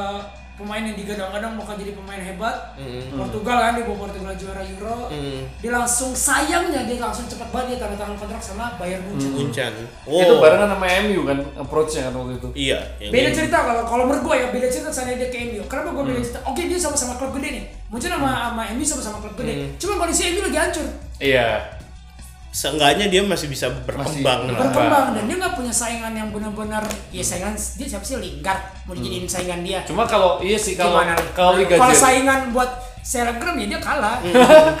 C: pemain yang digadang-gadang bakal jadi pemain hebat.
A: Mm.
C: Portugal kan dia bawa Portugal juara Euro.
A: Mm.
C: Dia langsung sayangnya dia langsung cepat banget dia tanda tangan kontrak sama Bayern Munchen.
A: Munchen.
B: Itu barengan sama MU kan approach-nya kan waktu itu.
A: Iya.
C: Beda cerita kalau kalau menurut gue ya beda cerita sana dia ke MU. Kenapa gue beda cerita? Oke dia sama-sama klub gede nih. Munchen sama sama MU sama-sama klub gede.
A: Hmm.
C: Cuma kondisi MU lagi hancur.
B: Iya.
A: Seenggaknya dia masih bisa berkembang. lah.
C: berkembang dan dia nggak punya saingan yang benar-benar ya saingan dia siapa sih Lingard mau dijadiin saingan dia
B: Hmm. Cuma kalau iya sih kalau
C: Gimana?
B: kalau Liga
C: kalau
B: Jerman- Hmm.
C: saingan buat selebgram ya dia kalah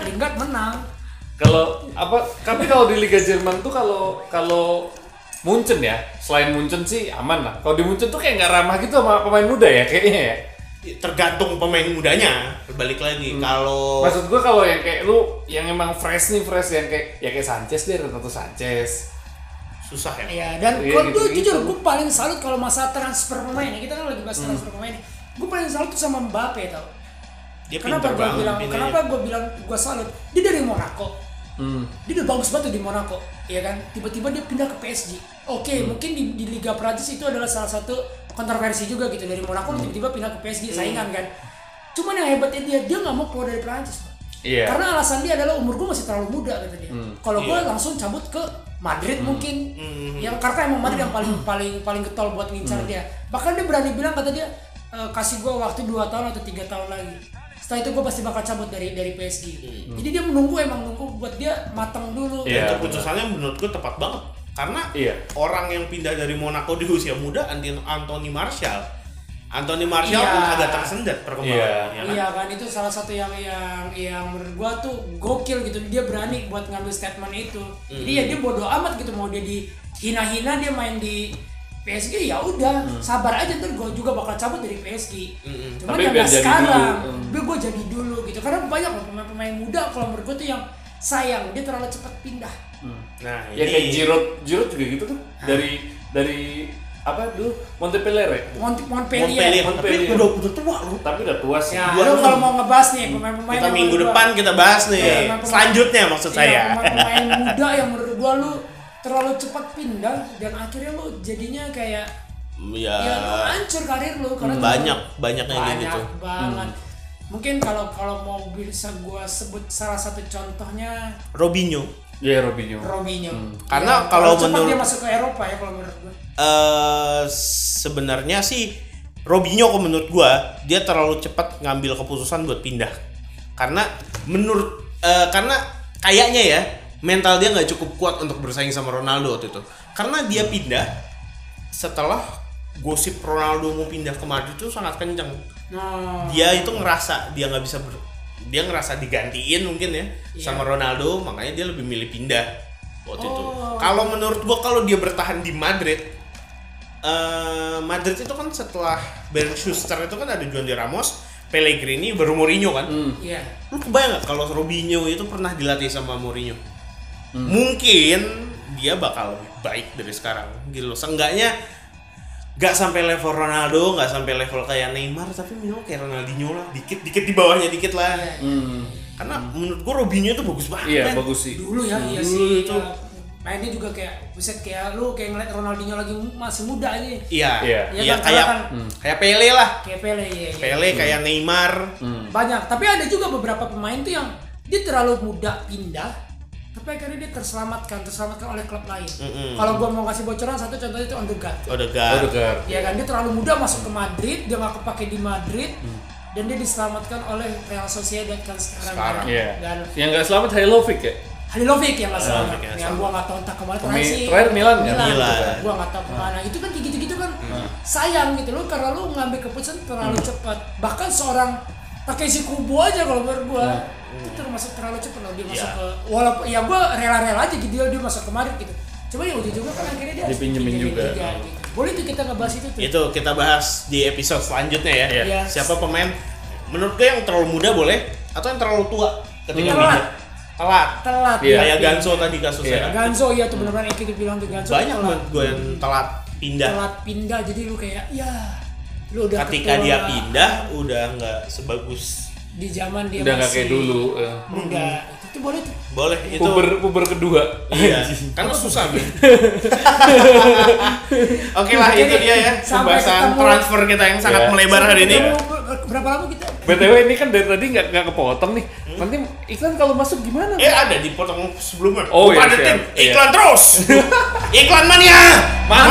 C: Lingard menang
B: Kalau apa? Tapi kalau di Liga Jerman tuh kalau kalau Munchen ya, selain Munchen sih aman lah. Kalau di Munchen tuh kayak nggak ramah gitu sama pemain muda ya kayaknya ya.
A: Tergantung pemain mudanya. Balik lagi
B: Hmm.
A: kalau
B: Maksud gua kalau yang kayak lu yang emang fresh nih fresh yang kayak ya kayak Sanchez deh Renato Sanchez.
A: Susah ya.
C: ya dan
B: Iya,
C: kalau tuh
B: gitu-gitu.
C: jujur gue paling salut kalau masa transfer pemain ya kita kan lagi
B: Hmm.
C: bahas transfer pemain gue paling salut tuh sama Mbappe tau
A: Dia
C: kenapa
A: pinter
C: gue
A: banget
C: bilang
A: pindahnya.
C: kenapa gue bilang gue salut dia dari Monaco
A: Hmm.
C: dia udah bagus banget tuh di Monaco ya kan tiba-tiba dia pindah ke PSG oke
A: Hmm.
C: mungkin di, di Liga Prancis itu adalah salah satu kontroversi juga gitu dari Monaco
A: Hmm.
C: tiba-tiba pindah ke PSG saingan kan cuman yang hebatnya dia dia nggak mau keluar dari Prancis Pak.
B: Iya.
C: karena alasan dia adalah umur gue masih terlalu muda kata dia
B: Hmm.
C: kalau gue
B: Iya. Hmm.
C: langsung cabut ke Madrid mungkin yang karena emang Madrid yang paling paling paling getol buat ngincar
B: Hmm.
C: dia bahkan dia berani bilang kata dia "E, kasih gue waktu 2 tahun atau tiga tahun lagi setelah itu gue pasti bakal cabut dari dari PSG
B: Hmm.
C: jadi dia menunggu emang nunggu buat dia matang dulu
A: Dan keputusannya menurut gue tepat banget karena
B: Iya.
A: orang yang pindah dari Monaco di usia muda Anti- Anthony Martial Anthony Martial
C: Iya.
A: pun agak tersendat perkembangannya ya
C: Iya kan? itu salah satu yang yang yang menurut gua tuh gokil gitu dia berani buat ngambil statement itu. Jadi
A: Mm.
C: ya dia bodoh amat gitu mau dia dihina-hina dia main di PSG ya udah
B: Mm.
C: sabar aja ntar gue juga bakal cabut dari PSG cuman
B: Tapi
C: ya
B: biar
C: nggak
B: jadi
C: sekarang
B: dulu. Hmm.
C: gue gue jadi dulu gitu karena banyak loh pemain-pemain muda kalau menurut gue tuh yang sayang dia terlalu cepat pindah
B: Nah,
A: Nah,
B: ya kayak
A: ini-
B: Giroud, Giroud juga gitu kan. Dari dari apa dulu Montpellier. ya?
C: Mont- Montpellier.
B: Montpellier.
C: Tapi
B: Montpellier.
C: udah-
A: tua lu.
B: Tapi udah tua sih.
C: Nah, lu kalau mau ngebahas nih pemain-pemain
A: Kita
C: yang
A: minggu
C: menurut gua-
A: depan kita bahas
C: Iya,
A: nih.
C: pemain-pemain-
A: Selanjutnya maksud
C: Iya,
A: saya.
C: Pemain-pemain muda yang menurut gua lu terlalu cepat pindah dan akhirnya lu jadinya kayak
A: Iya.
C: ya lu hancur karir lu karena
A: hmm, Banyak,
C: terlalu-
A: banyak yang kayak
C: banyak
A: gitu.
C: banget. Mungkin kalau kalau mau bisa gua sebut salah satu contohnya
A: Robinho.
B: Iya, Robinho.
C: Robinho.
A: Hmm,
C: Ya,
A: Karena kalau
C: cepat
A: menurut
C: dia masuk ke Eropa ya kalau menurut gua.
A: eh sebenarnya sih Robinho kalau menurut gua dia terlalu cepat ngambil keputusan buat pindah karena menurut eh, karena kayaknya ya mental dia nggak cukup kuat untuk bersaing sama Ronaldo waktu itu karena dia pindah setelah gosip Ronaldo mau pindah ke Madrid itu sangat kencang
C: Nah,
A: dia itu ngerasa dia nggak bisa ber- dia ngerasa digantiin mungkin ya sama Ronaldo makanya dia lebih milih pindah waktu itu
C: Oh.
A: kalau menurut gua kalau dia bertahan di Madrid eh, Madrid itu kan setelah Bern Schuster itu kan ada Juan de Ramos Pellegrini baru Mourinho kan
C: Iya.
A: lu kebayang nggak kalau Robinho itu pernah dilatih sama Mourinho
B: Hmm.
A: mungkin dia bakal lebih baik dari sekarang gitu loh seenggaknya nggak sampai level Ronaldo nggak sampai level kayak Neymar tapi minimal kayak Ronaldinho lah dikit dikit di bawahnya dikit lah karena menurut gua Robinho itu bagus banget
B: Hmm. Iya,
A: men.
B: bagus sih.
C: dulu ya iya
A: Dulu
C: sih
A: Hmm, itu.
C: ya. mainnya juga kayak buset kayak lu kayak ngeliat Ronaldinho lagi masih muda aja
A: iya
B: Iya. Hmm.
A: iya
C: kan,
A: kayak
C: kan.
A: kayak Pele lah
C: kayak Pele iya, iya.
A: Pele kayak Neymar
B: Hmm.
C: banyak tapi ada juga beberapa pemain tuh yang dia terlalu muda pindah tapi akhirnya dia terselamatkan terselamatkan oleh klub lain
A: Mm-mm.
C: kalau gua mau kasih bocoran satu contohnya itu Odegaard
A: Odegaard
B: Odegaard.
C: ya kan dia terlalu muda masuk ke Madrid dia nggak kepake di Madrid
B: Hmm.
C: dan dia diselamatkan oleh Real Sociedad kan sekarang,
B: Sekarang. Iya.
C: dan
B: Yang nggak selamat Halilovic ya.
C: Halilovic yang nggak selamat
B: Halilovic yang
C: yang gua nggak tahu entah kemana
B: Pemain terakhir Milan kan?
C: Milan,
B: Milan.
C: gua nggak tahu kemana itu kan kayak gitu-gitu kan
A: Hmm.
C: sayang gitu loh karena lu ngambil keputusan terlalu cepat bahkan seorang Takeshi Kubo aja kalau menurut gua
A: Hmm.
C: itu termasuk terlalu cepat loh dia masuk
B: Iya.
C: ke walaupun ya gua rela-rela aja gitu dia, dia masuk ke Madrid gitu cuma ya ujung-ujungnya kan akhirnya dia harus
A: Dipinjemin
C: dipinjemin
A: juga.
C: liga, gitu. boleh tuh kita ngebahas itu tuh
A: itu kita bahas di episode selanjutnya ya
C: Iya.
A: siapa pemain menurut gue yang terlalu muda boleh atau yang terlalu tua ketika
C: Telat.
A: pindah? telat
C: Telat.
A: kayak
C: Iya.
A: Ganso tadi kasusnya kan?
C: Ganzo ya tuh benar-benar yang kita bilang tuh Ganzo
A: banyak ya.
C: telat.
A: menurut gue yang telat pindah
C: telat pindah jadi lu kayak ya lu udah ketua
A: ketika dia pindah udah nggak sebagus
C: di zaman dia
B: Udah nggak
C: masih
B: kayak dulu. eh.
C: muda itu tuh boleh tuh
A: boleh itu
B: Puber puber kedua.
A: Iya, karena susah Bi. Oke lah
C: Jadi,
A: itu dia ya
C: sampai
A: pembahasan
C: ketemu.
A: transfer kita yang sangat
B: Iya.
A: melebar hari ini.
C: Ketemu ber- berapa lama kita
B: BTW ini kan dari tadi nggak nggak kepotong nih. Nanti iklan kalau masuk gimana?
A: Eh ada dipotong sebelumnya.
B: Oh, iya,
A: Padetin.
B: siap. Iya.
A: Iklan terus. Iklan mania.
B: Mantap.